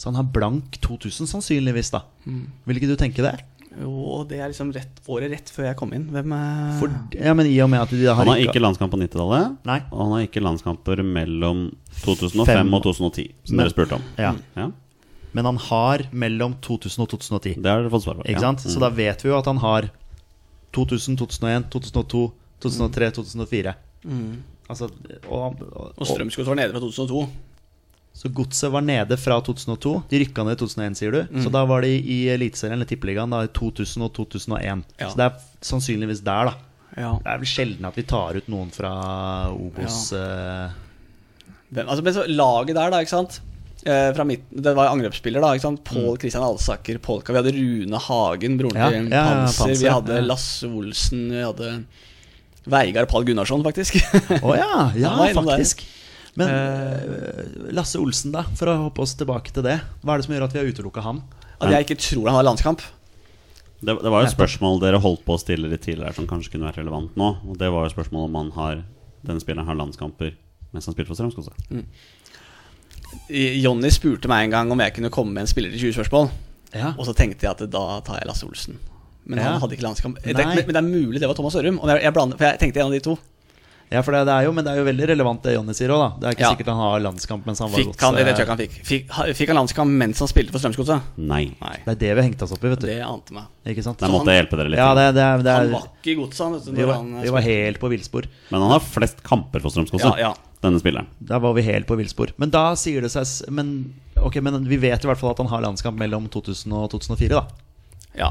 S3: så han har blank 2000 sannsynligvis, da. Vil ikke du tenke det?
S1: Jo, det er liksom rett, året rett før jeg kom inn. Hvem eh,
S3: For, ja, men i og med at de da har
S2: Han har ikke landskamp på 90-tallet.
S3: Nei.
S2: Og han har ikke landskamper mellom 2005
S3: Fem.
S2: og 2010, som
S3: Men-
S2: dere spurte om.
S3: Ja,
S2: Ja,
S3: Men han har mellom 2000 og 2010.
S2: Det har dere fått svar på.
S3: Ikke
S2: ja. Mm.
S3: sant? Så da vet vi jo at han har 2000, 2001, 2002, 2003, 2004. Altså, og, og,
S1: Og Strømsgodt var nede fra 2002.
S3: Så godset var nede fra 2002. De rykka ned i 2001, sier du. Så da var de i Eliteserien eller Tippeligaen da, i 2000 og 2001.
S1: Ja.
S3: Så det er f- sannsynligvis der, da.
S1: Ja.
S3: Det er vel sjelden at vi tar ut noen fra Obos eh,
S1: Hvem, altså, men så laget der, da, ikke sant. Eh, fra midten, det var angrepsspiller, da. ikke sant Pål Kristian Alsaker, Polka. Vi hadde Rune Hagen, broren til
S3: Mm. Ja, ja, ja,
S1: Panser.
S3: Panser,
S1: Vi
S3: ja.
S1: hadde Lasse Olsen. Vi hadde Veigar Pall Gunnarsson, faktisk.
S3: Å ja, ja,
S1: Han var innom der.
S3: faktisk. Men eh, Lasse Olsen, da, for å hoppe oss tilbake til det. Hva er det som gjør at vi har utelukka han?
S1: At jeg ikke tror han har landskamp.
S2: Det, det var jo et spørsmål dere holdt på å stille litt tidligere som kanskje kunne vært relevant nå. Og det var jo spørsmålet om han har denne spilleren har landskamper mens han spilte for Strømsgodset.
S1: Jonny spurte meg en gang om jeg kunne komme med en spiller til 20 spørsmål.
S3: Ja.
S1: Og så tenkte jeg at da tar jeg Lasse Olsen. Men
S3: Ja.
S1: han hadde ikke landskamp. Jeg
S3: Nei.
S1: tenkte, men, men det er mulig det var Thomas Ørum. Og jeg, jeg blander, for jeg tenkte en av de to.
S3: Ja, for det, det er jo, Men det er jo veldig relevant det Jonny sier òg, da. Det er ikke
S1: Ja.
S3: sikkert han har landskamp mens han var eh,
S1: Fikk han,
S3: godset.
S1: det tror jeg ikke han fikk. Fikk, ha- fikk han landskamp mens han spilte for Strømsgodset?
S2: Nei.
S1: Nei.
S3: Det er det vi har hengt oss opp i, vet du.
S1: Det ante meg.
S3: Ikke sant?
S2: Der måtte jeg hjelpe dere litt.
S3: Ja, det, det, er- det
S1: Han
S3: er
S1: var ikke i godset, han. Vet du,
S3: vi
S1: når
S3: var,
S1: han,
S3: vi var helt på villspor.
S2: Men han har flest kamper for Strømsgodset,
S1: Ja, ja.
S2: denne spilleren.
S3: Da var vi helt på villspor. Men da sier det seg s- men, ok, men vi vet i hvert fall at han har landskamp mellom 2000 og 2004, da.
S1: ja.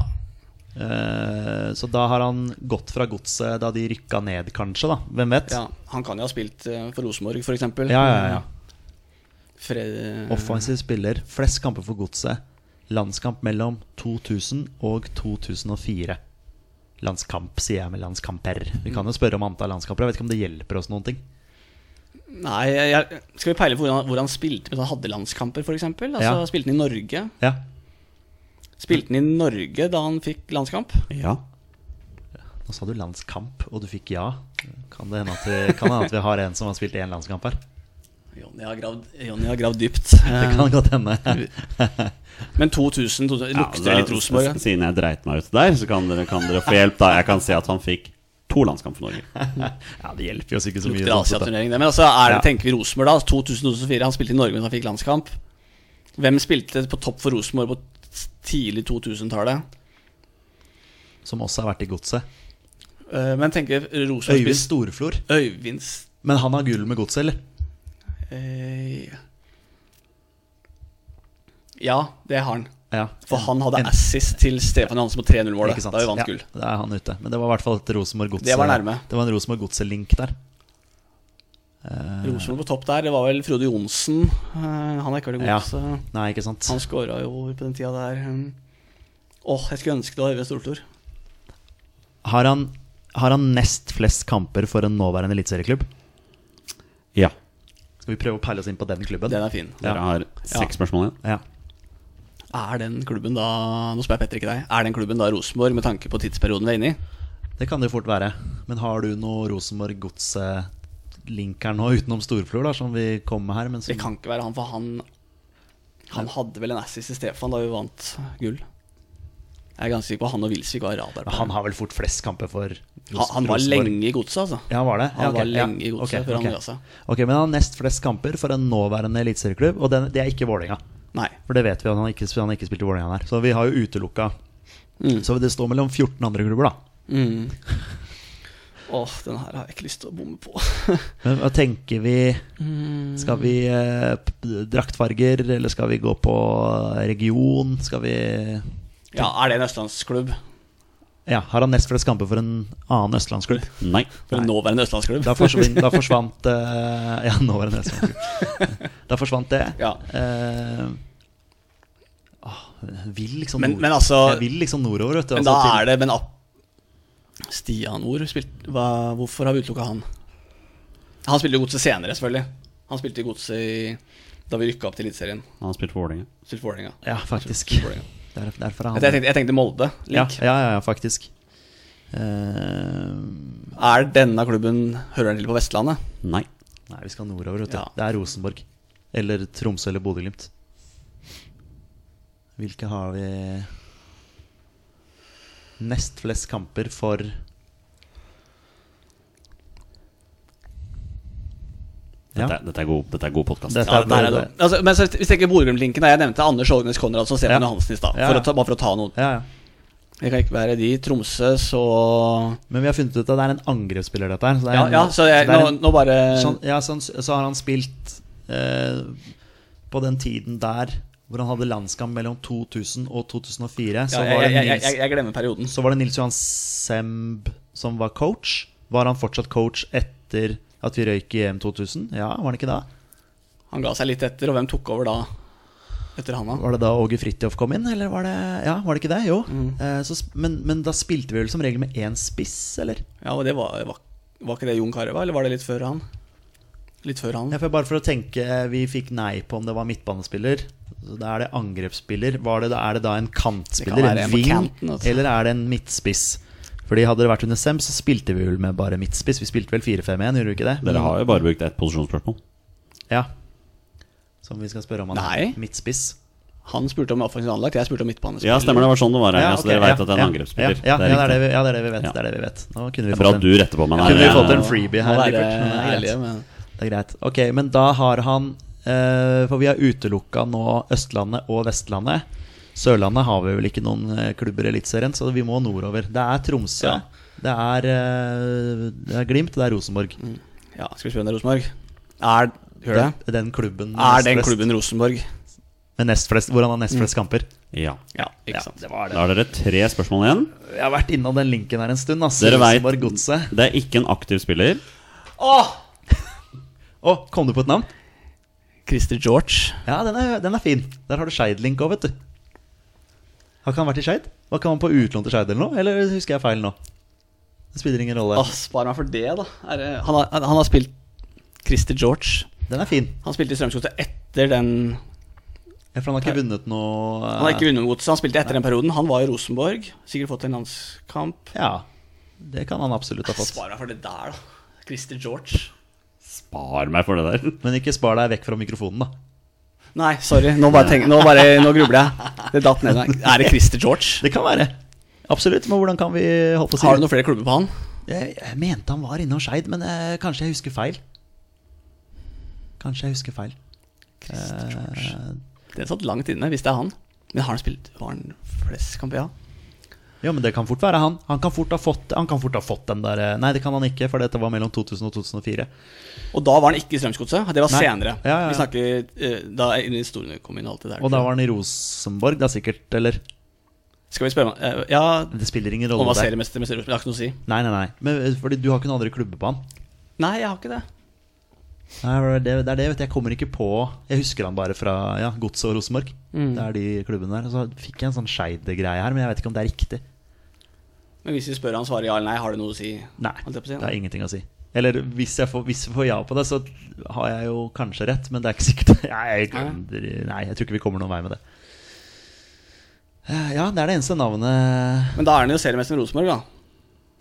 S3: Eh, så da har han gått fra godset da de rykka ned, kanskje. da Hvem vet?
S1: ja. Han kan jo ha spilt eh, for Rosenborg, f.eks.
S3: ja, ja, ja.
S1: Fred,
S3: Offensiv spiller, flest kamper for godset. Landskamp mellom 2000 og 2004. Landskamp, sier jeg med landskamper. Vi kan jo spørre om antall landskamper. Jeg vet ikke om det hjelper oss noen ting.
S1: Nei, jeg, jeg, skal vi peile på hvor han, hvor han spilte mens han hadde landskamper, f.eks.? Altså,
S3: Ja.
S1: Spilte han i Norge?
S3: Ja,
S1: Spilte han i Norge da han fikk landskamp?
S2: Ja.
S3: Nå sa du landskamp, og du fikk ja. Kan det hende at vi, kan det hende at vi har en som har spilt én landskamp her?
S1: Jonny har gravd, Jonny har gravd dypt.
S3: Det kan godt hende.
S1: Men 2000, 2000 lukter jeg litt Rosenborg? ja?
S2: Siden jeg dreit meg ut der, så kan dere, kan dere få hjelp. da Jeg kan se at han fikk to landskamp for Norge.
S3: Ja, det hjelper jo oss ikke så mye.
S1: Lukter
S3: sånn sett, da.
S1: Asia-turnering, det. Men altså, er det,
S3: Ja.
S1: tenker vi Rosenborg da? Altså, 2000-2004, han spilte i Norge, men han fikk landskamp. Hvem spilte på topp for Rosenborg på tidlig 2000-tallet?
S3: Som også har vært i godset.
S1: Eh, Men tenker Rosenborg
S3: Øyvind
S1: spilte
S3: Storflor.
S1: Øyvind S-
S3: Men han har gull med godset, eller?
S1: eh, Ja, det har han.
S3: Ja.
S1: For han hadde
S3: En-
S1: assist til Stefan Johansen på 3-0-målet.
S3: Ikke sant?
S1: Da vi vant
S3: Ja,
S1: gull.
S3: Da er han ute. Men det var i hvert fall et Rosenborg godset.
S1: Det var nærme.
S3: Det var en Rosenborg godset-link der.
S1: Rosenborg på topp der, det var vel Frode Johnsen. Eh, Han er ikke veldig god.
S3: Ja.
S1: så-
S3: Nei, ikke sant.
S1: Han skåra jo på den tida der. hm. Åh, jeg skulle ønske det var Øyvind Storflor.
S3: Har han, har han nest flest kamper for en nåværende eliteserieklubb?
S2: Ja.
S3: Skal vi prøve å peile oss inn på den klubben?
S1: Den er fin.
S2: Dere har seks spørsmål igjen.
S3: Ja.
S1: Er den klubben da Nå spør jeg Petter, ikke deg. Er den klubben da Rosenborg, med tanke på tidsperioden vi er inne i?
S3: Det kan det jo fort være. Men har du noe Rosenborg Godset-link her nå, utenom Storflor, da, som vi kom med her? Men som,
S1: Det kan ikke være han, for han Han hadde vel en assist til Stefan da vi vant gull. Jeg er ganske sikker på at han og Wilsvik var radar. på
S3: Men
S1: det.
S3: han har vel fort flest kamper for Ros-
S1: han, han var
S3: Rosenborg.
S1: lenge i godset, altså.
S3: Ja, han var det?
S1: Han
S3: Ja, ok,
S1: var
S3: ja.
S1: lenge i godset
S3: Ok,
S1: før han altså.
S3: ok.
S1: ga seg.
S3: Ok, Men han har nest flest kamper for en nåværende eliteserieklubb, og den, det er ikke Vålerenga.
S1: Nei.
S3: For det vet vi, at han ikke, han ikke spilte i Vålerenga der. Så vi har jo utelukka. Så det står mellom 14 andre klubber, da.
S1: Mm. Åh, den her har jeg ikke lyst til å bomme på.
S3: Men hva tenker vi
S1: Mm.
S3: Skal vi eh, p- draktfarger, eller skal vi gå på region? Skal vi
S1: ja, Er det en østlandsklubb?
S3: Ja, har han nest flest kamper for en annen østlandsklubb?
S2: Nei.
S1: For en nåværende østlandsklubb?
S3: Da forsvant, da forsvant eh, Ja, nå var det neste gang. Da forsvant det.
S1: Ja.
S3: Eh, åh, jeg vil liksom
S1: Men-
S3: nord-
S1: men altså-
S3: Jeg vil liksom nordover, vet du.
S1: Men da er det Men, ap- Stian Or, spilt, hva, hvorfor har vi utelukka han? Han spilte jo Godset senere, selvfølgelig. Han spilte i Godset i- da vi rykka opp til Eliteserien.
S2: Han har spilt for Vålerenga.
S1: Spilte for Vålerenga.
S3: Ja, faktisk.
S1: Spilte for Vålerenga.
S3: Der, derfor er
S1: Jeg
S3: han
S1: tenkte, jeg tenkte Molde.
S3: ja,
S1: Link.
S3: ja, ja, ja, faktisk. Eh,
S1: Er denne klubben hører den til på Vestlandet?
S2: Nei.
S3: Nei, vi skal nordover, vet du.
S1: Ja.
S3: Det er Rosenborg. Eller Tromsø eller Bodø-Glimt. Hvilke har vi Nest flest kamper for Ja.
S2: Dette, er- dette er god, dette er god podkast.
S3: Dette
S1: Ja, der
S3: er
S1: er
S3: bare-
S1: det. Altså, men så, hvis jeg ikke Bodø-Glimt-linken Jeg nevnte Anders Hågnes Konradsen og Stefan
S3: Ja.
S1: Johansen i stad.
S3: Ja,
S1: for
S3: ja.
S1: å ta- Bare for å ta noen.
S3: Ja, ja.
S1: Jeg kan ikke være de. Tromsø, så
S3: Men vi har funnet ut at det er en angrepsspiller, dette her. Så det er
S1: Ja,
S3: en-
S1: ja så jeg,
S3: det er
S1: nå,
S3: en-
S1: nå bare
S3: sånn, ja, sånn, så har han spilt eh, på den tiden der hvor han hadde landskamp mellom 2000 og 2004. Så
S1: ja,
S3: sånn var det
S1: jeg, jeg, jeg,
S3: Nils-
S1: jeg, jeg glemmer perioden.
S3: Så var det Nils Johan Semb som var coach. Var han fortsatt coach etter at vi røyk i EM 2000? Ja, var han ikke da?
S1: Han ga seg litt etter, og hvem tok over da? Etter han, da?
S3: Var det da Åge Fridtjof kom inn, eller var det Ja, var det ikke det? Jo.
S1: Mm.
S3: Eh, så, sp- men, men da spilte vi vel som regel med én spiss, eller?
S1: Ja, og det var, var, var ikke det Jon Carew, var, eller var det litt før han? Litt før han.
S3: Ja, for bare for å tenke, eh, vi fikk nei på om det var midtbanespiller. Så Da er det angrepsspiller. Var det, da- er det da en
S1: Det
S3: kantspiller,
S1: kan være
S3: en
S1: en på
S3: ving,
S1: kanten, altså.
S3: eller er det en midtspiss? Fordi Hadde det vært under Semb, så spilte vi vel med bare midtspiss. Vi spilte vel 4-5-1, gjorde vi ikke det? Mm.
S2: Dere har jo bare brukt ett posisjonsspørsmål.
S3: Ja. Som vi skal spørre om han
S1: Nei.
S3: er midtspiss.
S1: Han spurte om offensivt anlagt, jeg spurte om midtbanespiller.
S2: Ja, stemmer det. var sånn det var her. Ja, så
S3: ok,
S2: dere vet at det er en
S3: ja,
S2: angrepsspiller.
S3: Ja, ja, det, er det,
S2: riktig.
S3: vi, ja det er det vi vet.
S2: Ja.
S3: Det er det vi vet. Nå kunne
S2: Det
S3: vi
S2: er bra
S3: fått
S2: at du
S3: en,
S2: retter på meg.
S3: kunne vi
S2: der.
S3: fått en freebie her.
S1: Må være
S3: Rikard. Men det er
S1: ærlige
S3: greit.
S1: med
S3: Det er greit. Ok, men da har han eh, For vi har utelukka nå Østlandet og Vestlandet. Sørlandet har vi vel ikke noen eh, klubber i Eliteserien, så vi må nordover. Det er Tromsø,
S1: Ja.
S3: det, er, eh, det er Glimt, det er Rosenborg.
S1: Ja, skal vi spørre om det er Rosenborg? Er, hør Mm. det?
S3: Den, den klubben med
S1: er den
S3: nest flest-
S1: klubben Mm. Rosenborg?
S3: med nest flest, hvor han har nest flest kamper.
S2: Ja.
S1: Ja, ikke sant. det var
S2: Da har dere tre spørsmål igjen.
S3: Jeg har vært innom den linken her en stund. ass.
S2: Dere vet-
S3: Rosenborg Godset.
S2: Det er ikke en aktiv spiller.
S3: Å, kom du på et navn?
S1: Christer George.
S3: Ja, den er, den er fin. Der har du Skeid-link òg, vet du. Har ikke han vært i Skeid? Var ikke han på utlån til Skeid eller noe? Eller husker jeg feil nå? Det spiller ingen rolle.
S1: Åh, spar meg for det, da. Er, det- han, har, han har spilt Christer George.
S3: Den er fin.
S1: Han spilte i Strømsgodset etter den
S3: Ja, For han har ikke vunnet noe
S1: Han har ikke vunnet noe godset, han spilte etter den perioden. Han var i Rosenborg. Sikkert fått en landskamp.
S3: eh, Ja. Det kan han absolutt ha fått.
S1: Spar meg for det der, da. Christer George.
S2: Spar meg for det der.
S3: Men ikke spar deg vekk fra mikrofonen, da.
S1: Nei, sorry. Nå, bare tenk, nå, bare, nå grubler jeg. Det datt ned meg. Er det Christer George?
S3: Det kan være. Absolutt. Men hvordan kan vi holde på å si
S1: Har du noen flere klubber på han?
S3: Jeg, jeg mente han var innom Skeid, men eh, kanskje jeg husker feil. Kanskje jeg husker feil. Eh,
S1: Christer George. Det satt langt inne, hvis det er han. Men har han spilt Var han flest kamper, ja?
S3: Ja, men det kan fort være han. Han kan fort ha fått, han kan fort ha fått den der eh, Nei, det kan han ikke, for dette var mellom 2000 og 2004.
S1: Og da var han ikke i Strømsgodset. Det var
S3: Nei.
S1: senere.
S3: Ja, ja, ja.
S1: Vi snakker eh, da historiene kom inn og alt det der.
S3: Og da var han i Rosenborg, da sikkert, eller?
S1: Skal vi spørre om eh, Ja,
S3: Det spiller ingen
S1: han
S3: rolle
S1: var
S3: der.
S1: seriemester med Rosenborg, det har ikke noe å si.
S3: Nei, nei, nei. Men, eh, fordi du har ikke noen andre klubber på han?
S1: Nei, jeg har ikke det.
S3: Nei, det, det er det, vet du. Jeg kommer ikke på Jeg husker han bare fra ja, Godset og Rosenborg. Det er de klubbene der. Og så fikk jeg en sånn Skeid-greie her, men jeg vet ikke om det er riktig.
S1: Men hvis vi spør han svarer ja eller nei, har det noe å si?
S3: Nei,
S1: Holdt jeg på å si, ja.
S3: det er ingenting å si. Eller hvis jeg, får, hvis jeg får ja på det, så har jeg jo kanskje rett, men det er ikke sikkert. Nei, jeg, nei, jeg tror ikke vi kommer noen vei med det. Eh, Ja, det er det eneste navnet
S1: Men da er han jo seriemester med Rosenborg, da.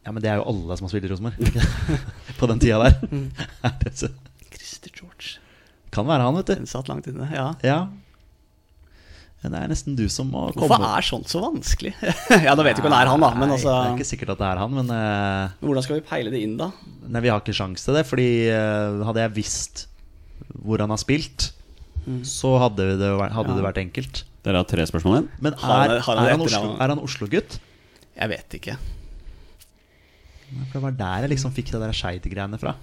S3: Ja, men det er jo alle som har spilt i Rosenborg på den tida der.
S1: Mm.
S3: Er det så-
S1: Christer George.
S3: kan være han, vet du.
S1: Den satt langt inne, ja.
S3: Ja. Men Det er nesten du som må komme
S1: Hvorfor er sånt så vanskelig? ja, nå vet vi ikke om det er han, da. Men
S3: Nei, Det er
S1: altså
S3: ikke sikkert at det er han, men eh,
S1: Hvordan skal vi peile det inn, da?
S3: Nei, vi har ikke sjans til det, fordi eh, hadde jeg visst hvor han har spilt, så hadde det, vært, hadde det vært enkelt.
S2: Dere har tre spørsmål igjen.
S3: Men er,
S1: Har han-
S3: er,
S1: har han
S3: han,
S1: et
S3: Oslo,
S1: etternavn?
S3: er han Oslo-gutt?
S1: Jeg vet ikke.
S3: Nei, For det var der jeg liksom fikk det der Skeid-greiene fra.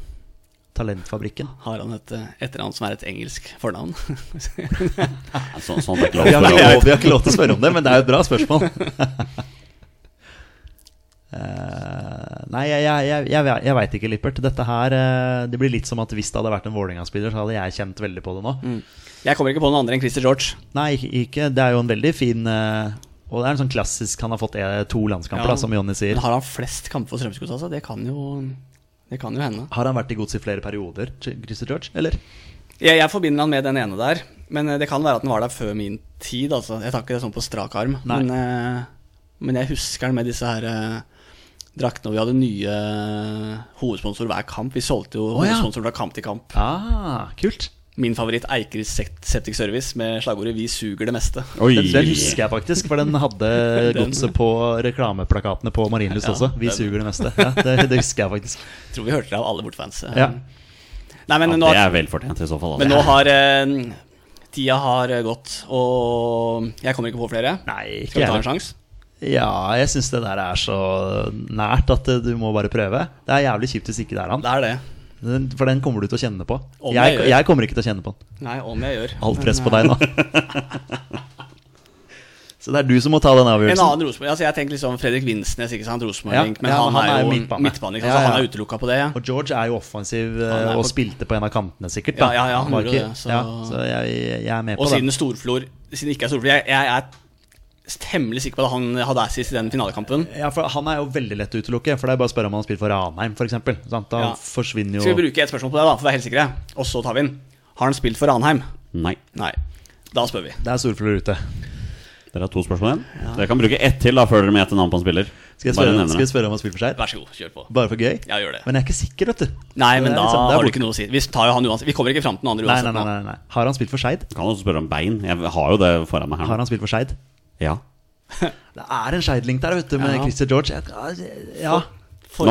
S3: Talentfabrikken.
S1: Har han et eh, etternavn som er et engelsk fornavn?
S2: Nei, Så, sånn er ikke lov
S3: Vi
S2: for
S3: har, ikke
S2: å
S3: lov, vi har ikke lov til å spørre om det, men det er jo et bra spørsmål. Eh, nei, jeg, jeg, jeg, jeg, jeg veit ikke, Lippert. Dette her eh, Det blir litt som at hvis det hadde vært en Vålerenga-spiller, så hadde jeg kjent veldig på det nå.
S1: jeg kommer ikke på noen andre enn Christer George.
S3: Nei, ikke- ikke. Det er jo en veldig fin eh, Og det er en sånn klassisk Han har fått eh, to landskamper,
S1: Ja.
S3: da, som Jonny sier.
S1: Men har han flest kamper for Strømsgodset, altså? Det kan jo, det kan jo hende.
S3: Har han vært i gods i flere perioder, Christer George? Eller?
S1: Jeg, jeg forbinder han med den ene der, men eh, det kan være at den var der før min tid. Altså. Jeg tar ikke det sånn på strak arm,
S3: Nei.
S1: men, eh, men jeg husker han med disse her eh, draktene. og Vi hadde nye eh, hovedsponsor hver kamp. Vi solgte jo
S3: Å, ja.
S1: hovedsponsor fra kamp til kamp.
S3: Ah, kult.
S1: Min favoritt Eikeris Sept- Septic Service med slagordet 'Vi suger det meste'.
S2: Oi!
S3: Den, den husker jeg faktisk, for den hadde
S1: Den-
S3: godset på reklameplakatene på Marienlyst
S1: Ja,
S3: også. Vi
S1: den-
S3: suger det meste. Ja, det, det husker jeg faktisk.
S1: Tror vi hørte det av alle Bort-fans. eh.
S3: Ja.
S1: Nei, men,
S2: Ja,
S1: nå,
S2: det er vel fortjent i så fall. altså.
S1: men nå har eh, tida har eh, gått, og jeg kommer ikke på flere.
S3: Nei, ikke
S1: Skal vi ta
S3: jeg.
S1: en sjanse?
S3: Ja, jeg syns det der er så nært at eh, du må bare prøve. Det er jævlig kjipt hvis ikke det er han.
S1: Det er det.
S3: Den- For den kommer du til å kjenne på.
S1: Om jeg
S3: Jeg,
S1: gjør.
S3: jeg kommer ikke til å kjenne på den.
S1: Nei, om jeg gjør.
S3: Alt
S1: Men,
S3: press på
S1: eh,
S3: deg nå. Så det er du som må ta den
S1: En
S3: avgjørelsen.
S1: annen Rosenborg altså Jeg tenker liksom Fredrik Vinsnes, ikke sant,
S3: Ja.
S1: Rosenborg-link. Men
S3: Ja,
S1: han, er jo
S3: midtbane.
S1: midtbane, ikke sant?
S3: Ja, ja.
S1: så han er utelukka på det. ja.
S3: Og George er jo offensiv eh,
S1: Han er
S3: og
S1: på-
S3: spilte på en av kantene, sikkert.
S1: Ja, ja, ja, han
S3: Var
S1: gjorde
S3: ikke-
S1: det, så-
S3: ja, så jeg, jeg er med
S1: Og
S3: på det.
S1: siden Storflor Siden det ikke er Storflor Jeg, jeg er temmelig sikker på at han hadde assist i den finalekampen.
S3: Ja, for Han er jo veldig lett å utelukke, for det er bare å spørre om han har spilt for Ranheim f.eks. Da
S1: Ja.
S3: forsvinner
S1: Skal vi
S3: jo
S1: bruke et spørsmål på det, da, for å være helt sikre? Og så tar vi den. Har han spilt for Ranheim?
S2: Nei.
S1: Nei. Da spør vi.
S3: Det er storfugler ute.
S2: Dere har to spørsmål igjen. Dere kan bruke ett til da før dere må gjette navn på en spiller.
S3: Skal jeg
S2: Bare
S3: spørre,
S2: nevne
S3: skal jeg
S2: det.
S3: spørre om han spiller for Skeid?
S1: Vær så god, kjør på.
S3: Bare for gøy?
S1: Ja, gjør det.
S3: Men jeg er ikke sikker, vet du.
S1: Nei, men
S3: Det
S1: da
S3: er liksom- det er
S1: har du
S3: borte.
S1: ikke noe å si. Vi tar jo han uansett. Vi kommer ikke fram til noen andre
S3: Nei,
S1: uansett.
S3: nei, nei, nei, nei. Har han spilt for Skeid?
S2: Kan også spørre om bein. Jeg har jo det foran meg
S3: Har
S2: her. nå.
S3: han spilt for Skeid?
S2: Ja.
S3: Det er en Skeid-link der, vet du, med
S1: Ja.
S3: Christer George. Jeg- Ja.
S1: nå.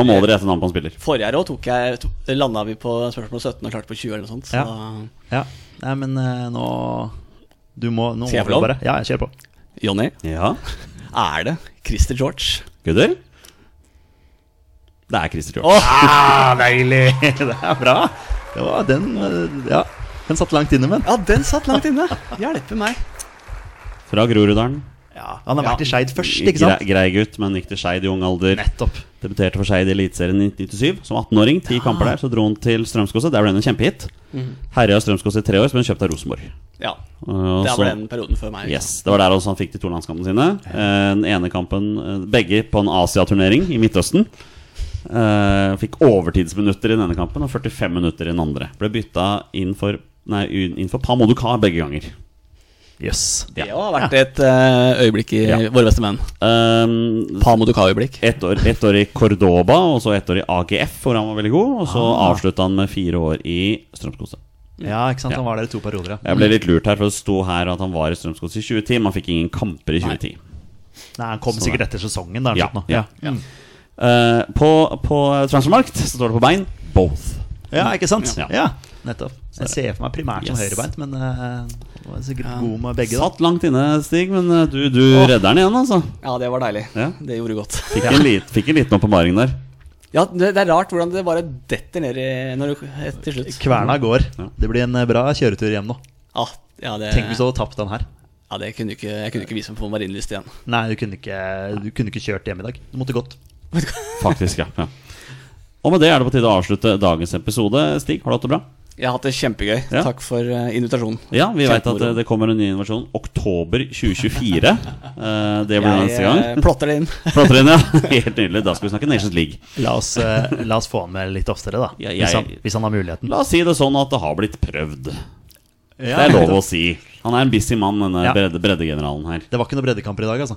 S2: Nå må
S1: Forrige,
S2: dere gjette navn på en spiller.
S1: forrige her òg tok jeg to- landa vi på spørsmål 17 og klarte på 20 eller noe sånt. Så
S3: Ja. ja. Nei, men eh, nå Du må nå
S1: Skal jeg få
S3: må du
S1: lov?
S3: bare Ja, jeg kjør på.
S1: Jonny,
S2: Ja.
S1: er det Christer George?
S2: Gutter? Det er Christer Hjort.
S3: Det er bra. Det var den eh, Ja. Den satt langt inne, men.
S1: Ja, den satt langt inne. Hjelpe meg.
S2: Fra Groruddalen.
S3: Han har vært i Skeid først, ikke sant?
S2: Gre- Grei gutt, men gikk til Skeid i ung alder.
S3: Nettopp.
S2: Debuterte for Skeid i Eliteserien i 1997 som 18-åring. Ti kamper der, så dro han til Strømskose. Der ble han en kjempehit.
S3: Mhm.
S2: Herja Strømskose i tre år, så ble han kjøpt av Rosenborg.
S1: Ja,
S2: Og
S1: Det
S2: så-
S1: var den perioden før meg.
S2: Yes, Det var der også han fikk de to landskampene sine. Eh, Den ene kampen, eh, Begge på en Asia-turnering i Midtøsten. Eh, Fikk overtidsminutter i den ene kampen og 45 minutter i den andre. Ble bytta inn for, nei, u- inn for Pamoduka begge ganger.
S3: Jøss. Yes.
S1: Det har vært et eh, øyeblikk i
S2: Ja.
S1: våre beste menn.
S2: Um,
S1: Pamoduka-øyeblikk.
S2: ett år, ett år i Cordoba, og så ett år i AGF, hvor han var veldig god. Og så avslutta han med fire år i Strømskose.
S3: Ja, ikke sant? Han var der i to perioder, ja.
S2: Jeg ble litt lurt her, for det sto her at han var i Strømskose i 2010, men han fikk ingen kamper i 2010.
S3: Nei, Han kom sikkert etter sesongen, da.
S2: Ja,
S3: eller noe sånt nå. Mm.
S2: ja. Eh, på på transfermarkt så står det på bein both.
S3: ja, ikke sant?
S2: Ja.
S3: Ja, nettopp. Jeg ser for meg primært som
S2: Yes.
S3: høyrebeint, men eh, han var sikkert god med begge, da.
S2: Satt langt inne, Stig, men eh, du, du redder den igjen, altså.
S1: Ja, det var deilig.
S2: Ja.
S1: Det gjorde godt.
S2: Fikk en, lit, fikk en liten åpenbaring der.
S1: Ja, det, det er rart hvordan det bare detter ned i, når du, eh, til slutt.
S3: Kverna går. Det blir en eh, bra kjøretur hjem nå.
S1: Ja, ja, det,
S3: Tenk hvis du hadde tapt den her.
S1: ja, det kunne ikke, jeg kunne ikke vise meg på Marienlyst igjen.
S3: Nei, du kunne ikke, du kunne ikke kjørt hjem i dag. Du måtte gått.
S2: Faktisk, ja. ja. Og med det er det på tide å avslutte dagens episode. Stig, har du hatt det bra?
S1: Jeg har hatt det kjempegøy.
S2: Ja.
S1: Takk for eh, invitasjonen.
S2: Ja, vi veit at eh,
S1: Kjempemoro.
S2: det kommer en ny innovasjon oktober 2024. Eh, Det blir
S1: Jeg
S2: neste
S1: eh,
S2: gang.
S1: plotter det inn.
S2: Plotter inn, ja. Helt nydelig. Da skal vi snakke Nations League.
S3: La oss, eh, la oss få han med litt oftere, da.
S2: Ja,
S3: hvis, han,
S2: jeg-
S3: hvis han har muligheten.
S2: La oss si det sånn at det har blitt prøvd. Det
S3: Ja.
S2: er lov å si. Han er en busy mann, denne
S3: Ja.
S2: bredde, breddegeneralen her.
S3: Det var ikke noen breddekamper i dag, altså.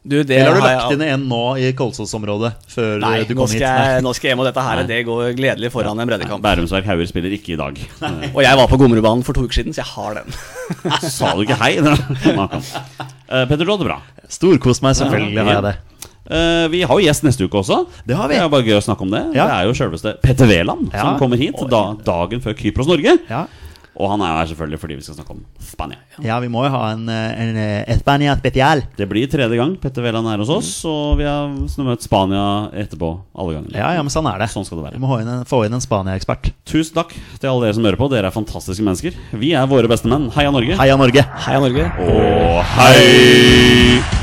S1: Du, det
S3: Eller har du
S1: har jeg-
S3: lagt inn en nå i Kolsås-området? Før eh,
S1: Nei,
S3: du
S1: nå
S3: kom hit?
S1: skal, jeg, nå skal jeg hjem, og dette her
S2: Nei.
S1: det går gledelig foran en breddekamp.
S2: Bærumsverk Hauger spiller ikke i dag. Eh,
S1: Og jeg var på Gommerudbanen for to uker siden, så jeg har den.
S2: Sa du ikke hei? uh, Petter, du hadde det bra.
S3: Storkost meg, selvfølgelig har jeg det.
S2: Eh, vi har jo gjest neste uke også.
S3: Det har vi.
S2: er bare gøy å snakke om det.
S3: Ja.
S2: Det er jo selveste Petter Wæland
S3: Ja.
S2: som kommer hit da, dagen før Kypros Norge.
S3: Ja.
S2: Og han er her selvfølgelig fordi vi skal snakke om Spania.
S3: Ja, vi må jo ha en, eh, en eh, Espania spesial.
S2: Det blir tredje gang Petter Wæland er hos oss,
S3: Mm.
S2: og vi har møtt Spania etterpå alle gangene.
S3: Ja, ja, men sånn er det.
S2: Sånn skal det være.
S3: Vi må ha inn en, få inn en Spania-ekspert.
S2: Tusen takk til alle dere som hører på. Dere er fantastiske mennesker. Vi er våre beste menn. Heia Norge.
S3: Heia Norge!
S1: Heia Norge.
S2: Og hei!